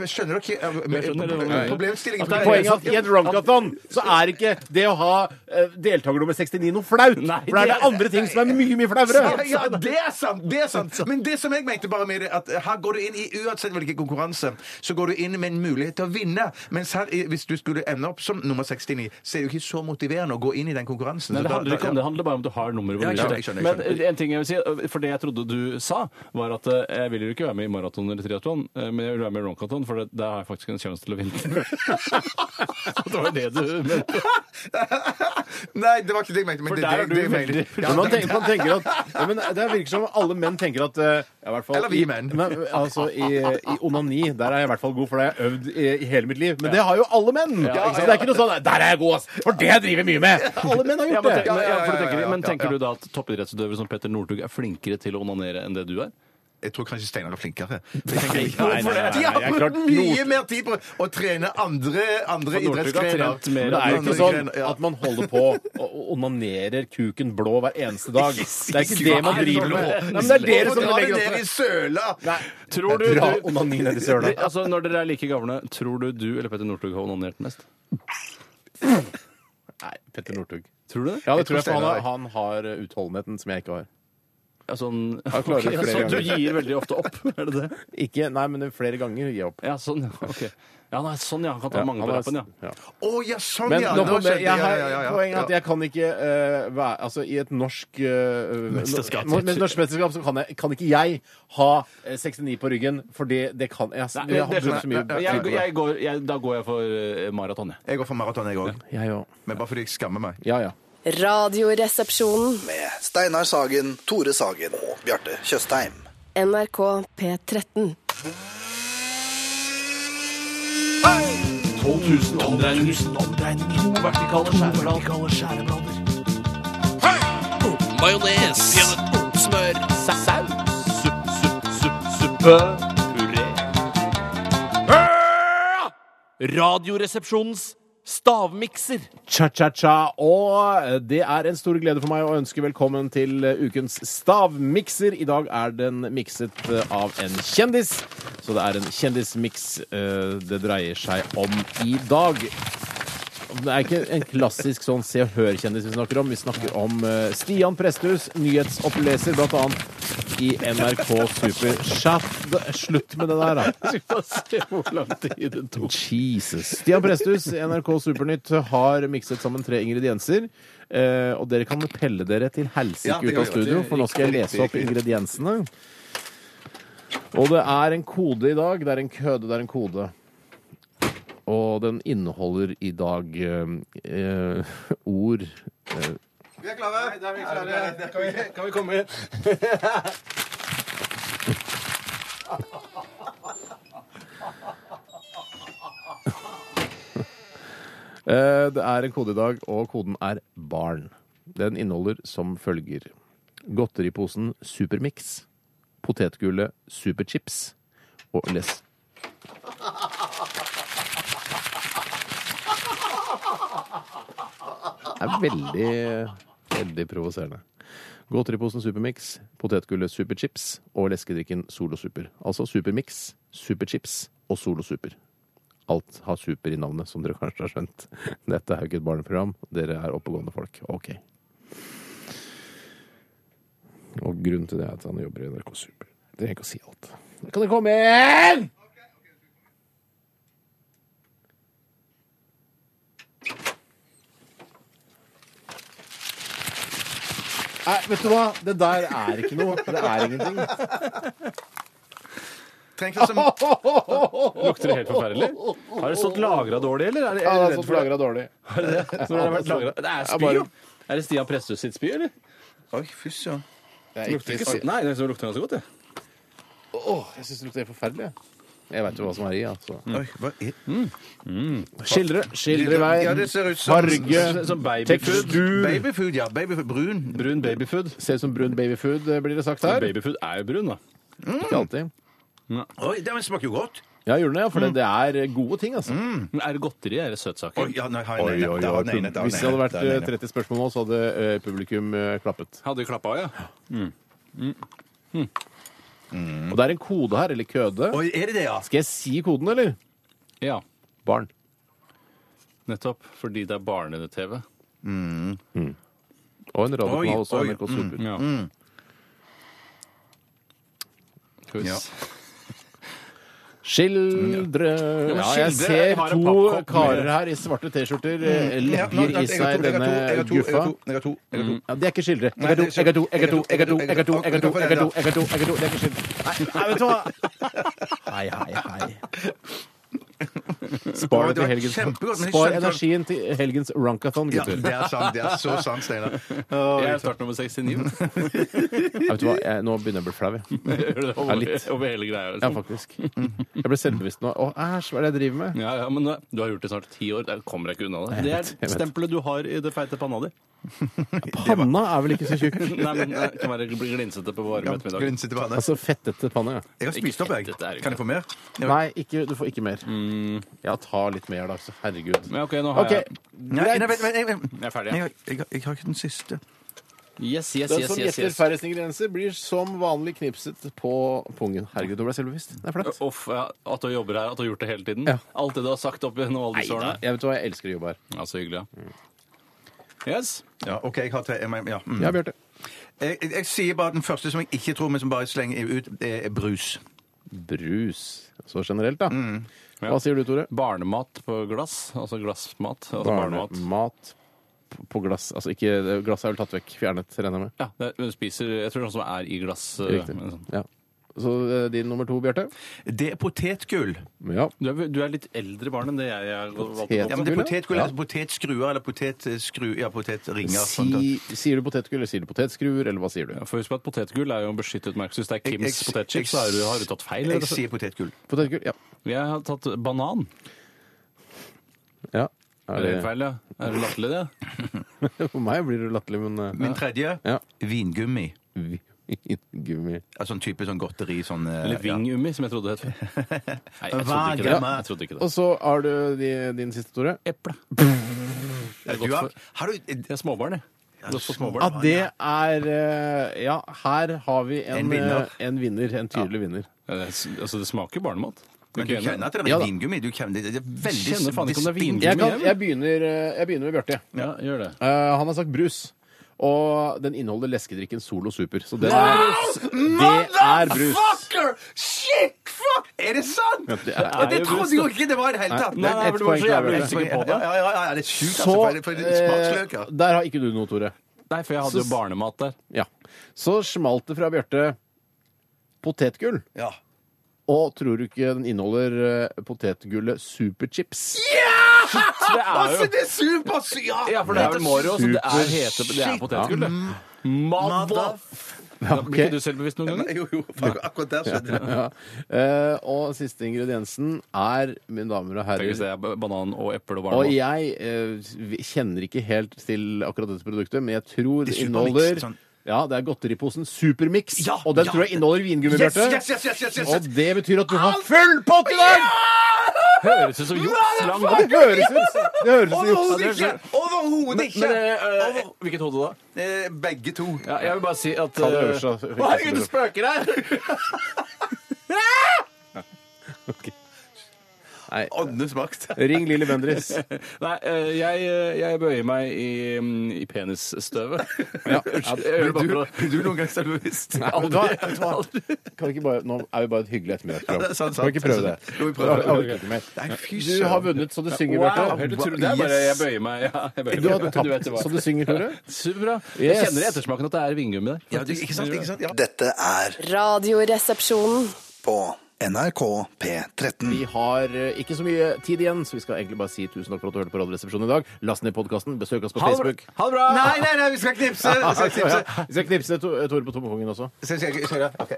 S5: men, skjønner dere ikke eh, men-
S6: Jeg skjønner det, men-
S5: problemstillingen?
S6: At det er
S7: Poenget er at i et runkathon så er ikke det å ha eh, deltaker nummer 69 noe flaut.
S6: Nei,
S7: For det er
S6: det
S7: det
S6: er-
S7: andre ting som er mye, mye
S5: Ja,
S7: flauere.
S5: ja, det er sant! det er sant Men det som jeg mente bare med det, at her går du inn i uansett hvilken konkurranse, så går du inn med en mulighet til å vinne. Mens her, i- hvis du skulle ende opp som nummer 69, så er det jo ikke så motiverende å gå inn i den konkurransen.
S6: Nei,
S5: Så
S6: det
S5: da-
S6: handler ikke om det. Det handler bare om at du har nummeret. på
S5: Ja, jeg
S6: brystet.
S5: skjønner, jeg skjønner, jeg skjønner.
S6: Men en ting jeg vil si, for det jeg trodde du sa, var at eh, jeg vil jo ikke være med i maraton eller triatlon, eh, men jeg vil være med i runkaton, for det- der har jeg faktisk en sjanse til å vinne. det var det du mente.
S5: Nei, det var ikke det jeg mente. Men
S6: For
S5: det,
S6: der
S5: det,
S6: er du
S5: det jeg mener.
S6: veldig-
S5: Ja,
S7: Men man tenker, man tenker at, ja, men det virker som alle menn tenker at eh, ja, i hvert fall,
S5: Eller vi
S7: i-
S5: menn.
S7: Men, altså, i, I onani der er jeg i hvert fall god, for det har jeg øvd i, i hele mitt liv. Men det har jo alle menn!
S6: Ja,
S7: Så det er ikke noe sånn Der er jeg god, ass! For det driver jeg mye med! Alle menn har
S6: Ja,
S7: gjort
S6: men,
S7: det.
S6: tenk, men, ja, for
S5: ja,
S6: du
S5: ja,
S6: tenker,
S5: ja,
S6: men
S5: ja,
S6: tenker
S5: ja.
S6: du da at toppidrettsutøvere som Petter Northug er flinkere til å onanere enn det du er?
S5: Jeg tror kanskje Steinar er flinkere.
S7: nei, nei, nei,
S5: De har
S7: jeg er klart
S5: brukt mye mer tid på å trene andre, andre
S6: Northug har
S5: idrettsgrener.
S6: trent mer
S7: Men det er jo
S5: Andre
S7: ikke sånn
S5: grener, ja.
S7: at man holder på og onanerer kuken blå hver eneste dag. Det er ikke det man driver med. Nei, men det er dere
S5: Hvorfor
S7: som
S5: drar
S7: legger
S5: det
S7: opp til
S5: ned i
S7: det.
S5: søla?
S6: Tror du,
S7: Dra
S6: du
S7: onani ned i
S6: Det-
S7: søla.
S6: altså, Når dere er like gamle, tror du du eller Petter Northug har onanert mest?
S7: Nei, Petter Northug.
S6: Tror du det?
S7: Ja, det tror jeg, for han har,
S5: Steinar
S7: han har utholdenheten som jeg ikke har.
S6: Ja, sånn,
S7: Jeg klarer det
S6: Ok,
S7: flere
S6: så du
S7: ganger.
S6: gir veldig ofte opp, er det det?
S7: Ikke, nei, men flere ganger gir jeg opp.
S6: Ja, sånn, ja. ok. Ja, nei, sånn, ja. Han kan ta mange
S7: han
S6: på
S7: er-
S6: rappen,
S7: ja.
S6: ja.
S5: Å ja, sånn
S7: Men
S5: ja!
S7: nå,
S5: nå
S7: kommer-
S5: skjønte
S7: jeg har,
S5: Ja, ja, ja, ja.
S7: poenget er at jeg kan ikke eh, være Altså, i et norsk eh,
S6: Mesterskap.
S7: no- men norsk mesterskap så kan, jeg, kan ikke jeg ha eh, 69 på ryggen, for det, det kan jeg.
S6: Nei,
S7: jeg har
S6: det
S7: brukt så mye
S6: skjønner jeg.
S7: tid
S6: Jeg,
S7: på det.
S6: jeg går, jeg, da går jeg for eh, maraton, jeg.
S5: Jeg går for maraton, jeg òg.
S7: Jeg òg.
S5: Men bare fordi jeg skammer meg.
S7: Ja, ja.
S2: Radioresepsjonen.
S1: Med Steinar Sagen, Tore Sagen og Bjarte Tjøstheim.
S2: NRK P13.
S3: 12 000 omdreininger. To vertikale skjæreblader. Majones. Smør. Saus. Supp, supp, supp, suppe. Puré. Radioresepsjonens stavmikser.
S7: Cha-cha-cha. Og det er en stor glede for meg å ønske velkommen til ukens stavmikser. I dag er den mikset eh, av en kjendis, så det er en kjendismiks eh, det dreier seg om i dag. Det er ikke en klassisk sånn Se og Hør-kjendis vi snakker om. Vi snakker om eh, Stian Presthus, nyhetsoppleser, blant annet i NRK Super. Shut- Slutt med det der, da.
S6: Se hvor lang tid det tok.
S7: Jesus. Stian Presthus, NRK Supernytt, har mikset sammen tre ingredienser. Eh, og dere kan pelle dere til helsike
S5: Ja,
S7: ut
S5: det kan
S7: av
S5: vi gjøre.
S7: studio, for nå skal jeg lese opp ingrediensene. Og det er en kode i dag. Det er en køde, det er en kode. Og den inneholder i dag eh, eh, ord eh,
S5: Vi er klare!
S3: Kan vi komme
S7: Eh, Det er en kode i dag, og koden er barn. Den inneholder som følger. Godteriposen Supermix. Potetgullet Superchips. Og les... Det er veldig, veldig provoserende. Godteriposen Supermix, potetgullet Superchips og leskedrikken Solo Super. Altså Supermix, Superchips og Solo Super. Alt har super i navnet, som dere kanskje har skjønt. Dette er jo ikke et barneprogram. Dere er oppegående folk. Ok. Og grunnen til det er at han jobber i NRK Super. Det trenger ikke å si alt. Kan dere komme inn?! Nei, vet du hva? Det der er ikke noe. Det er ingenting.
S5: Trenger ikke som
S6: Lukter det helt forferdelig? Har det stått lagra dårlig, eller? Er det,
S7: Ja, det
S6: er
S7: er
S6: det redd
S7: sånn
S6: for det?
S7: lagra dårlig.
S6: Har det det? Når det har vært lagret? Det er spy,
S7: bare-
S6: jo. Er det Stian Presthus sitt spy, eller?
S5: Oi, fysj, ja.
S7: Det er
S6: Lukter
S7: ikke
S6: ikke så, nei, det lukter ganske godt, det.
S7: Åh, jeg syns det lukter helt forferdelig. jeg. Jeg veit jo hva som er i, altså.
S5: Oi, hva er
S7: Skildre, skildre i
S5: Ja,
S7: vei.
S5: det ser ut som
S7: Farge,
S6: Som babyfood.
S7: tekstur
S5: Babyfood, ja. Babyfood. Brun.
S6: Brun babyfood.
S7: Ser ut som brun babyfood, eh, blir det sagt her.
S6: Babyfood er jo brun, da.
S7: Ikke alltid.
S5: Oi, det men smaker jo godt.
S7: Ja, gjør den det, ja, for det, det er gode ting, altså.
S6: Men er det godteri? Er det søtsaker?
S5: Oi, ja, nei, har jeg
S7: Oi, oi,
S5: nevnt
S7: oi.
S5: det? Har jeg nevnt det?
S7: Hvis det hadde vært
S5: Har jeg
S7: eh,
S5: nevnt det?
S7: 30 spørsmål nå, så hadde eh, publikum eh, klappet.
S6: Hadde de klappa, ja?
S7: Og det er en kode her, eller køde.
S5: Oi, er det det, ja?
S7: Skal jeg si koden, eller?
S6: Ja.
S7: Barn.
S6: Nettopp. Fordi det er barne-TV.
S7: Og en radiokanal
S5: Oi,
S7: også.
S5: oi, Mm,
S7: NRK Solbud.
S6: Ja. Skal vi
S5: Ja.
S6: s-
S7: Skildre Ja, jeg
S6: skildre. Jeg
S7: ser
S6: har en
S7: to
S6: pappkopp med-
S7: karer her i svarte T-skjorter eh,
S5: Mm. Ja, nå,
S7: legger i
S5: jeg har
S7: seg
S5: to, jeg har to, jeg
S7: denne
S5: har to, jeg
S7: guffa. Mm.
S5: har to, jeg har to, jeg har to.
S7: Ja, det er ikke skildre. Jeg
S5: Nei,
S7: har to,
S5: det er
S7: jeg har to, jeg har to, jeg har to,
S5: skildre.
S7: jeg har to, jeg har to, jeg har to, jeg har to, jeg har to, Det er ikke skildre. Nei, nei, vet du hva? Hei, hei, hei. Spar det
S5: Det var
S7: til helgens
S5: kjempegodt, men jeg
S7: Spar
S5: skjønte-
S7: energien til helgens runkathon,
S5: Ja,
S7: gutter.
S5: det er sant. Det er så sant, Steinar.
S6: Jeg er start nummer 69.
S7: Ja, vet du hva? Jeg, nå begynner jeg å bli flau. jeg.
S6: Gjør det
S7: Ja,
S6: over,
S7: litt.
S6: over hele greia.
S7: Ja,
S6: Liksom.
S7: faktisk. Jeg ble selvbevisst nå. Å, æsj, hva er det jeg driver med?
S6: Ja, ja, men det- du har gjort det snart ti år. Det kommer deg ikke unna det. Det
S7: vet,
S6: er
S7: jeg vet.
S6: stempelet du har i det feite panna di.
S7: Panna er vel ikke så tjukk?
S6: Nei, men det kan være bli glinsete på varme ettermiddag.
S5: Grinse til vannet.
S7: Altså fettete panne, ja.
S5: Jeg har spist opp, jeg.
S6: Dette er jo
S5: Kan jeg få mer?
S7: Nei, ikke, du får ikke mer. Ja, ta litt mer, da. Så herregud.
S6: Ja, OK, nå har
S7: OK,
S5: Nei, nei, vent,
S7: greit.
S5: vent, vent, vent.
S6: jeg Jeg er ferdig.
S5: Jeg, har- jeg, har- jeg har ikke den siste.
S6: Yes, yes,
S7: Den
S6: yes,
S7: som
S6: yes,
S7: gjetter
S6: yes.
S7: færrest ingredienser, blir som vanlig knipset på pungen. Herregud, nå ble jeg selvbevisst. Det er flaut.
S6: Uff, ja, at du jobber her, at du har gjort det hele tiden.
S7: Ja.
S6: Alt det du har sagt opp gjennom alle disse årene.
S7: Jeg vet hva, jeg elsker å jobbe her.
S6: Ja, så hyggelig, ja. Yes.
S5: Ja, OK, jeg har tre. Jeg, mener- ja. mm.
S7: Ja, Bjarte.
S5: jeg, jeg, jeg sier bare den første som jeg ikke tror, men som bare slenger ut, det er brus.
S7: Brus. Så generelt, da. Hva sier du, Tore?
S6: Barnemat på glass. Altså glassmat. Altså barnemat.
S7: Barnemat p- på glass. Altså ikke Glasset er vel tatt vekk. Fjernet, regner jeg med.
S6: Ja, det, hun spiser Jeg tror det er noe som er i glass. eh,
S7: Riktig.
S6: sånn.
S7: Ja. Så eh, din nummer to, Bjarte?
S5: Det er potetgull.
S7: Ja.
S6: Du er, du er litt eldre barn enn det jeg er. valgte
S7: Potet.
S5: Ja, men det
S7: Potetgull,
S5: er
S7: ja.
S5: potetgull,
S7: Ja.
S5: altså potetskruer eller potetskru... Ja, sånn, potetringer. sånt at-
S7: Si, sier du potetgull, eller sier du potetskruer, eller hva sier du?
S6: Ja, for husk på at Potetgull er jo en beskyttet merke. Så hvis det er
S5: Jeg- jeg-
S6: Kims potetchips, så er du, har du tatt feil.
S5: Jeg
S6: rett og slett.
S5: sier potetgull.
S7: Potetgull? Ja.
S6: Jeg har tatt banan.
S7: ja.
S6: Er
S7: Er
S6: det
S7: det,
S6: helt feil, ja? Er det latterlig, det?
S7: Eh, for meg blir det latterlig, men eh,
S5: Min tredje
S7: Ja.
S5: vingummi.
S7: Vingummi.
S5: Altså en type sånn godteri. Sånn, eh,
S6: Eller vingummi, som jeg trodde det het. Nei, jeg trodde ikke det. Jeg trodde ikke det.
S7: Og så har du de, din siste, Tore.
S6: Eple.
S5: Ja. Du har, har du
S6: Jeg er småbarn, jeg. Godt for småbarn.
S7: Ja, det er eh, Ja, her har vi en,
S5: En vinner.
S7: eh, en vinner. En tydelig vinner.
S6: Ja, det er- Altså, det smaker barnemat.
S5: Men du kjenner at det er
S7: Ja da.
S5: vingummi? Du kjenner, det er veldig
S6: Kjenner faen ikke om det er
S5: spinn-
S6: vingummi.
S7: Jeg, kan, jeg, begynner, eh, jeg begynner med Bjarte.
S6: Ja, gjør det.
S7: Eh, han har sagt brus. Og den inneholder leskedrikken Solo Super. Så den er, det er brus.
S5: Motherfucker! Shit, fuck! Er det sant?!
S7: Ja, det er-
S5: Ja, det
S6: er jo
S5: trodde
S6: brus,
S5: jeg jo ikke det var i det hele tatt!
S7: Nei, nei, men
S5: Et
S7: det var
S5: poeng
S7: så
S5: til
S7: jævlig
S5: Arve.
S6: usikker på det.
S5: Ja, ja, ja, ja, det er sjukt, altså.
S7: Så
S5: for- For
S7: eh,
S5: smaksløker.
S7: Der har ikke du noe, Tore.
S6: Nei, for jeg hadde jo barnemat der.
S7: Ja. Så smalt det fra Bjarte potetgull.
S5: Ja.
S7: Og tror du ikke den inneholder eh, potetgullet Superchips?
S6: Det er
S5: Altså, det er supersykt! Ja.
S6: Ja, for det er vel Mario, så det er,
S7: Super-
S6: hete, det er potetgull,
S5: mm.
S6: det.
S7: Ja,
S6: Blir
S7: ok.
S6: ikke du selvbevisst noen ganger?
S5: Jo, jo, fuck, akkurat der skjønner jeg.
S7: Ja. Eh, og siste ingrediensen er, mine damer og
S6: Tenk hvis
S7: herrer
S6: det er ba- banan og eple og
S7: Og
S6: barnemat.
S7: jeg eh, vi- kjenner ikke helt til akkurat dette produktet, men jeg tror det
S5: Det er
S7: inneholder
S5: Supermix, sånn.
S7: Ja, det er godteriposen Supermix,
S5: Ja,
S7: og den
S5: ja.
S7: tror jeg inneholder vingummi,
S5: Yes,
S7: Bjarte.
S5: yes, yes, yes, yes, yes.
S7: Og det betyr at du har full pott i dag!
S6: Høres ut som juks lang
S7: Ja, det høres ut det høres ut som juks.
S5: Overhodet ikke! Overhodet ikke!
S6: eh, Hvilket hode da?
S5: Eh, Begge to.
S6: Ja, jeg vil bare si at eh,
S7: Ta det øverste, da.
S6: Hva er det du spøker her?
S7: Nei.
S5: Åndenes makt.
S7: Ring Lilly Bendriss.
S6: Nei, eh, jeg, jeg bøyer meg i, mm, i penisstøvet.
S7: Ja.
S6: Unnskyld. Jeg gjør det bare for å
S5: Blir du noen gang servist?
S7: Vet du hva? Vet du hva? Kan vi ikke bare, nå er vi bare et hyggelig ettermiddagsprogram.
S5: Ja, sant, sant.
S7: Kan vi ikke prøve det?
S5: Jo, vi prøver det.
S7: Jeg orker ikke mer. Du har vunnet så du synger,
S6: Helt
S7: Bjarte.
S6: utrolig. Det er bare jeg bøyer meg. Ja, jeg bøyer
S7: Du
S6: meg.
S7: har tapt
S6: det var-
S7: så du synger, Tore.
S6: Superbra.
S7: Yes.
S6: Jeg kjenner i ettersmaken at det er vingummi der.
S5: Ja, du, ikke sant? Ikke sant? Ja.
S1: Dette er
S2: Radioresepsjonen.
S1: på NRK P13.
S7: Vi har eh, ikke så mye tid igjen, så vi skal egentlig bare si tusen takk for at du hørte på Radioresepsjonen i dag. Last ned podkasten, besøk oss på
S6: Ha det
S7: Facebook.
S6: bra. Ha det bra!
S5: Nei, nei, nei, vi skal knipse! Vi skal
S7: Ja,
S5: knipse.
S7: ja. Vi skal knipse to- eh, Tore på tommekongen også.
S5: Skal- skal- skal- ok.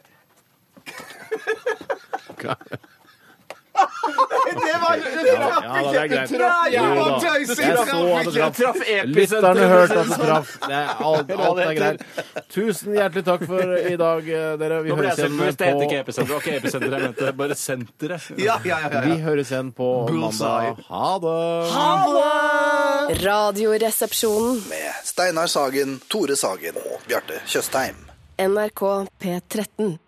S5: Det var Det traff
S7: Ja, da, det er greit.
S5: ikke! Nei, jeg
S7: Jo
S5: var
S7: da. Jeg
S5: tøysig, traff
S7: så at det
S5: ikke.
S7: traff.
S6: Traff episenteret.
S7: Lytterne hørte at det traff. Det er Alt, alt er greit. Tusen hjertelig takk for i dag, eh, dere. Vi
S6: Nå ble jeg
S7: høres igjen
S6: selvbevisst. Det heter
S7: på,
S6: ikke episenter. Det var ikke episenter jeg mente, bare senteret.
S5: Ja, ja, ja, ja,
S7: vi
S5: ja.
S7: høres igjen på
S5: Bullseye.
S7: mandag. Ha det!
S2: Radioresepsjonen.
S1: Med Steinar Sagen, Tore Sagen og Bjarte Tjøstheim.
S2: NRK P13.